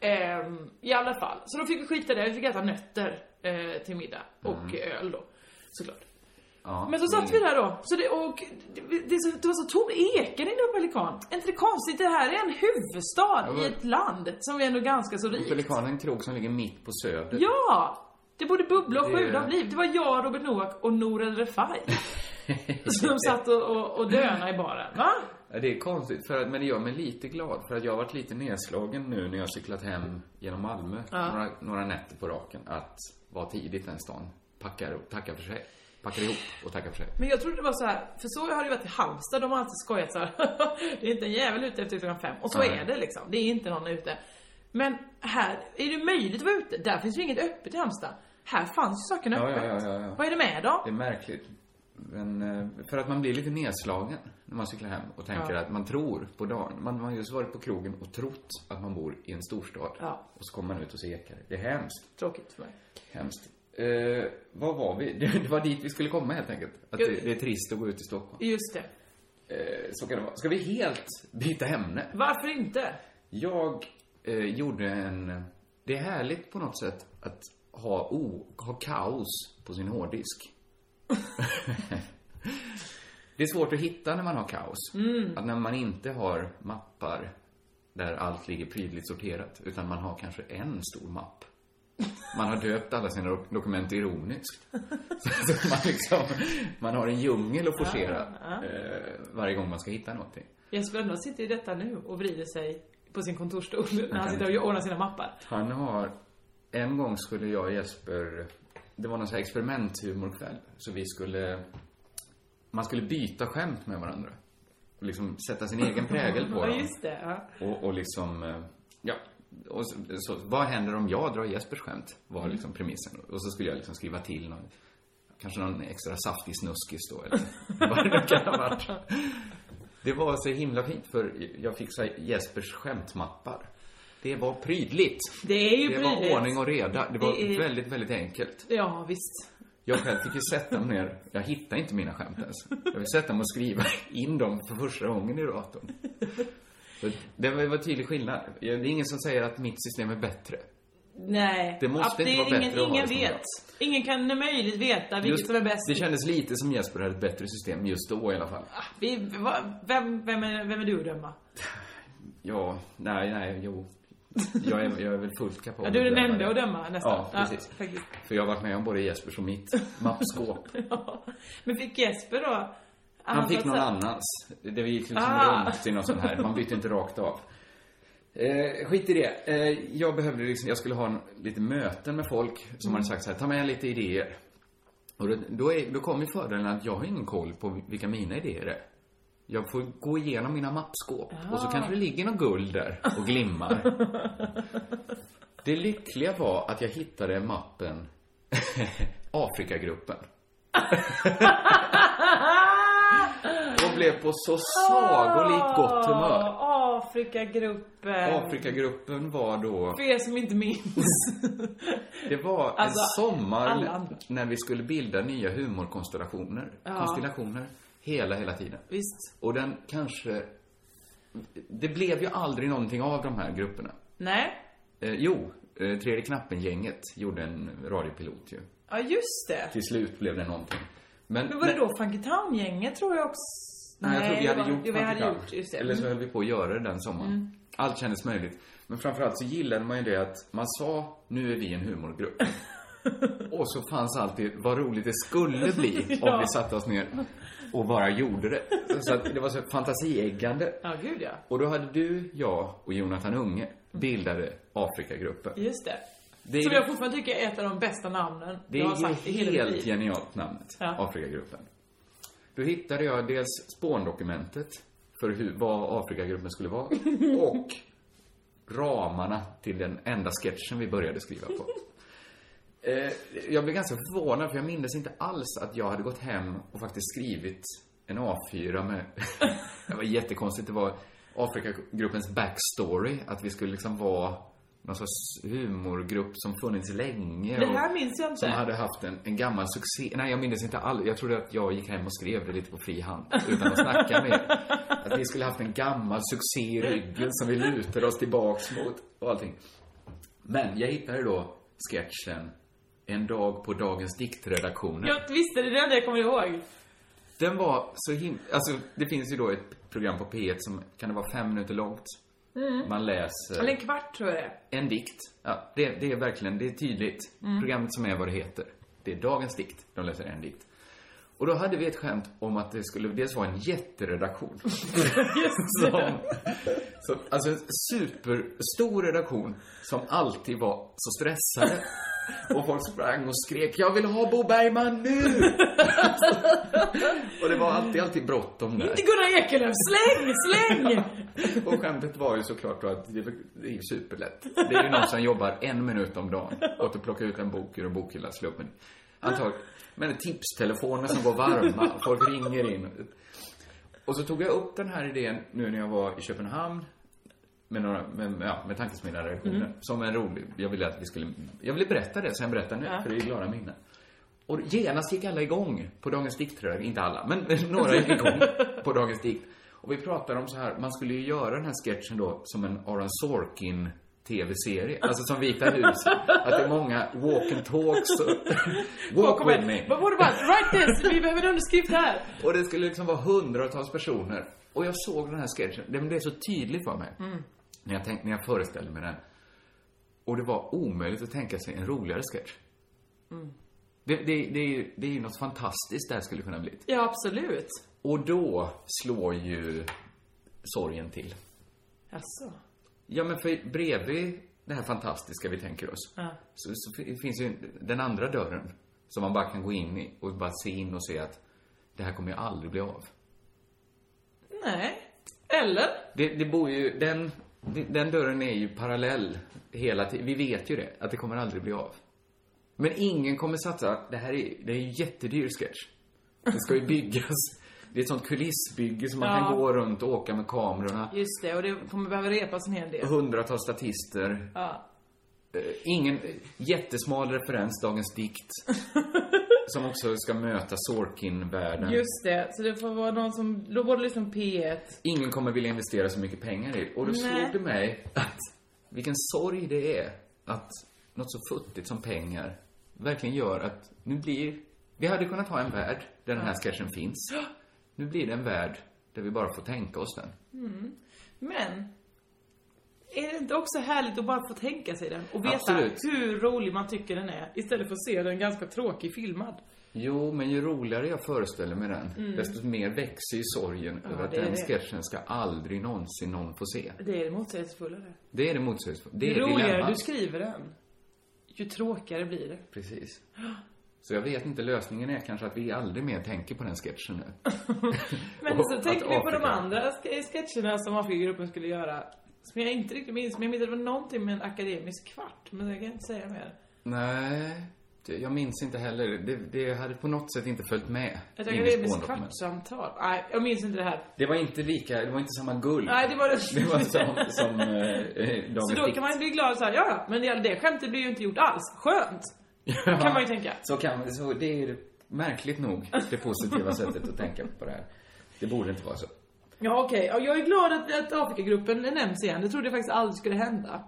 Speaker 9: Ehm, I alla fall. Så då fick vi skita i det. Vi fick äta nötter eh, till middag. Och
Speaker 8: Mm.
Speaker 9: öl då. Såklart.
Speaker 8: Ja,
Speaker 9: Men så satt vi där då. Så det, och det, det, är så- det var så tom eken inne på Pelikan. Är inte det konstigt? Det här är en huvudstad
Speaker 8: Ja, men-
Speaker 9: i ett land som är ändå ganska så rikt.
Speaker 8: Pelikanen är en krog som ligger mitt på söder.
Speaker 9: Ja! Det borde bubbla och
Speaker 8: Det-
Speaker 9: sjuda av liv. Det var jag, Robert Noak och Nour El Refai. som satt och, och, och döna i baren. Va?
Speaker 8: Ja, Det är konstigt, för att, men det gör mig lite glad. För att jag har varit lite nedslagen nu när jag har cyklat hem genom Malmö några, några nätter på raken. Att vara tidigt den stan. Packar och tackar för sig. Packar ihop och tackar för sig.
Speaker 9: Men jag trodde det var så här, för så har det ju varit i Halmstad, de har alltid skojat så här. det är inte en jävel ute efter klockan fem. Och så
Speaker 8: Nej.
Speaker 9: är det liksom, det är inte någon ute. Men här är det möjligt att vara ute, där finns ju inget öppet i Halmstad. Här fanns ju sakerna
Speaker 8: Ja, ja,
Speaker 9: öppet.
Speaker 8: ja, ja, ja.
Speaker 9: Vad är det med dem?
Speaker 8: Det är märkligt. Men, eh, för att man blir lite nedslagen när man cyklar hem och tänker
Speaker 9: Ja.
Speaker 8: att man tror på dagen. Man man har just varit på krogen och trott att man bor i en storstad.
Speaker 9: Ja.
Speaker 8: Och så kommer man ut och så ekar det. Det är hemskt.
Speaker 9: Tråkigt för mig.
Speaker 8: Hemskt. Eh, vad var vi? Det, det var dit vi skulle komma helt enkelt. Att det, det är trist att gå ut i Stockholm.
Speaker 9: Just det.
Speaker 8: Eh, så kan det vara. Ska vi helt byta ämne?
Speaker 9: Varför inte?
Speaker 8: Jag eh, gjorde en... Det är härligt på något sätt att ha, o, ha kaos på sin hårddisk. det är svårt att hitta när man har kaos.
Speaker 9: Mm.
Speaker 8: Att när man inte har mappar där allt ligger prydligt sorterat, utan man har kanske en stor mapp Man har döpt alla sina dok- dokument ironiskt. Så att man, liksom, man har en djungel att forcera
Speaker 9: Ja, ja.
Speaker 8: eh, varje gång man ska hitta någonting.
Speaker 9: Jesper Rönndahl sitter i detta nu och vrider sig på sin kontorsstol när han
Speaker 8: kan
Speaker 9: sitter och ordnar sina mappar.
Speaker 8: Han har... En gång skulle jag och Jesper... Det var någon sån här experimenthumorkväll. Så vi skulle... Man skulle byta skämt med varandra. Och liksom sätta sin egen prägel på
Speaker 9: Ja,
Speaker 8: dem.
Speaker 9: just det. Ja.
Speaker 8: Och, och liksom... eh, Ja. Och så, så, vad händer om jag drar Jespers skämt?
Speaker 9: Mm.
Speaker 8: Var liksom premissen. Och så skulle jag liksom skriva till någon... Kanske någon extra saftig snuskis då, eller vad det nu kan ha varit. Det var så himla fint, för jag fick så här Jespers skämtmappar. Det var prydligt.
Speaker 9: Det är ju
Speaker 8: Det
Speaker 9: prydligt.
Speaker 8: var ordning och reda. Det var
Speaker 9: Det är-
Speaker 8: väldigt, väldigt enkelt.
Speaker 9: Ja, visst.
Speaker 8: Jag själv fick ju sätta mig ner. Jag hittade inte mina skämt ens. Jag fick sätta mig och skriva in dem för första gången i datorn. Så Det var det var tydlig skillnad. Det är ingen som säger att mitt system är bättre.
Speaker 9: Nej.
Speaker 8: Det måste
Speaker 9: Att
Speaker 8: inte vara
Speaker 9: ingen,
Speaker 8: bättre att ha
Speaker 9: Ingen
Speaker 8: det som
Speaker 9: vet. Ingen kan möjligt veta vilket
Speaker 8: Just-
Speaker 9: som är bäst.
Speaker 8: Det kändes lite som Jesper hade ett bättre system just då i alla fall.
Speaker 9: Vi, va, vem, vem, är, vem är du att döma?
Speaker 8: Ja, nej, nej, jo. Jag är, jag är väl fullt kapabel.
Speaker 9: Ja, du är
Speaker 8: att
Speaker 9: den
Speaker 8: döma
Speaker 9: enda
Speaker 8: det.
Speaker 9: att döma nästan.
Speaker 8: Ja, precis.
Speaker 9: faktiskt.
Speaker 8: För jag har varit med om både Jespers och mitt mappskåp.
Speaker 9: Ja. Men fick Jesper då?
Speaker 8: Han fick
Speaker 9: satt
Speaker 8: någon
Speaker 9: så här-
Speaker 8: annans. Det gick liksom
Speaker 9: Ah.
Speaker 8: runt i någon sån här. Man bytte inte rakt av. Eh, skit i det. Eh, jag behövde liksom, jag skulle ha en, lite möten med folk som hade sagt så här, ta med lite idéer. Och då, då, är, då kom ju fördelen att jag har ingen koll på vilka mina idéer är. Jag får gå igenom mina mappskåp och så kanske det ligger något guld där och glimmar. det lyckliga var att jag hittade mappen Afrikagruppen. och blev på så sagolikt gott humör.
Speaker 9: Åh, Afrikagruppen.
Speaker 8: Afrikagruppen var då,
Speaker 9: För er som inte minns.
Speaker 8: det var
Speaker 9: Alltså,
Speaker 8: en sommar
Speaker 9: alla andra.
Speaker 8: när vi skulle bilda nya humorkonstellationer.
Speaker 9: Ja.
Speaker 8: Konstellationer. Hela, hela tiden.
Speaker 9: Visst.
Speaker 8: Och den kanske, det blev ju aldrig någonting av de här grupperna.
Speaker 9: Nej.
Speaker 8: Eh, jo, eh, Tredje Knappen-gänget gjorde en radiopilot ju.
Speaker 9: Ja, just det.
Speaker 8: Till slut blev det någonting. Men,
Speaker 9: Men var det då Funky Town-gänget tror jag också?
Speaker 8: Nej, jag tror vi
Speaker 9: det
Speaker 8: hade
Speaker 9: var-
Speaker 8: gjort
Speaker 9: jo, vi hade
Speaker 8: Pakistan.
Speaker 9: gjort, just det.
Speaker 8: Eller så
Speaker 9: Mm.
Speaker 8: höll vi på att göra det den sommaren. Allt kändes möjligt. Men framförallt så gillade man ju det att man sa, nu är vi en humorgrupp. och så fanns alltid, vad roligt det skulle bli om
Speaker 9: Ja.
Speaker 8: vi satte oss ner och bara gjorde det. Så att det var så fantasieggande.
Speaker 9: Ja, gud ja.
Speaker 8: Och då hade du, jag och Jonathan Unge bildade Afrikagruppen.
Speaker 9: Just det.
Speaker 8: Det är-
Speaker 9: Som jag fortfarande tycker är ett av de bästa namnen
Speaker 8: Det
Speaker 9: jag har sagt
Speaker 8: är
Speaker 9: i
Speaker 8: ju
Speaker 9: hela mitt
Speaker 8: helt
Speaker 9: liv.
Speaker 8: genialt namnet,
Speaker 9: Ja.
Speaker 8: Afrikagruppen. Då hittade jag dels spåndokumentet för hur, vad Afrikagruppen skulle vara och ramarna till den enda sketchen vi började skriva på. Eh, Jag blev ganska förvånad för jag minns inte alls att jag hade gått hem och faktiskt skrivit en A4 med... det var jättekonstigt. Det var Afrikagruppens backstory. Att vi skulle liksom vara någon sorts humorgrupp som funnits länge.
Speaker 9: Det här
Speaker 8: och-
Speaker 9: minns jag inte.
Speaker 8: Som hade haft en, en gammal succé. Nej, jag minns inte alls. Jag trodde att jag gick hem och skrev det lite på fri hand utan att snacka med er. Att vi skulle haft en gammal succé i ryggen som vi lutade oss tillbaks mot och allting. Men jag hittade då sketchen En dag på Dagens Diktredaktionen.
Speaker 9: Jag visste det, det är det enda jag kommer ihåg.
Speaker 8: Den var så himla... Alltså, det finns ju då ett program på P1 som kan det vara fem minuter långt. Man
Speaker 9: Eller
Speaker 8: läser
Speaker 9: en kvart tror jag det är.
Speaker 8: en dikt. Ja, det, det är verkligen, det är tydligt. Programmet som är vad det heter. Det är Dagens Dikt. De läser en dikt. Och då hade vi ett skämt om att det skulle dels vara en jätteredaktion. som, som, alltså en superstor redaktion som alltid var så stressade. Och folk sprang och skrek Jag vill ha Bo Bergman nu! och det var alltid, alltid bråttom där.
Speaker 9: Inte Gunnar Ekelöf, släng, släng!
Speaker 8: Och skämtet var ju såklart då att det är- det är ju superlätt. Det är ju någon som jobbar en minut om dagen åt att plocka ut en bok ur en bokhylla, slå upp en... Antagligen. Men tipstelefoner som går varma, folk ringer in. Och så tog jag upp den här idén nu när jag var i Köpenhamn med några, med, ja, med tankesmedjade reaktioner. Som en rolig, jag ville att vi skulle, jag ville berätta det så jag berättar nu, för det är glada minnen. Och genast gick alla igång på Dagens Dikt, tror jag. Inte alla, men några gick igång på Dagens Dikt. Och vi pratade om så här, man skulle ju göra den här sketchen då som en Aaron Sorkin TV-serie, alltså som Vita huset. Att det är många walk and talks och walk with me.
Speaker 9: Vad borde man, write this, vi behöver en underskrift här.
Speaker 8: Och det skulle liksom vara hundratals personer. Och jag såg den här sketchen, det blev så tydligt för mig. När, jag tänkte, när jag föreställde mig den. Och det var omöjligt att tänka sig en roligare sketch. Det, det, det, är ju, det är ju något fantastiskt det här skulle kunna bli.
Speaker 9: Ja, absolut.
Speaker 8: Och då slår ju sorgen till.
Speaker 9: Jaså?
Speaker 8: Ja, men för bredvid det här fantastiska vi tänker oss
Speaker 9: Ja.
Speaker 8: så, så fi- finns ju den andra dörren som man bara kan gå in i och bara se in och se att det här kommer ju aldrig bli av.
Speaker 9: Nej. Eller?
Speaker 8: Det, det bor ju, den, den dörren är ju parallell hela tiden. Vi vet ju det, att det kommer aldrig bli av. Men ingen kommer satsa, det här är, det är en jättedyr sketch. Det ska ju byggas. Det är ett sånt kulissbygge som man
Speaker 9: Ja.
Speaker 8: kan gå runt och åka med kamerorna.
Speaker 9: Just det, och det kommer behöva repas en hel del.
Speaker 8: Hundratals statister.
Speaker 9: Ja.
Speaker 8: Eh, Ingen jättesmal referens, Dagens Dikt. som också ska möta Sorkin-världen.
Speaker 9: Just det, så det får vara någon som, då borde liksom P1.
Speaker 8: Ingen kommer vilja investera så mycket pengar i det. Och då slog
Speaker 9: Nej.
Speaker 8: det mig att vilken sorg det är att något så futtigt som pengar verkligen gör att nu blir... Vi hade kunnat ha en värld där den här sketchen finns. Nu blir det en värld där vi bara får tänka oss den.
Speaker 9: Men, är det inte också härligt att bara få tänka sig den och veta
Speaker 8: Absolut.
Speaker 9: hur rolig man tycker den är istället för att se den ganska tråkig filmad?
Speaker 8: Jo, men ju roligare jag föreställer mig den, desto mer växer ju sorgen över
Speaker 9: Mm.
Speaker 8: att
Speaker 9: det är
Speaker 8: den
Speaker 9: det.
Speaker 8: sketchen ska aldrig någonsin någon få se.
Speaker 9: Det är det motsägelsefulla det.
Speaker 8: Det är det motsägelsefulla. Det
Speaker 9: Ju
Speaker 8: är
Speaker 9: roligare
Speaker 8: dilemmat.
Speaker 9: du skriver den, ju tråkigare blir det.
Speaker 8: Precis. Så jag vet inte, lösningen är kanske att vi aldrig mer tänker på den sketchen nu.
Speaker 9: Men
Speaker 8: Och
Speaker 9: så
Speaker 8: att
Speaker 9: tänker vi på de
Speaker 8: Afrika-
Speaker 9: andra ske- sketcherna som Afrikagruppen skulle göra. Som jag inte riktigt minns, men jag minns att det var någonting med en akademisk kvart. Men jag kan inte säga mer.
Speaker 8: Nej, det, jag minns inte heller. Det, det hade på något sätt inte följt med.
Speaker 9: Ett
Speaker 8: in i
Speaker 9: akademiskt
Speaker 8: spåndokument.
Speaker 9: kvartssamtal. Nej, jag minns inte det här.
Speaker 8: Det var inte lika, det var inte samma guld.
Speaker 9: Nej, det var det
Speaker 8: Det var som, som eh, eh,
Speaker 9: Så
Speaker 8: Dagens
Speaker 9: då
Speaker 8: Dikt.
Speaker 9: kan man bli glad såhär, ja ja, men det, det skämtet blir ju inte gjort alls. Skönt! kan man ju tänka.
Speaker 8: Så kan så det är ju märkligt nog det positiva sättet att tänka på det här. Det borde inte vara så.
Speaker 9: Ja okej, Ja, jag är glad att, att Afrikagruppen nämns igen. Det trodde jag faktiskt aldrig skulle hända.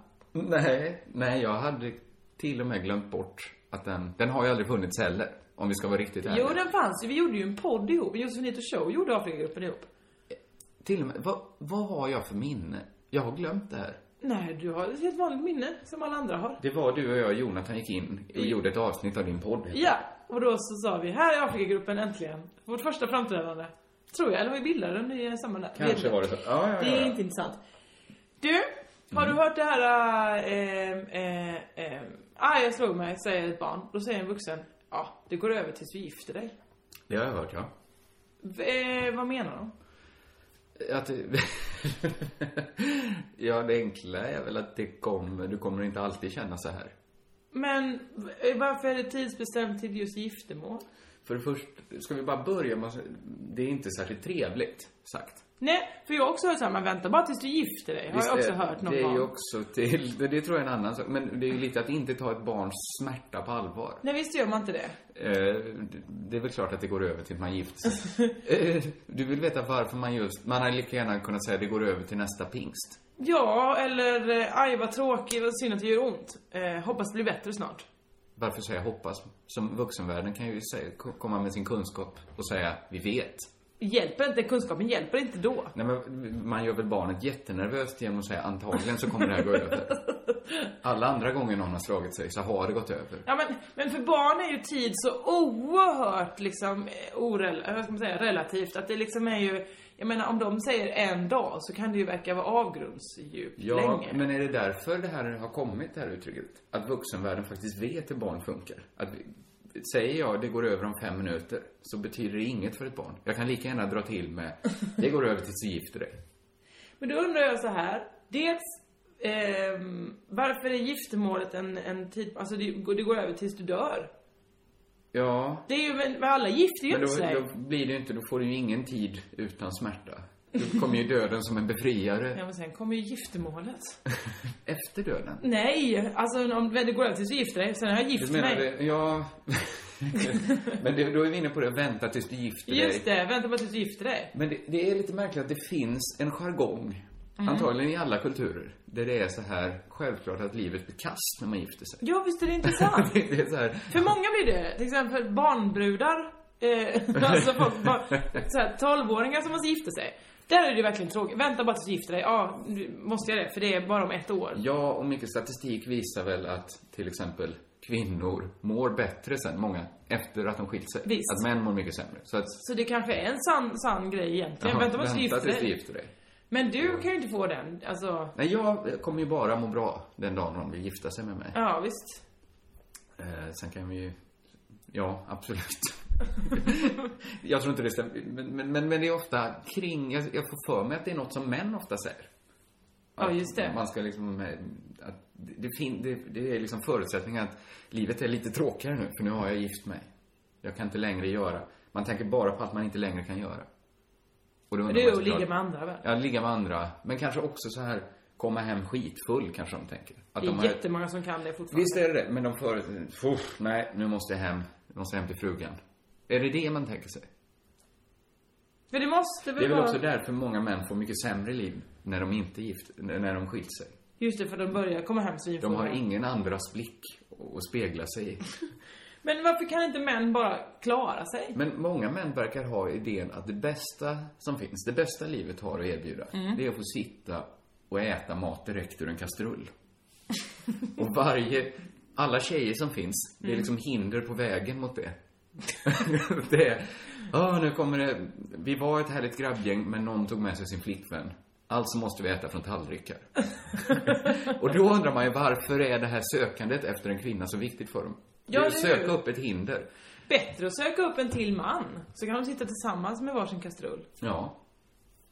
Speaker 8: Nej, nej, jag hade till och med glömt bort att den, den har ju aldrig funnits heller. Om vi ska vara riktigt ärliga.
Speaker 9: Jo den fanns ju, vi gjorde ju en podd ihop. Josefinito Show gjorde Afrikagruppen ihop.
Speaker 8: Till och med, vad, vad har jag för minne? Jag har glömt det här.
Speaker 9: Nej, du har ett helt vanligt minne som alla andra har.
Speaker 8: Det var du och jag och Jonathan gick in och gjorde ett avsnitt av din podd.
Speaker 9: Ja, och då så sa vi, här är Afrikagruppen äntligen. Vårt första framträdande. Tror jag, eller vi bildade den i samma nät. Vet
Speaker 8: Kanske
Speaker 9: inte.
Speaker 8: var det så. Ja, ja,
Speaker 9: Det är
Speaker 8: ja. Mm.
Speaker 9: inte intressant. Du, har du hört det här, äh, äh, äh, ah jag slog mig, säger ett barn. Då säger en vuxen, ja, det går över tills du gifter dig.
Speaker 8: Det har jag hört, ja.
Speaker 9: V- eh, vad menar de?
Speaker 8: Att, ja, det enkla är väl att det kommer, du kommer inte alltid känna så här.
Speaker 9: Men v- eh, varför är det tidsbestämt till just giftermål?
Speaker 8: För det först, ska vi bara börja med att säga- det är inte särskilt trevligt sagt.
Speaker 9: Nej, för jag har också hört såhär, man väntar bara tills du gifter dig. Har
Speaker 8: Visst,
Speaker 9: jag också
Speaker 8: det-
Speaker 9: hört någon
Speaker 8: Det är
Speaker 9: gång.
Speaker 8: ju också till, det, det tror jag är en annan sak, men det är ju lite att inte ta ett barns smärta på allvar.
Speaker 9: Nej, visst gör man inte det?
Speaker 8: Eh, det är väl klart att det går över till att man gifter sig. Eh, du vill veta varför man just... Man hade lika gärna kunnat säga att det går över till nästa pingst.
Speaker 9: Ja, eller eh, aj vad tråkigt, vad synd att det gör ont. Eh, hoppas det blir bättre snart.
Speaker 8: Varför säga hoppas? Som vuxenvärlden kan ju säga, ko- komma med sin kunskap och säga vi vet.
Speaker 9: Hjälper inte, kunskapen hjälper inte då.
Speaker 8: Nej, men man gör väl barnet jättenervöst genom att säga antagligen så kommer det här gå över. Alla andra gånger någon har slagit sig så har det gått över.
Speaker 9: Ja men, men för barn är ju tid så oerhört liksom eh, orel, eh, vad ska man säga, relativt. Att det liksom är ju, jag menar om de säger en dag så kan det ju verka vara avgrundsdjupt
Speaker 8: Ja,
Speaker 9: länge.
Speaker 8: men är det därför det här har kommit, det här uttrycket? Att vuxenvärlden faktiskt vet hur barn funkar? Att, vi- säger jag det går över om fem minuter, så betyder det inget för ett barn. Jag kan lika gärna dra till med, det går över tills du gifter dig.
Speaker 9: Men då undrar jag så här. Dels, ehm, varför är giftermålet en, en tid, alltså det, går- det går över tills du dör.
Speaker 8: Ja,
Speaker 9: Det är ju, men men alla gifter ju
Speaker 8: men
Speaker 9: inte
Speaker 8: då,
Speaker 9: sig.
Speaker 8: då blir det ju inte, då får du ju ingen tid utan smärta. Då kommer ju döden som en befriare
Speaker 9: Ja men sen kommer ju giftermålet.
Speaker 8: efter döden.
Speaker 9: Nej, alltså om det går över tills du gifter dig, sen har jag gift
Speaker 8: Du menar,
Speaker 9: mig.
Speaker 8: det, ja... men det, då är vi inne på det, vänta tills du gifter dig.
Speaker 9: Just det, vänta på att du gifter dig.
Speaker 8: Men det, det är lite märkligt att det finns en jargong,
Speaker 9: Mm.
Speaker 8: antagligen i alla kulturer, där det är så här självklart att livet blir kast när man gifter sig.
Speaker 9: Ja visst är det intressant.
Speaker 8: Det, det är så här,
Speaker 9: För många blir det. Till exempel barnbrudar. Eh, alltså folk, bara, så här, 12-åringar som måste gifta sig. Där är det verkligen tråkigt. Vänta bara tills du gifter dig. Ja, nu måste jag det, för det är bara om ett år.
Speaker 8: Ja, och mycket statistik visar väl att till exempel kvinnor mår bättre sen, många, efter att de skilt sig.
Speaker 9: Visst.
Speaker 8: Att män mår mycket sämre. Så att...
Speaker 9: Så det kanske är en sann, sann grej egentligen.
Speaker 8: Jaha,
Speaker 9: vänta bara tills du
Speaker 8: vänta
Speaker 9: gifter
Speaker 8: tills du
Speaker 9: dig.
Speaker 8: gifter dig.
Speaker 9: Men du kan ju inte få den. Alltså,
Speaker 8: Nej, jag kommer ju bara må bra den dagen någon vill gifta sig med mig.
Speaker 9: ja visst.
Speaker 8: Eh, sen kan vi ju... Ja, absolut. jag tror inte det stämmer. Men, men, men, men det är ofta kring... Jag, jag får för mig att det är något som män ofta säger.
Speaker 9: Ja,
Speaker 8: Att
Speaker 9: just det.
Speaker 8: Man ska liksom... eh, Att det, det, fin, det, det är liksom förutsättningen att livet är lite tråkigare nu, för nu har jag gift mig. Jag kan inte längre göra... Man tänker bara på att man inte längre kan göra. Och då undrar
Speaker 9: Det
Speaker 8: man
Speaker 9: är att
Speaker 8: såklart-
Speaker 9: ligga med andra väl?
Speaker 8: Ja, ligga med andra. Men kanske också så här, komma hem skitfull, kanske de tänker. Att
Speaker 9: Det
Speaker 8: de
Speaker 9: är
Speaker 8: har-
Speaker 9: jättemånga som kan det fortfarande.
Speaker 8: Visst är det det, men de förut... Uff, nej, nu måste jag hem. Jag måste hem till frugan. Är det det man tänker sig?
Speaker 9: Men det måste väl,
Speaker 8: Det är väl
Speaker 9: vara...
Speaker 8: också därför många män får mycket sämre liv när de inte är gift, när de skilt sig.
Speaker 9: Just det, för de börjar komma hem
Speaker 8: De
Speaker 9: svinfulla.
Speaker 8: har ingen andras blick att spegla sig i.
Speaker 9: Men varför kan inte män bara klara sig?
Speaker 8: Men många män verkar ha idén att det bästa som finns, det bästa livet har att erbjuda, det är att få sitta och äta mat direkt ur en kastrull. och varje, alla tjejer som finns, det är liksom hinder på vägen mot det. det är, "Åh, nu kommer det, vi var ett härligt grabbgäng men någon tog med sig sin flickvän. Alltså måste vi äta från tallrikar. och då undrar man ju varför är det här sökandet efter en kvinna så viktigt för dem?
Speaker 9: Ja,
Speaker 8: det är att
Speaker 9: det är ju-
Speaker 8: söka upp ett hinder.
Speaker 9: Bättre att söka upp en till man. Så kan de sitta tillsammans med varsin kastrull.
Speaker 8: Ja.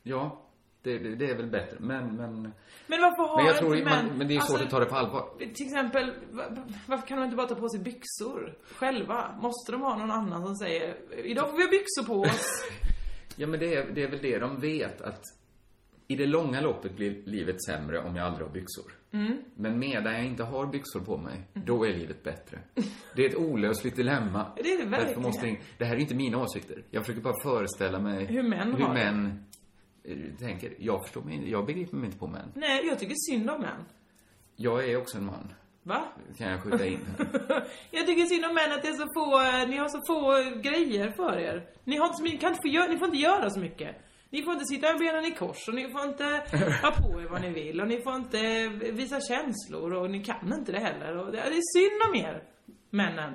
Speaker 8: Ja. Det, det, det är väl bättre. Men, men...
Speaker 9: Men varför har
Speaker 8: men jag
Speaker 9: inte
Speaker 8: tror ju-
Speaker 9: män... Alltså-
Speaker 8: man, Men det är ju svårt att ta det på allvar.
Speaker 9: Till exempel, va- va- varför kan de inte bara ta på sig byxor själva? Måste de ha någon annan som säger Idag får vi ha byxor på oss.
Speaker 8: Ja, men det är, det är väl det de vet att i det långa loppet blir livet sämre om jag aldrig har byxor.
Speaker 9: Mm.
Speaker 8: Men medan jag inte har byxor på mig, då är livet bättre. Det är ett olösligt dilemma.
Speaker 9: Det är det
Speaker 8: Därför
Speaker 9: verkligen.
Speaker 8: måste jag- det här är inte mina åsikter. Jag försöker bara föreställa mig
Speaker 9: Hur män
Speaker 8: hur
Speaker 9: har det.
Speaker 8: män eh, tänker. Jag förstår mig inte- Jag begriper mig inte på män.
Speaker 9: Nej, jag tycker synd om män.
Speaker 8: Jag är också en man,
Speaker 9: Va?
Speaker 8: kan jag skjuta in.
Speaker 9: Jag tycker synd om män att det är så få, eh, ni har så få eh, grejer för er. Ni har inte så mycket, kan inte få, göra- ni får inte göra så mycket. Ni får inte sitta med benen i kors och ni får inte ha på er vad ni vill och ni får inte visa känslor och ni kan inte det heller. Och det, det är synd om er, männen.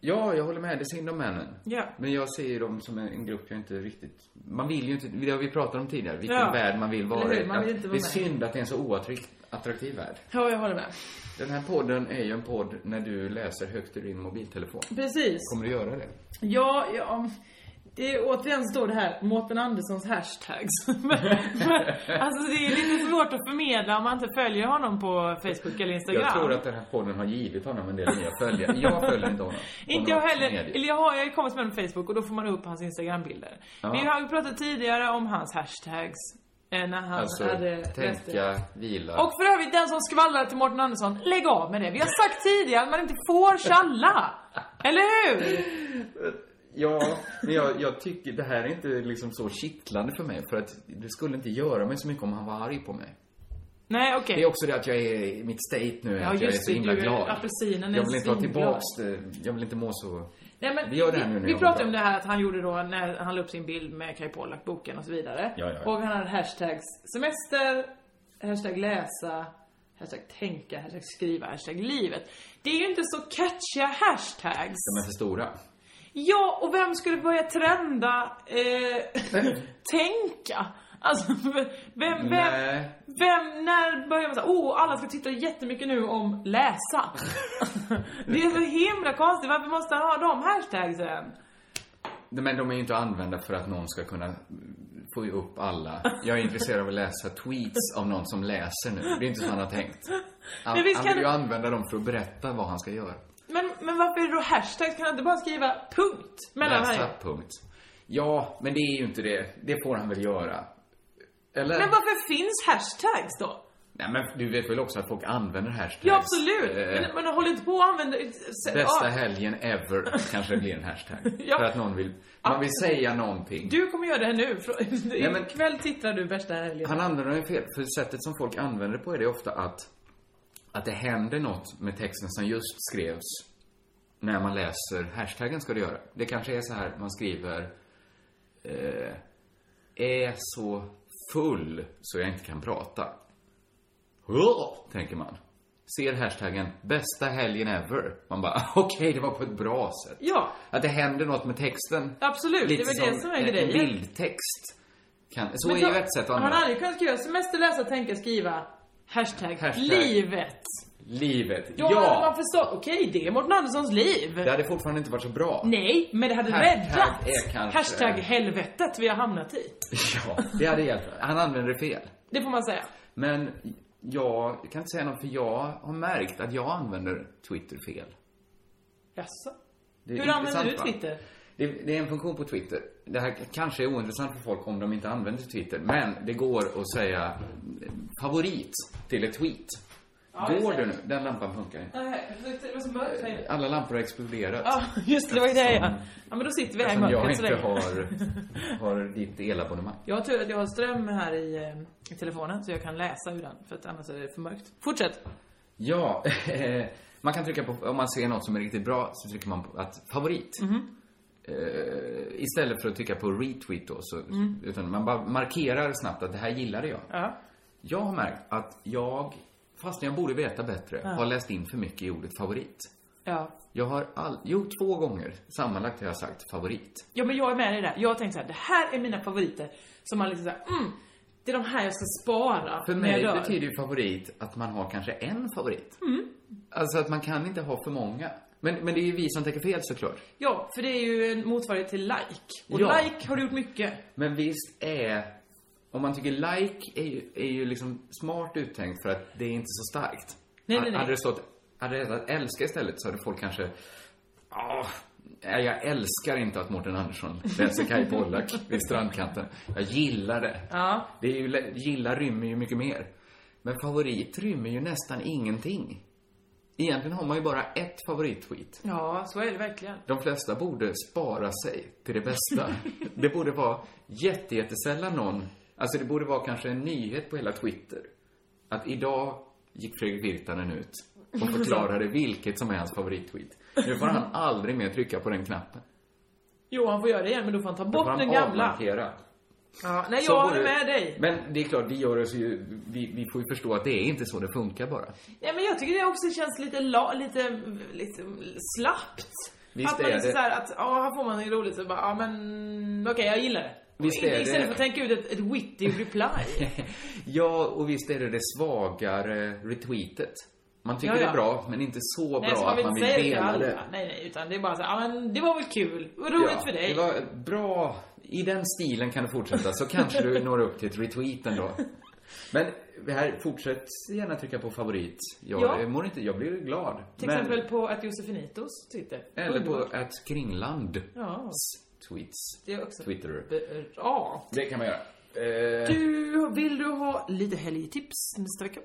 Speaker 8: Ja, jag håller med. Det är synd om männen.
Speaker 9: Ja.
Speaker 8: Men jag ser ju dem som en, en grupp jag inte riktigt... Man vill ju inte... Det har vi pratat om tidigare. Vilken
Speaker 9: Ja.
Speaker 8: värld man vill
Speaker 9: Eller
Speaker 8: vara
Speaker 9: hur?
Speaker 8: i.
Speaker 9: Man vill
Speaker 8: Att
Speaker 9: inte
Speaker 8: det
Speaker 9: vara
Speaker 8: är
Speaker 9: med.
Speaker 8: synd att det är en så oattraktiv attraktiv värld.
Speaker 9: Ja, jag håller med.
Speaker 8: Den här podden är ju en podd när du läser högt ur din mobiltelefon.
Speaker 9: Precis.
Speaker 8: Kommer du göra det?
Speaker 9: Ja, ja. Det är, återigen står det här Mårten Anderssons hashtags. Men- alltså det är lite svårt att förmedla om man inte följer honom på Facebook eller Instagram.
Speaker 8: Jag tror att den här podden har givit honom en del nya följare. Jag följer inte honom.
Speaker 9: Inte jag
Speaker 8: Honom på
Speaker 9: heller.
Speaker 8: medier.
Speaker 9: Eller jag har, jag har kommit med honom på Facebook och då får man upp hans Instagram-bilder.
Speaker 8: Ja.
Speaker 9: Vi har ju pratat tidigare om hans hashtags. eh, När han
Speaker 8: Alltså,
Speaker 9: hade...
Speaker 8: tänka, vila.
Speaker 9: Och för övrigt, den som skvallrar till Mårten Andersson, lägg av med det. Vi har sagt tidigare att man inte får tjalla. Eller hur?
Speaker 8: Ja, men jag, jag tycker det här är inte liksom så kittlande för mig. För att det skulle inte göra mig så mycket om han var arg på mig.
Speaker 9: Nej, okej.
Speaker 8: Det är också det att jag är, mitt state nu är
Speaker 9: Ja,
Speaker 8: att jag är
Speaker 9: just
Speaker 8: så
Speaker 9: det,
Speaker 8: himla
Speaker 9: du är-
Speaker 8: glad.
Speaker 9: apelsinen är
Speaker 8: jag vill inte ha
Speaker 9: svinglad.
Speaker 8: tillbaks det. Jag vill inte må så.
Speaker 9: Nej, men
Speaker 8: vi gör det här nu när
Speaker 9: Vi
Speaker 8: jag mår
Speaker 9: pratade om det
Speaker 8: bra.
Speaker 9: här att han gjorde då när han la upp sin bild med Kai Pollak-boken och så vidare.
Speaker 8: Ja, ja, ja.
Speaker 9: Och han hade hashtags semester, hashtag läsa, hashtag tänka, hashtag skriva, hashtag livet. Det är ju inte så catchiga hashtags.
Speaker 8: De är för stora.
Speaker 9: Ja, och vem skulle börja trenda eh, tänka? Alltså, vem, vem,
Speaker 8: Nej.
Speaker 9: vem, när börjar man säga åh, alla ska titta jättemycket nu om läsa. det är så himla konstigt, varför måste han ha de hashtagsen?
Speaker 8: Men de är ju inte använda för att någon ska kunna få upp alla. Jag är intresserad av att läsa tweets av någon som läser nu. Det är inte så han har tänkt. Han,
Speaker 9: Men visst
Speaker 8: han
Speaker 9: kan
Speaker 8: vill ju
Speaker 9: du-
Speaker 8: använda dem för att berätta vad han ska göra.
Speaker 9: Men, men varför är det då hashtags? Kan han inte bara skriva punkt mellan
Speaker 8: Läsa,
Speaker 9: varje?
Speaker 8: punkt. Ja, men det är ju inte det. Det får han väl göra. Eller?
Speaker 9: Men varför finns hashtags då?
Speaker 8: Nej, men du vet väl också att folk använder hashtags?
Speaker 9: Ja, absolut.
Speaker 8: Eh,
Speaker 9: Men, men håll inte på och använda...
Speaker 8: Bästa
Speaker 9: Ja,
Speaker 8: helgen ever kanske blir en hashtag.
Speaker 9: Ja.
Speaker 8: För att någon vill, man vill säga någonting.
Speaker 9: Du kommer göra det här nu.
Speaker 8: Ja, men-
Speaker 9: Ikväll tittar du bästa helgen.
Speaker 8: Han använder den fel, för sättet som folk använder det på är det ofta att, att det händer något med texten som just skrevs när man läser hashtaggen ska det göra. Det kanske är så här man skriver eh, är så full så jag inte kan prata. Åh, tänker man. Ser hashtaggen bästa helgen ever. Man bara, okej, det var på ett bra sätt.
Speaker 9: Ja.
Speaker 8: Att det händer något med texten.
Speaker 9: Absolut, det är väl det som är
Speaker 8: en-
Speaker 9: grejen.
Speaker 8: En bildtext. Kan, så
Speaker 9: Men
Speaker 8: är
Speaker 9: så-
Speaker 8: ju ett sätt att
Speaker 9: Man
Speaker 8: använda
Speaker 9: hade ju kunnat skriva semester, läsa, tänka, skriva. Hashtag,
Speaker 8: Hashtag.
Speaker 9: livet.
Speaker 8: livet.
Speaker 9: Då hade man
Speaker 8: ja!
Speaker 9: förstått, okej det är Mårten Anderssons liv.
Speaker 8: Det hade fortfarande inte varit så bra.
Speaker 9: Nej, men det hade
Speaker 8: Hashtag
Speaker 9: räddat.
Speaker 8: är kanske-
Speaker 9: Hashtag helvetet vi har hamnat i.
Speaker 8: Ja, det hade hjälpt. Han använde det fel.
Speaker 9: Det får man säga.
Speaker 8: Men jag, jag kan inte säga något för jag har märkt att jag använder Twitter fel.
Speaker 9: Jaså?
Speaker 8: Det är
Speaker 9: Hur använder
Speaker 8: intressant,
Speaker 9: du
Speaker 8: va?
Speaker 9: Twitter?
Speaker 8: Det, det är en funktion på Twitter. Det här kanske är ointressant för folk om de inte använder Twitter, men det går att säga favorit till ett tweet.
Speaker 9: just
Speaker 8: går
Speaker 9: det.
Speaker 8: det nu? Den lampan funkar inte.
Speaker 9: Nej, det var så mörkt här inne.
Speaker 8: Alla lampor har exploderat.
Speaker 9: Ja, just det, det var ju det ja.
Speaker 8: Eftersom-
Speaker 9: Ja men då sitter vi här i
Speaker 8: Eftersom jag
Speaker 9: mörkret så
Speaker 8: inte
Speaker 9: länge.
Speaker 8: har, har ditt elabonnemang.
Speaker 9: Jag har tur att jag har ström här i, eh, i telefonen så jag kan läsa ur den, för att annars är det för mörkt. Fortsätt!
Speaker 8: Ja, man kan trycka på, om man ser något som är riktigt bra så trycker man på att favorit.
Speaker 9: Mhm.
Speaker 8: Eh, istället för att trycka på retweet då, så, utan man bara markerar snabbt att det här gillade jag.
Speaker 9: Mm. Ja.
Speaker 8: Jag har märkt att jag, fast jag borde veta bättre,
Speaker 9: Ja.
Speaker 8: har läst in för mycket i ordet favorit.
Speaker 9: Ja.
Speaker 8: Jag har all, jo, två gånger sammanlagt har jag sagt favorit.
Speaker 9: Ja men jag är med dig där. Jag tänkte så här, det här är mina favoriter. Som man liksom såhär, mm, det är de här jag ska spara
Speaker 8: För
Speaker 9: när
Speaker 8: mig
Speaker 9: jag dör.
Speaker 8: betyder ju favorit att man har kanske en favorit. Alltså att man kan inte ha för många. Men, men det är ju vi som tänker fel såklart.
Speaker 9: Ja, för det är ju en motsvarighet till like. Och
Speaker 8: Ja.
Speaker 9: like har du gjort mycket.
Speaker 8: Men visst är... Om man tycker like är ju, är ju liksom smart uttänkt för att det är inte så starkt.
Speaker 9: Nej, nej, nej.
Speaker 8: Hade det stått hade det stått älska istället så hade folk kanske... "Ah, nej, jag älskar inte att Mårten Andersson läser Kaj Pollak vid strandkanten. Jag gillar det.
Speaker 9: Ja.
Speaker 8: det är ju, lä- gilla rymmer ju mycket mer. Men favorit rymmer ju nästan ingenting. Egentligen har man ju bara ett favorittweet.
Speaker 9: Ja, så är det verkligen.
Speaker 8: De flesta borde spara sig till det bästa. det borde vara jätte, jättesällan någon... Alltså det borde vara kanske en nyhet på hela Twitter. Att idag gick Fredrik Virtanen ut och förklarade vilket som är hans favorittweet. Nu får han aldrig mer trycka på den knappen.
Speaker 9: Jo, han får göra det igen, men då får han ta
Speaker 8: Då får
Speaker 9: bort
Speaker 8: han
Speaker 9: den gamla.
Speaker 8: avmarkera.
Speaker 9: Ja, nej,
Speaker 8: Så
Speaker 9: jag håller
Speaker 8: borde-
Speaker 9: med dig.
Speaker 8: Men det är klart, vi gör oss ju... Vi, vi får ju förstå att det är inte så det funkar bara.
Speaker 9: Ja, men jag tycker det också känns lite, la, lite, lite slappt.
Speaker 8: Visst
Speaker 9: att man
Speaker 8: är
Speaker 9: liksom
Speaker 8: det.
Speaker 9: så här att, ja, här får man något roligt så bara, ja men okej, jag gillar det.
Speaker 8: Visst är
Speaker 9: Istället
Speaker 8: det.
Speaker 9: för att tänka ut ett, ett witty reply.
Speaker 8: ja, och visst är det det svagare retweetet. Man tycker
Speaker 9: Ja, ja.
Speaker 8: det är bra, men inte så
Speaker 9: Nej,
Speaker 8: bra
Speaker 9: så
Speaker 8: att man vill
Speaker 9: inte säga
Speaker 8: dela
Speaker 9: till
Speaker 8: det.
Speaker 9: alla. Nej, nej, utan det är bara så här, ja men det var väl kul. Vad roligt för dig.
Speaker 8: Det var bra. I den stilen kan du fortsätta, så kanske du når upp till ett retweet ändå. Men det här, fortsätt gärna trycka på favorit. Jag
Speaker 9: Ja.
Speaker 8: eh, mår inte, jag blir glad.
Speaker 9: Till
Speaker 8: Men-
Speaker 9: exempel på att Josefinitos Twitter.
Speaker 8: Eller
Speaker 9: Underbart.
Speaker 8: på ett kringland.
Speaker 9: Ja.
Speaker 8: Tweets.
Speaker 9: Det är också-
Speaker 8: Twitter.
Speaker 9: Ja.
Speaker 8: Det kan man göra. Eh,
Speaker 9: Du, vill du ha lite helgtips nästa vecka?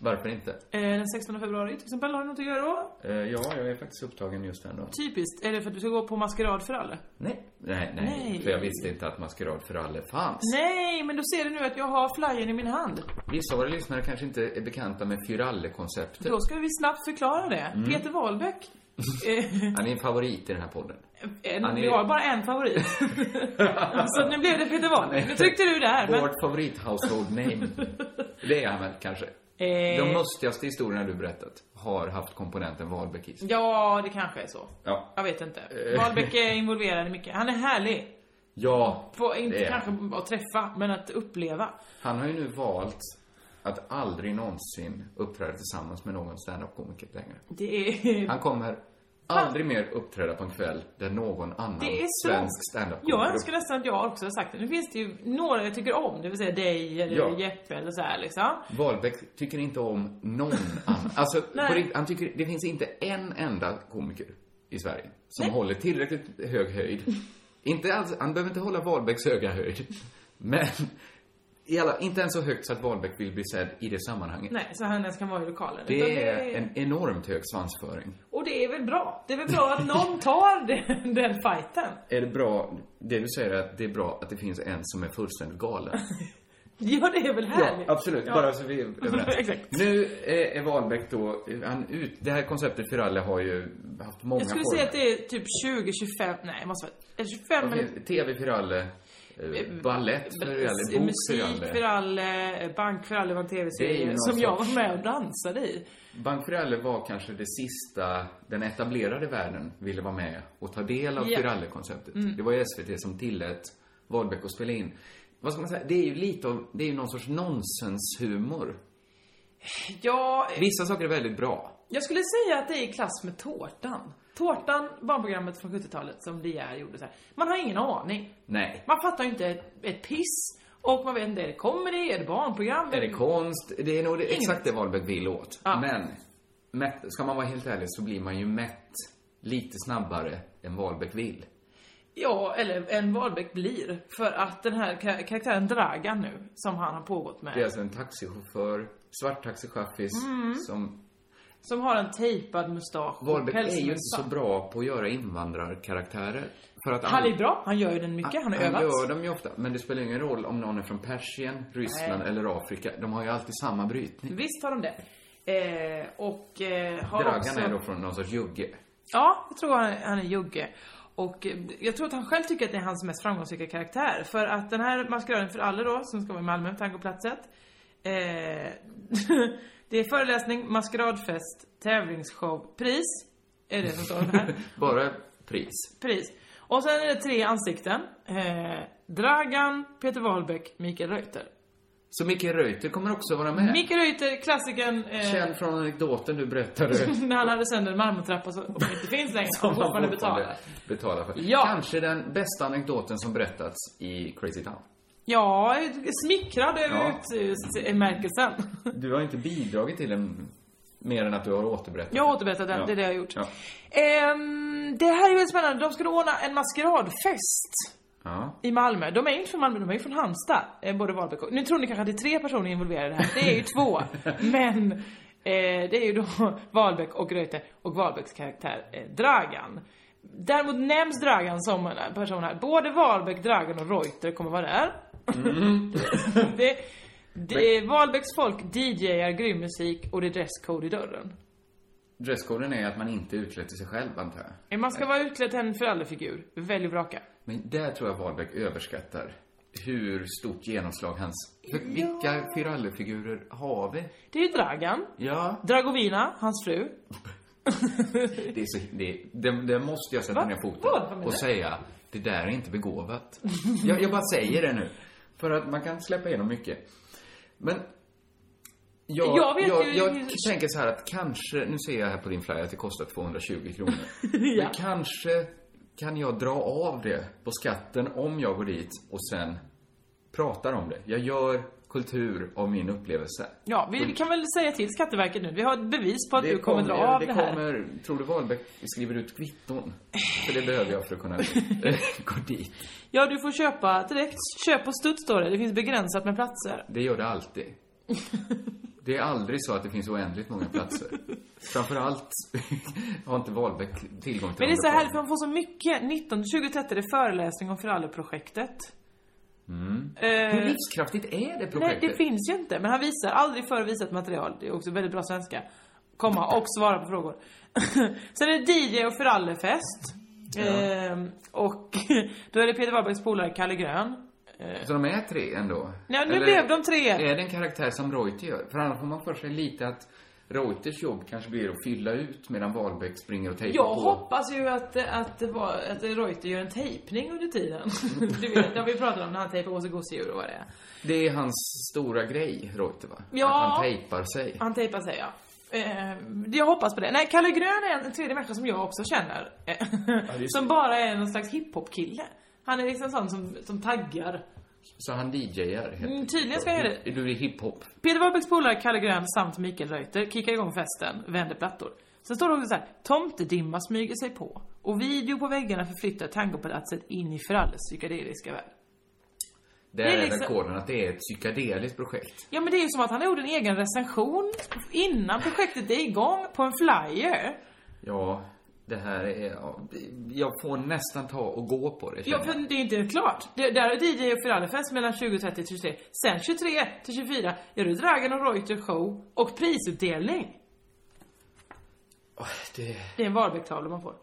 Speaker 8: Varför inte?
Speaker 9: Eh, Den 16 februari till exempel, har du något att göra då?
Speaker 8: Eh, ja, jag är faktiskt upptagen just den dagen.
Speaker 9: Typiskt. Är det för att du ska gå på maskerad för alla?
Speaker 8: Nej. Nej, nej.
Speaker 9: Nej.
Speaker 8: För jag visste inte att Maskerad för alla fanns.
Speaker 9: Nej, men då ser du nu att jag har flyern i min hand.
Speaker 8: Vissa av våra lyssnare kanske inte är bekanta med Fyralle-konceptet.
Speaker 9: Då ska vi snabbt förklara det.
Speaker 8: Mm.
Speaker 9: Peter Wahlbeck. eh,
Speaker 8: Han är en favorit i den här podden.
Speaker 9: en,
Speaker 8: Han är-
Speaker 9: Vi har bara en favorit. Så nu blev det Peter Wahlbeck. Nu tryckte du där. Men...
Speaker 8: Vårt favorit-household name. Det är han väl kanske.
Speaker 9: Eh.
Speaker 8: De mustigaste historierna du berättat har haft komponenten Wahlbeck i sig.
Speaker 9: Ja, det kanske är så.
Speaker 8: Ja.
Speaker 9: Jag vet inte.
Speaker 8: Eh.
Speaker 9: Wahlbeck är involverad i mycket. Han är härlig.
Speaker 8: Ja,
Speaker 9: På, inte
Speaker 8: det är han.
Speaker 9: kanske att träffa, men att uppleva.
Speaker 8: Han har ju nu valt att aldrig någonsin uppträda tillsammans med någon standup-komiker längre.
Speaker 9: Det är...
Speaker 8: Han kommer aldrig mer uppträda på en kväll där någon annan
Speaker 9: Det är så.
Speaker 8: svensk standup-komiker
Speaker 9: Jag önskar nästan att jag också hade sagt det. Nu finns det ju några jag tycker om, det vill säga dig eller
Speaker 8: Ja.
Speaker 9: Jeppe eller så här liksom.
Speaker 8: Wahlbeck tycker inte om någon annan. Alltså,
Speaker 9: Nej.
Speaker 8: på riktigt, han tycker, det finns inte en enda komiker i Sverige som håller tillräckligt hög höjd. inte alls, han behöver inte hålla Wahlbecks höga höjd. Men, i alla, inte ens så högt så att Wahlbeck vill bli sedd i det sammanhanget.
Speaker 9: Nej, så han ens kan vara i lokalen. Utan
Speaker 8: Det är en enormt hög svansföring.
Speaker 9: Och det är väl bra? Det är väl bra att någon tar den, den fighten?
Speaker 8: Är det bra, det du säger är att det är bra att det finns en som är fullständigt galen.
Speaker 9: Ja, det är väl härligt?
Speaker 8: absolut.
Speaker 9: Ja.
Speaker 8: Bara så vi är överens.
Speaker 9: Exakt.
Speaker 8: nu eh, är är Wahlbeck då, han ut, det här konceptet Firalle har ju haft många
Speaker 9: Jag skulle
Speaker 8: former.
Speaker 9: säga att det är typ 20, 25, nej, det måste vara... Eller 25
Speaker 8: Det
Speaker 9: eller...
Speaker 8: finns TV Piralle. Eh, Ballett för Ölle, bok för
Speaker 9: eh, Musik för
Speaker 8: Ölle.
Speaker 9: alla, eh, bank för alla var en
Speaker 8: Det är ju
Speaker 9: tv-serie
Speaker 8: någon
Speaker 9: som jag var
Speaker 8: sorts-
Speaker 9: med och dansade i.
Speaker 8: Bank för Ölle var kanske det sista den etablerade världen ville vara med och ta del av
Speaker 9: Ja. Mm.
Speaker 8: Piralle-konceptet. Det var ju SVT som tillät Wahlbeck att spela in. Vad ska man säga? Det är ju lite av, det är ju någon sorts nonsenshumor.
Speaker 9: Ja, eh,
Speaker 8: Vissa saker är väldigt bra.
Speaker 9: jag skulle säga att det är i klass med Tårtan. Tårtan, barnprogrammet från 70-talet som De Geer gjorde så här. Man har ingen aning.
Speaker 8: Nej.
Speaker 9: Man fattar ju inte ett, ett piss. Och man vet inte, är det comedy, är det barnprogram?
Speaker 8: Är det konst? Det är nog det,
Speaker 9: Inget.
Speaker 8: exakt det Wahlbeck vill åt. Men, mätt, ska man vara helt ärlig så blir man ju mätt lite snabbare än Wahlbeck vill.
Speaker 9: Ja, eller en Wahlbeck blir. För att den här ka- karaktären Dragan nu, som han har pågått med.
Speaker 8: Det är alltså en taxichaufför, svart taxichaffis,
Speaker 9: Mm.
Speaker 8: som...
Speaker 9: Som har en tejpad mustasch och
Speaker 8: Wahlbeck är ju
Speaker 9: pälsmössa.
Speaker 8: inte så bra på att göra invandrarkaraktärer. För att
Speaker 9: Han
Speaker 8: all-
Speaker 9: är bra, han gör ju den mycket, han har
Speaker 8: Han
Speaker 9: övat.
Speaker 8: gör dem ju ofta, men det spelar ingen roll om någon är från Persien, Ryssland
Speaker 9: Nej.
Speaker 8: eller Afrika. De har ju alltid samma brytning.
Speaker 9: Visst har de det. Eh, och eh, har
Speaker 8: Dragan
Speaker 9: också...
Speaker 8: är då från någon sorts jugge.
Speaker 9: Ja, jag tror han, han är jugge. Och eh, jag tror att han själv tycker att det är hans mest framgångsrika karaktär. För att den här maskeraden för alla då, som ska vara i Malmö, Tangoplatset. Eh, det är föreläsning, maskeradfest, tävlingsshow, pris. Är det som står här.
Speaker 8: Bara pris.
Speaker 9: pris. Och sen är det tre ansikten. Eh, Dragan, Peter Wahlbeck, Mikael Reuter.
Speaker 8: Så Micke Reuter kommer också vara med.
Speaker 9: Mikael Reuter, klassikern. Eh,
Speaker 8: Känd från anekdoten du berättade.
Speaker 9: när han hade sönder en marmortrappa som inte finns längre. Som han fortfarande betalar.
Speaker 8: betalar för.
Speaker 9: Ja.
Speaker 8: Kanske den bästa anekdoten som berättats i Crazy Town.
Speaker 9: Ja, jag är smickrad över
Speaker 8: Ja.
Speaker 9: utmärkelsen.
Speaker 8: Du har inte bidragit till den mer än att du har återberättat
Speaker 9: Jag har återberättat den,
Speaker 8: Ja.
Speaker 9: det är det jag har gjort.
Speaker 8: Ja.
Speaker 9: Ehm, det här är väldigt spännande. De skulle ordna en maskeradfest.
Speaker 8: ja.
Speaker 9: I Malmö. De är ju inte från Malmö, de är ju från Halmstad. Eh, både Wahlbeck och... Nu tror ni kanske att det är tre personer involverade här. Det är ju två. Men eh, det är ju då Wahlbeck och Reuter och Wahlbecks karaktär eh, Dragan. Däremot nämns Dragan som en person här. Både Wahlbeck, Dragan och Reuter kommer vara där. det, det, Wahlbecks folk DJar grym musik och det är dresscode i dörren.
Speaker 8: Dresskoden är att man inte utklädd till sig själv, antar jag.
Speaker 9: Eh, Man ska vara utklädd till en föräldrafigur. Välj och vraka.
Speaker 8: Men där tror jag Wahlbeck överskattar hur stort genomslag hans... För Vilka Firallo-figurer har vi?
Speaker 9: Det är ju Dragan.
Speaker 8: Ja,
Speaker 9: Dragovina, hans fru.
Speaker 8: det är så... Det, det, det måste jag sätta
Speaker 9: Va?
Speaker 8: ner
Speaker 9: Vad? Vad menar
Speaker 8: foten
Speaker 9: du?
Speaker 8: och säga, det där är inte begåvat. jag, jag bara säger det nu. För att man kan släppa igenom mycket. Men... Jag,
Speaker 9: Jag
Speaker 8: jag,
Speaker 9: vet
Speaker 8: jag,
Speaker 9: ju-
Speaker 8: tänker så här att kanske, nu ser jag här på din flyer att det kostar 220 kronor.
Speaker 9: Ja.
Speaker 8: Men kanske kan jag dra av det på skatten om jag går dit och sen pratar om det. Jag gör kultur av min upplevelse.
Speaker 9: Ja,
Speaker 8: Mm.
Speaker 9: vi, vi kan väl säga till Skatteverket nu. Vi har ett bevis på att du kommer, dra
Speaker 8: ja,
Speaker 9: av det, här.
Speaker 8: kommer, tror du Wahlbeck skriver ut kvitton? För det behöver jag för att kunna gå dit.
Speaker 9: Ja, du får köpa direkt. Köp på Studs står det. Det finns begränsat med platser.
Speaker 8: Det gör det alltid. Det är aldrig så att det finns oändligt många platser. Framförallt har inte Wahlbeck tillgång till
Speaker 9: Men det är så
Speaker 8: andra
Speaker 9: härligt för man får så mycket. 19, 20, 30 det är föreläsning om Föralleprojektet.
Speaker 8: platser. Hur livskraftigt är det
Speaker 9: eh, Nej,
Speaker 8: projektet?
Speaker 9: det finns ju inte. Men han visar aldrig förvisat material. Det är också väldigt bra svenska. Komma och svara på frågor. Sen är det DJ och Förallefest. Ehm, och då är det Peter Wahlbergs polare Kalle Grön.
Speaker 8: Så de är tre ändå?
Speaker 9: Ja, nu
Speaker 8: Eller
Speaker 9: blev de tre.
Speaker 8: Är det en karaktär som Reuter gör? För annars får man för sig lite att Reuters jobb kanske blir att fylla ut medan Wahlbeck springer och tejpar
Speaker 9: Jag
Speaker 8: på.
Speaker 9: hoppas ju att, att, det var, att Reuter gör en tejpning under tiden. Du vet, det har vi pratat om när han tejpar Åse Gosedjur och vad det är.
Speaker 8: Det är hans stora grej, Reuter, va?
Speaker 9: Ja.
Speaker 8: Att han tejpar sig.
Speaker 9: Han tejpar sig, ja. Eh, jag hoppas på det. Nej, Kalle Grön är en tredje människa som jag också känner. Eh, som bara är någon slags hiphop-kille. Han är liksom sån som, som taggar.
Speaker 8: Så han DJar. helt
Speaker 9: Mm,
Speaker 8: enkelt.
Speaker 9: tydligen ska jag göra
Speaker 8: Du blir hiphop.
Speaker 9: Peter Wahlbecks polare Kalle Grön samt Mikael Reuter kickar igång festen, vänder plattor. Sen står det också så här, tomtedimma smyger sig på och video på väggarna förflyttar tangopalatset in i Fralles psykedeliska värld.
Speaker 8: Där
Speaker 9: Det är
Speaker 8: är,
Speaker 9: liksom-
Speaker 8: väl koden att det är ett psykedeliskt projekt.
Speaker 9: Ja men det är ju som att han gjorde en egen recension innan projektet är igång på en flyer.
Speaker 8: Ja, det här är... ja, Jag får nästan ta och gå på det.
Speaker 9: Ja
Speaker 8: känner
Speaker 9: för
Speaker 8: jag.
Speaker 9: det är inte klart. Det, där är DJ och Frallefest mellan 20.30 till 23. Sen 23 till 24 gör du Dragan och Reuter show och prisutdelning.
Speaker 8: Åh, det...
Speaker 9: Det är en Wahlbeck-tavla man får.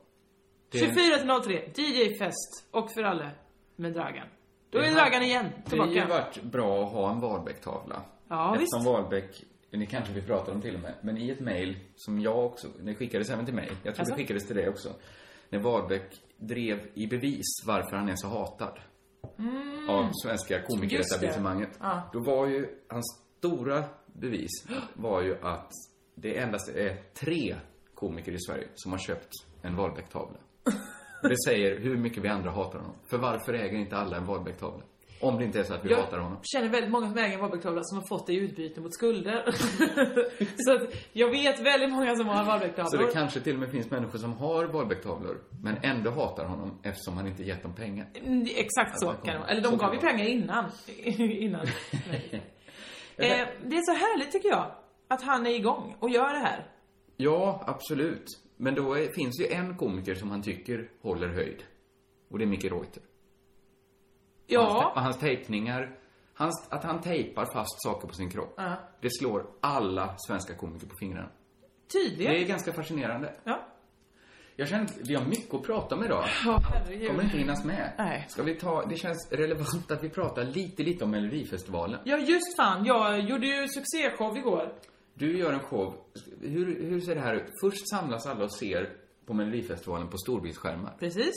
Speaker 8: Det-
Speaker 9: 24 till 03, DJ-fest och för alla med Dragan. Då är raggan igen
Speaker 8: Det har ju
Speaker 9: tillbaka.
Speaker 8: varit bra att ha en Wahlbeck-tavla.
Speaker 9: Ja,
Speaker 8: Eftersom Wahlbeck, ni kanske vi pratar om till och med, men i ett mejl som jag också, det skickades även till mig, jag tror
Speaker 9: Alltså?
Speaker 8: det skickades till dig också, när Wahlbeck drev i bevis varför han är så hatad av svenska komikeretablissemanget.
Speaker 9: Mm. Just det. Ja.
Speaker 8: Då var ju, hans stora bevis var ju att det endast är tre komiker i Sverige som har köpt en Wahlbeck-tavla. Och Det säger hur mycket vi andra hatar honom. För varför äger inte alla en Wahlbeck-tavla? Om det inte är så att vi hatar honom.
Speaker 9: känner väldigt många som äger en Wahlbeck-tavla som har fått det i utbyte mot skulder. så att jag vet väldigt många som har
Speaker 8: Så det
Speaker 9: Wahlbeck-tavlor.
Speaker 8: kanske till och med finns människor som har Wahlbeck-tavlor, men ändå hatar honom eftersom han inte gett dem pengar.
Speaker 9: Mm, Exakt så
Speaker 8: det kommer-
Speaker 9: kan det vara. Eller de
Speaker 8: så kan
Speaker 9: gav ju
Speaker 8: det vara.
Speaker 9: pengar innan. innan. eh, det är så härligt tycker jag. Att han är igång och gör det här.
Speaker 8: Ja, absolut. Men då är, finns ju en komiker som han tycker håller höjd. Och det är Micke Reuter.
Speaker 9: Ja.
Speaker 8: Hans, hans tejpningar, hans, att han tejpar fast saker på sin kropp. Det slår alla svenska komiker på fingrarna.
Speaker 9: Tydligen.
Speaker 8: Det är ganska fascinerande.
Speaker 9: Ja.
Speaker 8: Jag känner att vi har mycket att prata om idag.
Speaker 9: Ja, herregud.
Speaker 8: Kommer inte hinnas med.
Speaker 9: Nej.
Speaker 8: Ska vi ta, det känns relevant att vi pratar lite, lite om Melodifestivalen.
Speaker 9: Ja just fan, jag gjorde ju succéshow igår.
Speaker 8: Du gör en show. Hur, hur ser det här ut? Först samlas alla och ser på Melodifestivalen på storbildsskärmar.
Speaker 9: Precis.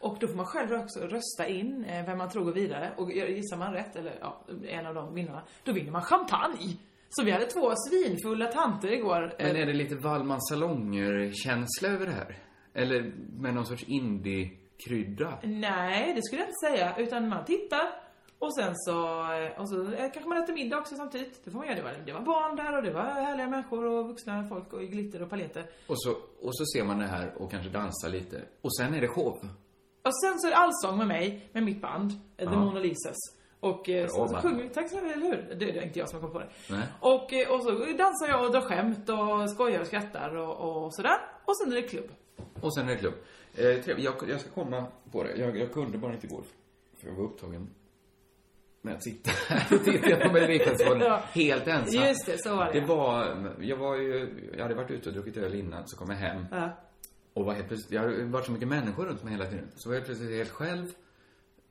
Speaker 9: Och då får man själv också rösta in eh, vem man tror går vidare. Och gissar man rätt, eller ja, en av de vinnarna, då vinner man champagne. Så vi hade två svinfulla tanter igår.
Speaker 8: Men
Speaker 9: Eh,
Speaker 8: är det lite Wallmans salonger-känsla över det här? Eller med någon sorts indie-krydda?
Speaker 9: Eh. Nej, det skulle jag inte säga. Utan man tittar och sen så, eh, och så eh, kanske man äter middag också samtidigt. Det får man göra. Det var, det var barn där och det var härliga människor och vuxna folk och glitter och paljetter.
Speaker 8: Och så, och så ser man det här och kanske dansar lite. Och sen är det show.
Speaker 9: Och sen så är det allsång med mig, med mitt band, eh, The
Speaker 8: Ja.
Speaker 9: Mona Lisas. Och eh, så,
Speaker 8: Bra
Speaker 9: så
Speaker 8: band.
Speaker 9: sjunger vi, tack så mycket, eller hur? Det det är inte jag som har kommit på det.
Speaker 8: Nej.
Speaker 9: Och, eh, och så dansar jag och drar skämt och skojar och skrattar och, och sådär. Och sen är det klubb.
Speaker 8: Och sen är det klubb. Eh, trevligt. jag, jag ska komma på det. Jag, jag kunde bara inte igår. För jag var upptagen med att sitta här och titta på Melodifestivalen
Speaker 9: Ja.
Speaker 8: helt ensam.
Speaker 9: Just det, så var det.
Speaker 8: Det var, jag var ju, jag hade varit ute och druckit öl innan, så kom jag hem.
Speaker 9: Ja.
Speaker 8: Och var helt plötsligt, jag hade varit så mycket människor runt mig hela tiden. Så var jag plötsligt helt själv.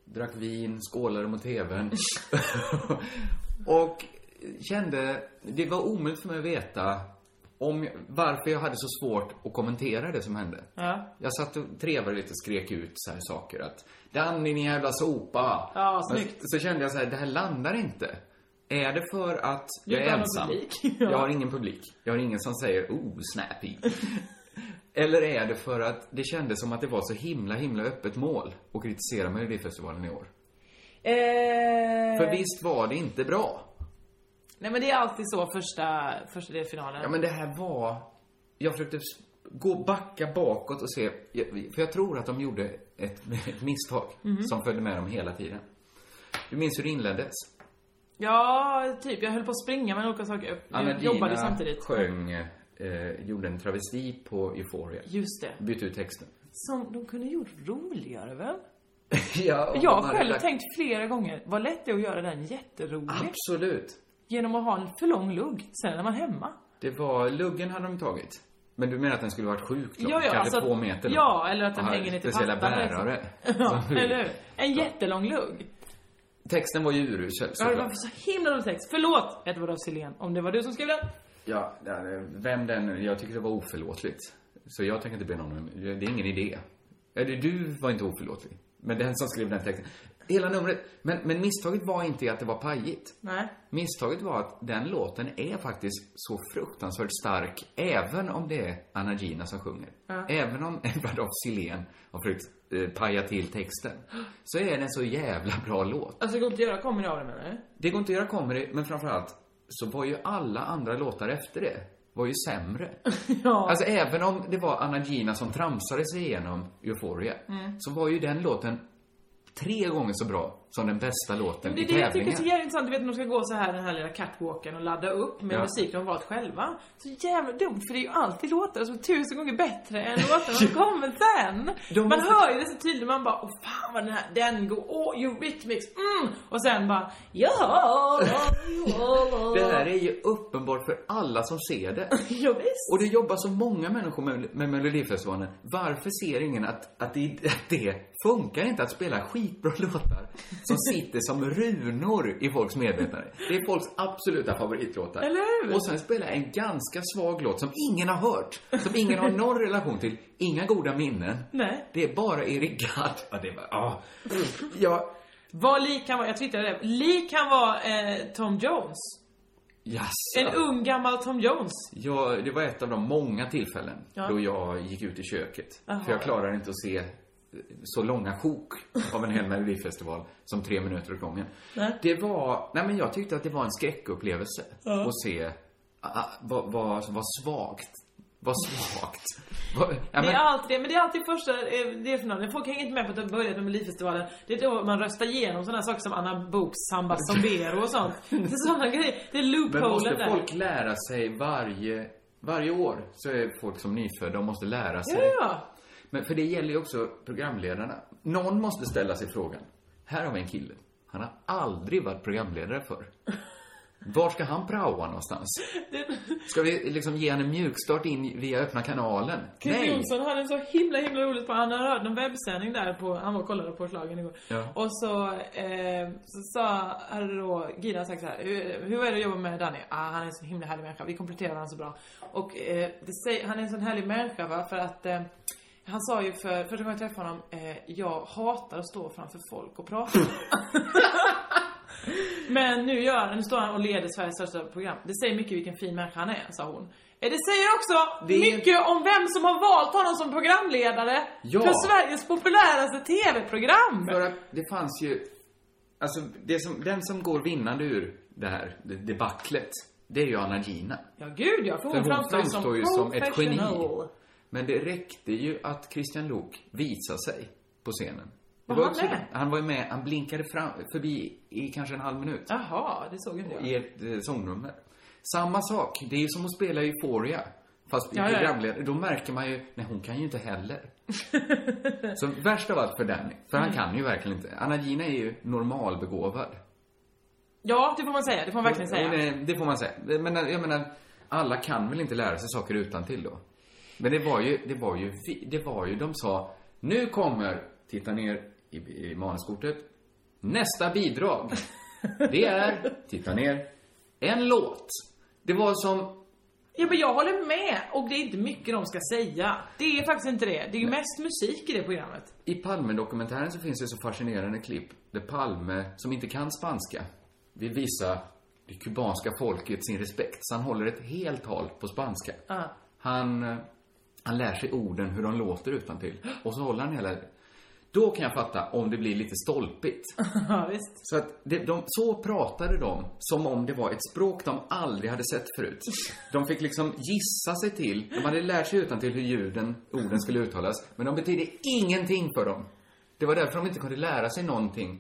Speaker 8: Drack vin, skålade mot tvn. och kände, det var omöjligt för mig att veta om, jag- varför jag hade så svårt att kommentera det som hände.
Speaker 9: Ja.
Speaker 8: Jag satt och trevade lite och skrek ut så här saker att Danny din jävla sopa.
Speaker 9: Ja,
Speaker 8: Men
Speaker 9: snyggt.
Speaker 8: Så kände jag så här, det här landar inte. Är det för att jag
Speaker 9: Du
Speaker 8: är
Speaker 9: har någon
Speaker 8: ensam?
Speaker 9: publik. Ja.
Speaker 8: Jag har ingen publik. Jag har ingen som säger oh, snappy. Eller är det för att det kändes som att det var så himla, himla öppet mål att kritisera Melodifestivalen i år?
Speaker 9: Eh,
Speaker 8: För visst var det inte bra?
Speaker 9: Nej men det är alltid så första, första delfinalen.
Speaker 8: Ja, men det här var... Jag försökte s- gå backa bakåt och se... jag- För jag tror att de gjorde ett, ett misstag
Speaker 9: Mhm.
Speaker 8: som följde med dem hela tiden. Du minns hur det inleddes?
Speaker 9: ja, typ. Jag höll på att springa med olika saker. Jag jobbade ju samtidigt.
Speaker 8: sjöng, eh, gjorde en travesti på Euphoria.
Speaker 9: Just det.
Speaker 8: Bytte ut texten.
Speaker 9: Som de kunde gjort roligare väl?
Speaker 8: ja, och
Speaker 9: Jag
Speaker 8: de
Speaker 9: har
Speaker 8: hade
Speaker 9: själv
Speaker 8: lagt-
Speaker 9: tänkt flera gånger, vad lätt det är att göra den jätterolig.
Speaker 8: Absolut.
Speaker 9: Genom att ha en för lång lugg, sen är man hemma.
Speaker 8: Det var... Luggen hade de tagit. Men du menar att den skulle varit sjukt lång?
Speaker 9: Ja, ja,
Speaker 8: kanske
Speaker 9: alltså-
Speaker 8: två meter
Speaker 9: Ja, eller att den
Speaker 8: Och hade
Speaker 9: hänger ner till
Speaker 8: Speciella
Speaker 9: pattan, liksom.
Speaker 8: bärare.
Speaker 9: Ja,
Speaker 8: Som-
Speaker 9: eller hur? En jättelång lugg.
Speaker 8: Texten var ju urusel
Speaker 9: Ja, det var
Speaker 8: såklart.
Speaker 9: så himla rolig text. Förlåt Edward af Sillén, om det var du som skrev den.
Speaker 8: Ja, ja, vem den... Jag tycker det var oförlåtligt. Så jag tänker inte be någon om... Det är ingen idé. Eller du var inte oförlåtlig. Men den som skrev den texten. Hela numret. Men, men misstaget var inte att det var pajigt.
Speaker 9: Nej.
Speaker 8: Misstaget var att den låten är faktiskt så fruktansvärt stark, även om det är Anna Gina som sjunger. Även om Edward af Sillén har försökt eh, paja till texten, så är den så jävla bra låt.
Speaker 9: Alltså det går inte att göra comedy av det menar du?
Speaker 8: Det går inte att göra comedy, men framförallt så var ju alla andra låtar efter det var ju sämre.
Speaker 9: Ja.
Speaker 8: Alltså även om det var Anna Gina som tramsade sig igenom Euphoria,
Speaker 9: Mm.
Speaker 8: så var ju den låten tre gånger så bra som den bästa låten
Speaker 9: Det
Speaker 8: i
Speaker 9: är det jag tycker är så
Speaker 8: tävlingen.
Speaker 9: jävla intressant. Du vet när de ska gå så här den här lilla catwalken och ladda upp med
Speaker 8: Ja.
Speaker 9: musik de valt själva. Så jävla dumt för det är ju alltid låtar som är tusen gånger bättre än låtarna som kommer sen.
Speaker 8: De
Speaker 9: man
Speaker 8: måste-
Speaker 9: hör ju det så tydligt. Man bara åh fan vad den här, den går, åh Eurythmics, mm! Och sen bara ja,
Speaker 8: Det här är ju uppenbart för alla som ser det.
Speaker 9: ja visst.
Speaker 8: Och det jobbar så många människor med, med Melodifestivalen. Varför ser ingen att, att, det, att det funkar inte att spela skitbra låtar som sitter som runor i folks medvetande. Det är folks absoluta favoritlåtar.
Speaker 9: Eller hur?
Speaker 8: Och sen spela en ganska svag låt som ingen har hört, som ingen har någon relation till, inga goda minnen.
Speaker 9: Nej.
Speaker 8: Det är bara Erik Gadd. Ja, det var, ah. Ja,
Speaker 9: Vad Lee kan vara, jag twittrade det. Lee kan vara eh, Tom Jones.
Speaker 8: jaså.
Speaker 9: En ung gammal Tom Jones.
Speaker 8: Ja, det var ett av de många tillfällen
Speaker 9: Ja.
Speaker 8: då jag gick ut i köket.
Speaker 9: Jaha.
Speaker 8: För jag klarar inte att se eh, så långa sjok av en hel melodifestival som tre minuter åt gången.
Speaker 9: Nej.
Speaker 8: Det var, nej men jag tyckte att det var en skräckupplevelse
Speaker 9: Ja.
Speaker 8: att se ah, ah, vad, vad, vad svagt, vad svagt. Vad, ja,
Speaker 9: Det är
Speaker 8: men,
Speaker 9: alltid det, men det är alltid första, eh, det är för någon. Folk hänger inte med på att det har börjat med Melodifestivalen. Det är då man röstar igenom sådana saker som Anna Books Samba Sombero och sånt. Det är sådana grejer. Det är
Speaker 8: men
Speaker 9: loopholen
Speaker 8: måste
Speaker 9: där.
Speaker 8: folk lära sig varje, varje år så är folk som nyfödda och måste lära sig.
Speaker 9: Ja, ja.
Speaker 8: Men för det gäller ju också programledarna. Någon måste ställa sig frågan. Här har vi en kille. Han har aldrig varit programledare för. Var ska han praoa någonstans?
Speaker 9: Det-
Speaker 8: Ska vi liksom ge han en mjukstart in via öppna kanalen?
Speaker 9: Christer
Speaker 8: Nej!
Speaker 9: Jonsson hade en så himla himla roligt på Han hade hört någon webbsändning där på, han var och kollade på slagen igår.
Speaker 8: Ja.
Speaker 9: Och så, eh, så sa, hade då Gina sagt så här, hur, hur är det att jobba med Danny? Ah, han är en så himla härlig människa, vi kompletterar varandra så bra. Och eh, det säger, han är en sån härlig människa va, för att eh, han sa ju för första gången jag träffade honom, eh, jag hatar att stå framför folk och prata. Men nu gör han, nu står han och leder Sveriges största program. Det säger mycket vilken fin människa han är, sa hon. Eh, Det säger också
Speaker 8: Det är ju-
Speaker 9: mycket om vem som har valt honom som programledare
Speaker 8: Ja.
Speaker 9: för Sveriges populäraste TV-program.
Speaker 8: För att det fanns ju... Alltså, det som, den som går vinnande ur det här det- debaclet, det är ju Anna Gina.
Speaker 9: Ja, gud ja, för
Speaker 8: För
Speaker 9: hon,
Speaker 8: hon framstår ju som ett geni.
Speaker 9: professional.
Speaker 8: Men det räckte ju att Christian Lok visade sig på scenen. Det
Speaker 9: Var han
Speaker 8: också-
Speaker 9: med?
Speaker 8: Han var ju med, han blinkade fram, förbi i kanske en halv minut.
Speaker 9: Jaha, det såg inte jag.
Speaker 8: I ett eh, sångnummer. Samma sak, det är ju som att spela Euphoria. Fast i
Speaker 9: Ja, ja, ja.
Speaker 8: programledare, då märker man ju, nej hon kan ju inte heller. Så värst av allt för Danny, för
Speaker 9: Mm.
Speaker 8: han kan ju verkligen inte. Anna Gina är ju normalbegåvad.
Speaker 9: Ja, det får man säga, det får man verkligen
Speaker 8: Och- och
Speaker 9: säga.
Speaker 8: Det, det får man säga. Men eh, jag menar, alla kan väl inte lära sig saker utan till då? Men det var ju, det var ju, vi- det var ju, de sa, nu kommer, titta ner i, i manuskortet, nästa bidrag. Det är, titta ner, en låt. Det var som,
Speaker 9: Ja, men jag håller med. Och det är inte mycket de ska säga. Det är faktiskt inte det. Det är ju mest musik i det programmet.
Speaker 8: i Palme-dokumentären så finns det så fascinerande klipp där Palme, som inte kan spanska, vill visa det kubanska folket sin respekt. Så han håller ett helt tal på spanska.
Speaker 9: Ja.
Speaker 8: Han, eh, han lär sig orden, hur de låter utan till. Och så håller han hela... Då kan jag fatta om det blir lite stolpigt.
Speaker 9: Ja, visst.
Speaker 8: Så att det, de, så pratade de som om det var ett språk de aldrig hade sett förut. De fick liksom gissa sig till, de hade lärt sig utan till hur ljuden, orden skulle uttalas, men de betydde ingenting för dem. Det var därför de inte kunde lära sig någonting,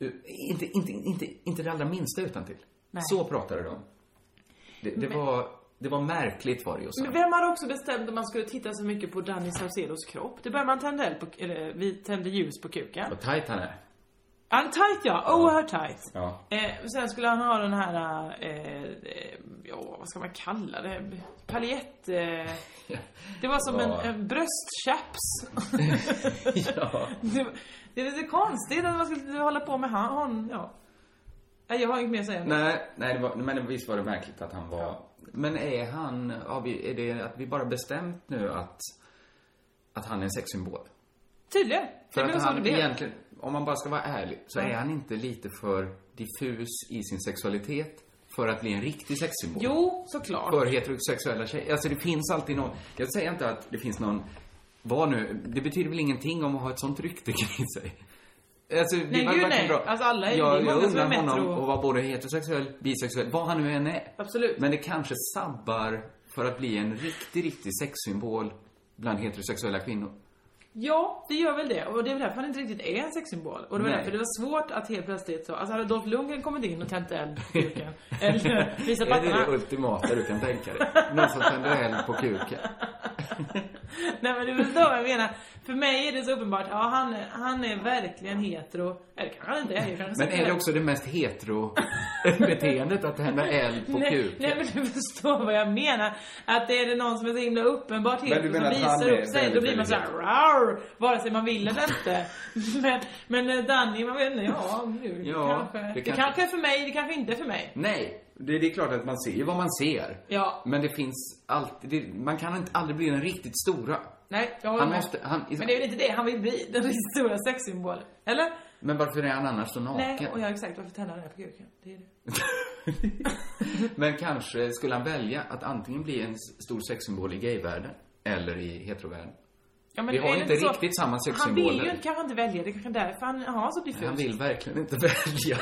Speaker 8: eh, inte, inte, inte, inte det allra minsta utan till.
Speaker 9: Nej.
Speaker 8: Så pratade de. Det, det, var, det var märkligt var det just.
Speaker 9: Men vem hade också bestämt att man skulle titta så mycket på Danny Saucedos kropp? Det började man tända eld på, eller vi tände ljus på kuken.
Speaker 8: Vad tajt han är.
Speaker 9: Han är tight ja, oerhört tight.
Speaker 8: Ja.
Speaker 9: Eh, sen skulle han ha den här, eh, eh, ja vad ska man kalla det? Paljett... Eh, det var som
Speaker 8: Ja.
Speaker 9: en, en bröstchaps.
Speaker 8: ja.
Speaker 9: det, var- det är lite konstigt att man skulle hålla på med han, hon, ja. Nej, Jag har inget mer att säga.
Speaker 8: Nej, nej det var, men visst var det märkligt att han var... Men är han, har vi, är det att vi bara bestämt nu att, att han är en sexsymbol?
Speaker 9: Tydligen.
Speaker 8: För
Speaker 9: Det blev
Speaker 8: att
Speaker 9: så det
Speaker 8: han
Speaker 9: blev.
Speaker 8: egentligen, om man bara ska vara ärlig, så är han inte lite för diffus i sin sexualitet för att bli en riktig sexsymbol?
Speaker 9: Jo, såklart.
Speaker 8: För heterosexuella tjejer. Alltså det finns alltid någon, jag säger inte att det finns någon, vad nu, det betyder väl ingenting om att ha ett sånt rykte kring sig? Alltså, det
Speaker 9: Nej,
Speaker 8: var
Speaker 9: gud,
Speaker 8: verkligen
Speaker 9: nej. Alltså, alla är- det är
Speaker 8: jag,
Speaker 9: många
Speaker 8: jag
Speaker 9: som är
Speaker 8: undrar honom
Speaker 9: metro.
Speaker 8: att vara både heterosexuell, bisexuell, vad han nu än är.
Speaker 9: Absolut.
Speaker 8: Men det kanske sabbar för att bli en riktig, riktig sexsymbol bland heterosexuella kvinnor.
Speaker 9: Ja, det gör väl det. Och det är väl därför han inte riktigt är en sexsymbol. Och det var
Speaker 8: Nej.
Speaker 9: därför det var svårt att helt plötsligt så... Alltså hade Dolph Lundgren kommit in och tänt eld på kuken, eller visat
Speaker 8: Är det
Speaker 9: pattarna.
Speaker 8: det ultimata du kan tänka dig? Någon som tänder eld på kuken.
Speaker 9: Nej men du förstår vad jag menar. För mig är det så uppenbart, ja han, han är verkligen hetero. Eller kanske han inte är. jag kanske
Speaker 8: Men är det också det mest hetero-beteendet att tända eld på
Speaker 9: nej,
Speaker 8: kuken?
Speaker 9: nej men du förstår vad jag menar. Att är det någon som är så himla uppenbart
Speaker 8: Men du
Speaker 9: hetero som
Speaker 8: menar att han
Speaker 9: visar
Speaker 8: är
Speaker 9: upp sig, då
Speaker 8: väldigt,
Speaker 9: blir man
Speaker 8: väldigt
Speaker 9: såhär
Speaker 8: hetero?
Speaker 9: rar Vare sig man vill eller inte. men, men eh, Danny, man vet inte, ja nu
Speaker 8: Ja,
Speaker 9: kanske.
Speaker 8: det
Speaker 9: Det,
Speaker 8: kanske-
Speaker 9: kanske är för mig, det kanske inte är för mig.
Speaker 8: Nej, det, det är klart att man ser ju vad man ser.
Speaker 9: Ja.
Speaker 8: Men det finns alltid, det, man kan inte, aldrig bli den riktigt stora.
Speaker 9: Nej, jag håller
Speaker 8: Han
Speaker 9: med.
Speaker 8: måste, han,
Speaker 9: Men det är väl inte det han vill bli, den stora sexsymbolen. Eller?
Speaker 8: men varför är han annars så naken?
Speaker 9: Nej, och jag exakt varför tänder han det på kuken? Det är det.
Speaker 8: Men kanske skulle han välja att antingen bli en s- stor sexsymbol i gayvärlden eller i heterovärlden.
Speaker 9: Ja,
Speaker 8: Vi har
Speaker 9: är det
Speaker 8: inte
Speaker 9: så-
Speaker 8: riktigt samma
Speaker 9: Han vill ju
Speaker 8: sexsymboler.
Speaker 9: inte- kanske inte välja, det är kanske är därför han har så diffust.
Speaker 8: Han vill verkligen inte välja.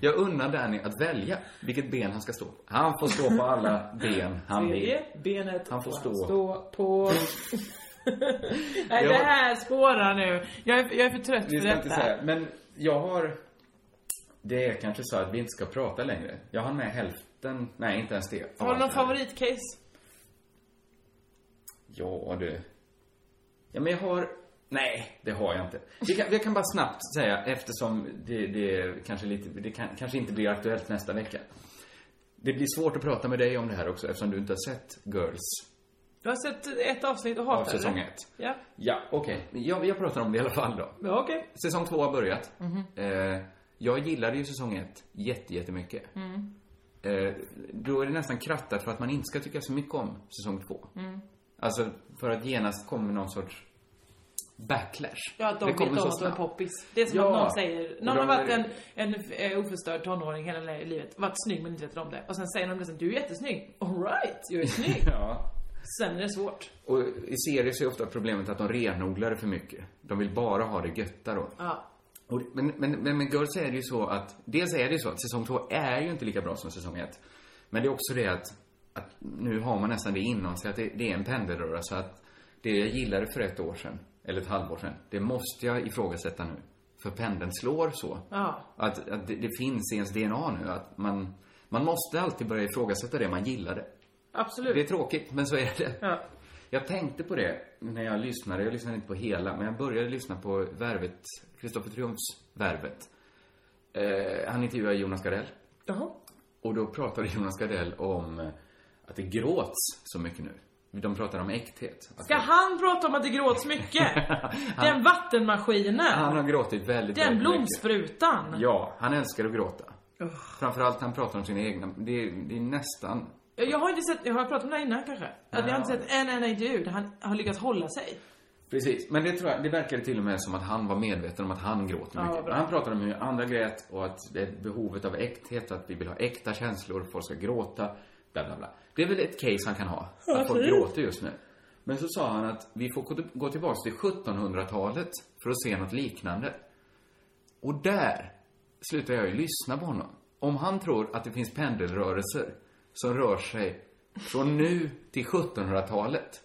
Speaker 8: Jag unnar Danny att välja vilket ben han ska stå på. Han får stå på alla ben han vill.
Speaker 9: Tredje benet
Speaker 8: Han får stå.
Speaker 9: på... Nej, det här spårar nu. Jag är, jag är för trött
Speaker 8: Vi
Speaker 9: för
Speaker 8: ska
Speaker 9: detta.
Speaker 8: inte säga, men jag har... Det är kanske så att vi inte ska prata längre. Jag har med hälften, nej inte ens det.
Speaker 9: Har du någon favoritcase?
Speaker 8: Ja, du. Ja, men jag har... Nej, det har jag inte. Jag kan, jag kan bara snabbt säga, eftersom det, det, kanske, lite, det kan, kanske inte blir aktuellt nästa vecka. Det blir svårt att prata med dig om det här också, eftersom du inte har sett Girls
Speaker 9: Jag har sett ett avsnitt och
Speaker 8: av
Speaker 9: hatar
Speaker 8: säsong
Speaker 9: det.
Speaker 8: ett.
Speaker 9: Ja,
Speaker 8: Ja, okej. Jag, jag pratar om det i alla fall då.
Speaker 9: ja okej.
Speaker 8: Säsong två har börjat.
Speaker 9: Mhm.
Speaker 8: Eh, jag gillade ju säsong ett jätte, jättemycket.
Speaker 9: Mm.
Speaker 8: Eh, då är det nästan krattat för att man inte ska tycka så mycket om säsong två.
Speaker 9: Mm.
Speaker 8: Alltså, för att genast kommer någon sorts backlash.
Speaker 9: Ja, att de vet om att de är poppis. Det är som
Speaker 8: Ja.
Speaker 9: att någon säger,
Speaker 8: Och
Speaker 9: någon
Speaker 8: de
Speaker 9: har varit
Speaker 8: är-
Speaker 9: en, en eh, oförstörd tonåring hela le- livet, varit snygg men inte vetat om det. Och sen säger de liksom, du är jättesnygg. Alright, jag är snygg.
Speaker 8: Ja.
Speaker 9: Sen är det svårt.
Speaker 8: Och i serier så är ofta problemet att de renodlar det för mycket. De vill bara ha det götta då.
Speaker 9: Ja.
Speaker 8: Och, men, men, men med Girls är det ju så att, dels är det ju så att säsong två är ju inte lika bra som säsong ett. Men det är också det att, att nu har man nästan det inom sig, att det, det är en pendelröra. Så att det jag gillade för ett år sedan, eller ett halvår sedan, det måste jag ifrågasätta nu. För pendeln slår så.
Speaker 9: Ja.
Speaker 8: Att, att det, det finns i ens DNA nu, att man, man måste alltid börja ifrågasätta det man gillade.
Speaker 9: Absolut.
Speaker 8: Det är tråkigt, men så är det.
Speaker 9: Ja.
Speaker 8: Jag tänkte på det när jag lyssnade. Jag lyssnade inte på hela, men jag började lyssna på Värvet, Kristoffer Triumfs Värvet. Eh, han intervjuade Jonas Gardell.
Speaker 9: Jaha.
Speaker 8: Och då pratade Jonas Gardell om eh, att det gråts så mycket nu. De pratar om äkthet. Att
Speaker 9: Ska han prata om att det gråts mycket? Den
Speaker 8: Han
Speaker 9: vattenmaskinen.
Speaker 8: har gråtit väldigt,
Speaker 9: Den
Speaker 8: väldigt mycket.
Speaker 9: blomsprutan.
Speaker 8: Ja, han älskar att gråta. Framförallt han pratar om sina egna. Det är, det är nästan...
Speaker 9: Jag jag har inte sett, jag har pratat om det här innan kanske. Att jag har inte sett en enda intervju där han har lyckats hålla sig.
Speaker 8: Precis, men det tror jag, det verkade till och med som att han var medveten om att han gråter
Speaker 9: Ja,
Speaker 8: mycket.
Speaker 9: bra.
Speaker 8: han pratade om hur andra grät och att det är behovet av äkthet, att vi vill ha äkta känslor, folk ska gråta, bla bla bla. Det är väl ett case han kan ha, att folk gråter just nu. Men så sa han att vi får gå- gå tillbaks till 1700-talet för att se något liknande. Och där slutar jag ju lyssna på honom. Om han tror att det finns pendelrörelser som rör sig från nu till 1700-talet.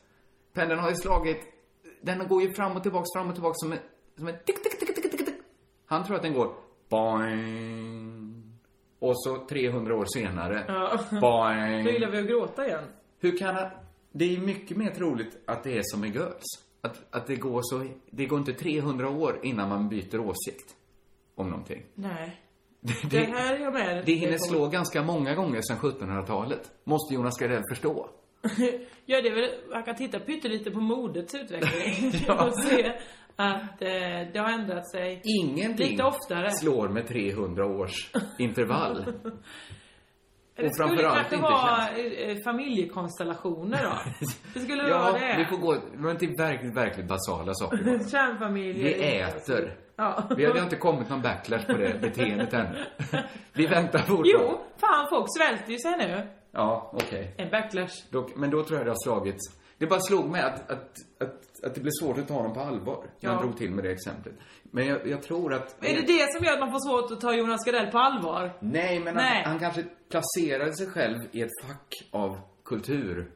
Speaker 8: Pendeln har ju slagit, den går ju fram och tillbaks, fram och tillbaks som en, som en tick, tick, tick, tick, tick, tick. Han tror att den går boing. Och så 300 år senare,
Speaker 9: Ja. Nu
Speaker 8: boing.
Speaker 9: gillar vi att gråta igen.
Speaker 8: Hur kan han... Det är mycket mer troligt att det är som med Girls. Att, att det går så... Det går inte 300 år innan man byter åsikt om någonting.
Speaker 9: Nej.
Speaker 8: Det,
Speaker 9: Det här är jag med.
Speaker 8: det hinner slå ganska många gånger sedan 1700-talet. Måste Jonas Gardell förstå.
Speaker 9: Ja, det är väl, man kan titta pyttelite på modets utveckling. Och se att eh, det har ändrat sig.
Speaker 8: Ingenting
Speaker 9: Lite oftare.
Speaker 8: slår med 300 års intervall.
Speaker 9: Det
Speaker 8: och
Speaker 9: skulle
Speaker 8: framförallt
Speaker 9: kanske
Speaker 8: inte
Speaker 9: vara eh, familjekonstellationer då. Det skulle vara
Speaker 8: Ja,
Speaker 9: det.
Speaker 8: vi får gå men till verkligt, verkligt basala saker bara.
Speaker 9: Kärnfamiljer.
Speaker 8: Vi äter.
Speaker 9: Ja.
Speaker 8: Vi har, det har inte kommit någon backlash på det beteendet ännu. Vi väntar fortfarande.
Speaker 9: Jo, fan folk svälter ju sig nu.
Speaker 8: Ja, okej.
Speaker 9: En backlash.
Speaker 8: Då, men då tror jag det har slagits. Det bara slog mig att, att, att, att det blev svårt att ta honom på allvar. När han
Speaker 9: Ja.
Speaker 8: drog till med det exemplet. Men jag, jag tror att...
Speaker 9: Är det det som gör att man får svårt att ta Jonas Gardell på allvar?
Speaker 8: Nej, men
Speaker 9: Nej.
Speaker 8: Han, han kanske placerade sig själv i ett fack av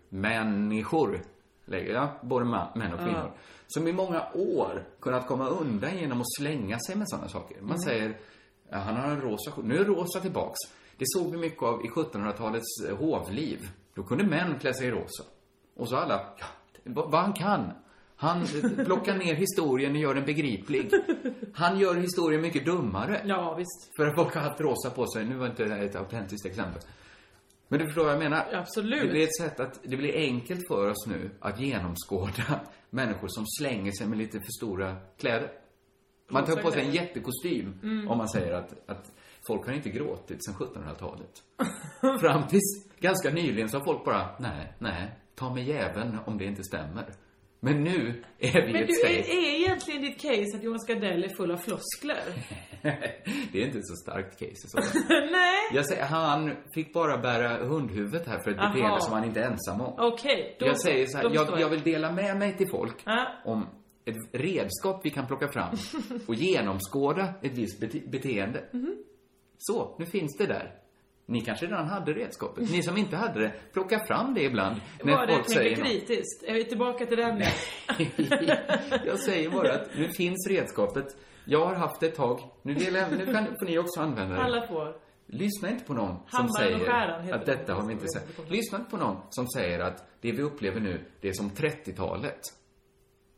Speaker 8: kulturmänniskor. Lägger jag, både ma- män och kvinnor. Som i många år kunnat komma undan genom att slänga sig med sådana saker. Man säger, "Ja, han har en rosa skjorta. Nu är rosa tillbaks. Det såg vi mycket av i 1700-talets eh, hovliv. Då kunde män klä sig i rosa. Och så alla, ja, vad vad han kan. Han eh, plockar ner historien och gör den begriplig. Han gör historien mycket dummare.
Speaker 9: Ja, visst.
Speaker 8: För att folk har haft rosa på sig. Nu var inte det här ett autentiskt exempel. Men du förstår vad jag menar?
Speaker 9: Absolut.
Speaker 8: Det blir ett sätt att, det blir enkelt för oss nu att genomskåda människor som slänger sig med lite för stora kläder. Man tar på sig en jättekostym
Speaker 9: Mm.
Speaker 8: om man säger att, att folk har inte gråtit sedan 1700-talet. Fram tills ganska nyligen så har folk bara, nej, nej, ta med jäveln om det inte stämmer. Men nu är vi
Speaker 9: Men
Speaker 8: ett
Speaker 9: du,
Speaker 8: steg.
Speaker 9: är, är egentligen ditt case att Johan Gardell är full av floskler?
Speaker 8: det är inte så starkt case i så fall.
Speaker 9: Nej.
Speaker 8: Jag säger, han fick bara bära hundhuvudet här för ett
Speaker 9: Aha.
Speaker 8: beteende som han inte är ensam om.
Speaker 9: Okej, då
Speaker 8: jag
Speaker 9: så.
Speaker 8: säger så här,
Speaker 9: Då
Speaker 8: jag,
Speaker 9: förstår
Speaker 8: jag vill dela med mig till folk
Speaker 9: Ja.
Speaker 8: om ett redskap vi kan plocka fram och genomskåda ett visst bete- beteende.
Speaker 9: Mhm.
Speaker 8: Så, nu finns det där. Ni kanske redan hade redskapet. Ni som inte hade det, plocka fram det ibland när
Speaker 9: Var det
Speaker 8: folk säger
Speaker 9: tänker
Speaker 8: något.
Speaker 9: kritiskt? Är vi tillbaka till den nu?
Speaker 8: Jag säger bara att nu finns redskapet. Jag har haft det ett tag. Nu, delar, jag- nu kan, får ni också använda det.
Speaker 9: Alla får.
Speaker 8: Lyssna inte på någon som
Speaker 9: Hammaren och skäran
Speaker 8: säger
Speaker 9: heter
Speaker 8: att
Speaker 9: det.
Speaker 8: detta har vi inte sett. Lyssna inte på någon som säger att det vi upplever nu, det är som 30-talet.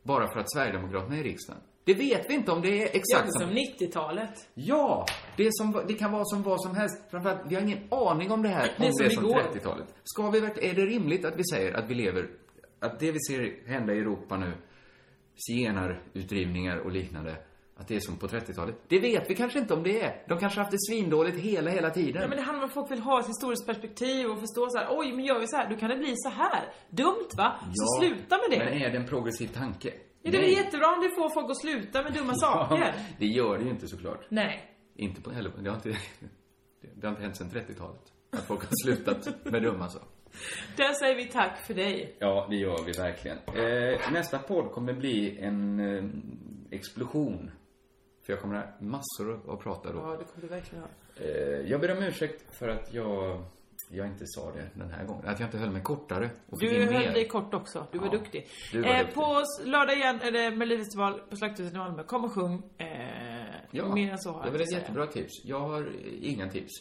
Speaker 8: Bara för att Sverigedemokraterna är i riksdagen. Det vet vi inte om det är
Speaker 9: Jag
Speaker 8: exakt
Speaker 9: är liksom som 90-talet.
Speaker 8: Ja! Det, är som, det kan vara som vad som helst. Framförallt, vi har ingen aning om det här,
Speaker 9: Det är
Speaker 8: om det är
Speaker 9: som
Speaker 8: som
Speaker 9: igår.
Speaker 8: 30-talet. Ska vi verkligen, är det rimligt att vi säger att vi lever, att det vi ser hända i Europa nu, zigenarutdrivningar och liknande, att det är som på 30-talet? Det vet vi kanske inte om det är. De kanske har haft det svindåligt hela, hela tiden.
Speaker 9: Nej, men det handlar om att folk vill ha ett historiskt perspektiv och förstå så här, oj men gör vi så här, då kan det bli så här. Dumt va? Så sluta med det.
Speaker 8: Men är det en progressiv tanke?
Speaker 9: Ja, det är väl
Speaker 8: Nej.
Speaker 9: jättebra om det får folk att sluta med dumma
Speaker 8: Ja,
Speaker 9: saker.
Speaker 8: det gör det ju inte såklart.
Speaker 9: Nej.
Speaker 8: Inte på, heller, det, har inte, det har inte hänt sedan 30-talet. Att folk har slutat med alltså. dumma saker.
Speaker 9: Där säger vi tack för dig.
Speaker 8: Ja, det gör vi verkligen. Eh, nästa podd kommer bli en eh, explosion. För jag kommer ha massor att prata då.
Speaker 9: Ja, det kommer du verkligen ha.
Speaker 8: Eh, jag ber om ursäkt för att jag, jag inte sa det den här gången. Att jag inte höll mig kortare och fick
Speaker 9: Du
Speaker 8: in mer.
Speaker 9: höll dig kort också. Du var
Speaker 8: Ja,
Speaker 9: duktig.
Speaker 8: du var
Speaker 9: eh,
Speaker 8: duktig.
Speaker 9: På s- lördag igen är det Melodifestival på Slakthuset i Malmö. Kom och sjung. Eh,
Speaker 8: Ja,
Speaker 9: mer än så har
Speaker 8: det
Speaker 9: jag
Speaker 8: var
Speaker 9: inte
Speaker 8: ett
Speaker 9: att säga.
Speaker 8: jättebra tips. Jag har eh, inga tips.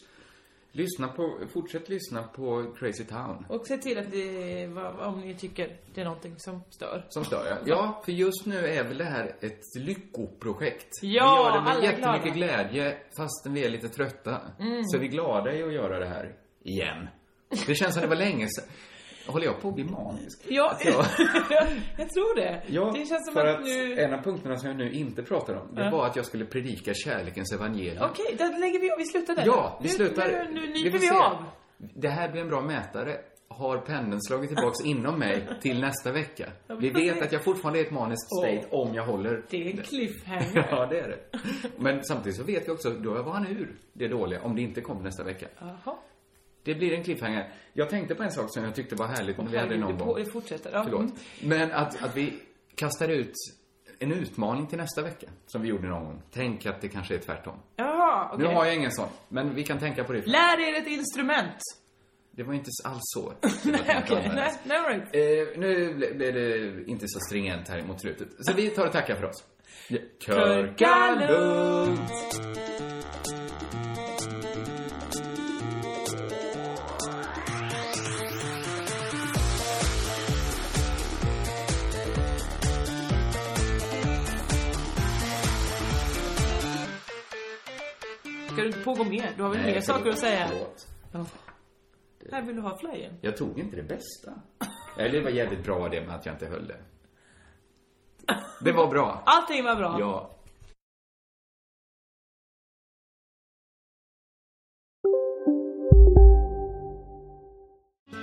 Speaker 8: Lyssna på, fortsätt lyssna på Crazy Town.
Speaker 9: Och se till att det, vad, om ni tycker det är någonting som stör.
Speaker 8: Som stör jag. Ja, för just nu är väl det här ett lyckoprojekt.
Speaker 9: Ja,
Speaker 8: vi gör det med
Speaker 9: alla är Mm.
Speaker 8: jättemycket glädje fastän vi är lite trötta. Så är vi glada i att göra det här igen. Det känns som det var länge sedan. Håller jag på att bli manisk?
Speaker 9: Ja,
Speaker 8: Alltså, jag-
Speaker 9: jag tror det.
Speaker 8: Ja,
Speaker 9: det känns som
Speaker 8: för
Speaker 9: att,
Speaker 8: att
Speaker 9: nu...
Speaker 8: en av punkterna som jag nu inte pratar om, det
Speaker 9: Ja.
Speaker 8: var att jag skulle predika kärlekens evangelium.
Speaker 9: Okej, där lägger vi av. Vi slutar där.
Speaker 8: Ja, vi
Speaker 9: nu,
Speaker 8: slutar.
Speaker 9: Nu, nu,
Speaker 8: Vi
Speaker 9: nyper
Speaker 8: får
Speaker 9: vi,
Speaker 8: se.
Speaker 9: av.
Speaker 8: Det här blir en bra mätare. Har pendeln slagit tillbaks inom mig till nästa vecka? Vi vet att jag fortfarande är i ett maniskt state om jag håller.
Speaker 9: Det är en cliffhanger.
Speaker 8: Ja, det är det. Men samtidigt så vet vi också, då var han ur det dåliga om det inte kommer nästa vecka.
Speaker 9: Jaha.
Speaker 8: Det blir en cliffhanger. Jag tänkte på en sak som jag tyckte var härligt när vi hade
Speaker 9: Herregud,
Speaker 8: någon
Speaker 9: det,
Speaker 8: gång.
Speaker 9: på, det fortsätter. Ja.
Speaker 8: Förlåt.
Speaker 9: mm.
Speaker 8: Men att, att vi kastar ut en utmaning till nästa vecka, som vi gjorde någon gång. Tänk att det kanske är tvärtom.
Speaker 9: Jaha, okej.
Speaker 8: Nu har jag ingen sån, men vi kan tänka på det.
Speaker 9: Lär er ett instrument.
Speaker 8: Det var inte alls så.
Speaker 9: Nej, okej. Nej, nej, all right.
Speaker 8: Eh, nu ble- blev det inte så stringent här mot slutet. Så vi tar och tackar för oss. Körka lugnt!
Speaker 9: Ska du inte pågå mer? Du har väl
Speaker 8: Nej,
Speaker 9: mer
Speaker 8: förlåt,
Speaker 9: saker att säga?
Speaker 8: förlåt.
Speaker 9: Här vill du ha flöjen.
Speaker 8: Jag tog inte det bästa. Eller det var jävligt bra det med att jag inte höll det. Det var bra.
Speaker 9: Allting var bra.
Speaker 8: Ja.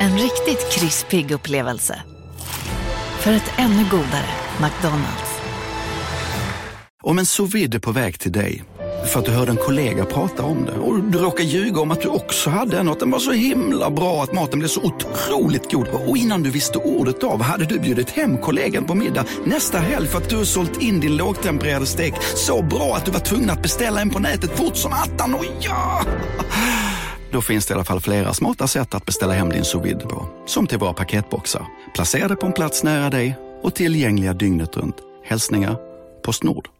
Speaker 12: En riktigt krispig upplevelse. För ett ännu godare McDonalds.
Speaker 13: Om en sous vide är på väg till dig för att du hörde en kollega prata om det och du råkade ljuga om att du också hade en och att den var så himla bra att maten blev så otroligt god. Och innan du visste ordet av hade du bjudit hem kollegan på middag nästa helg för att du sålt in din lågtempererade stek så bra att du var tvungen att beställa en på nätet fort som attan. Och ja! Då finns det i alla fall flera smarta sätt att beställa hem din sous vide på. Som till våra paketboxar. Placerade på en plats nära dig och tillgängliga dygnet runt. Hälsningar Postnord.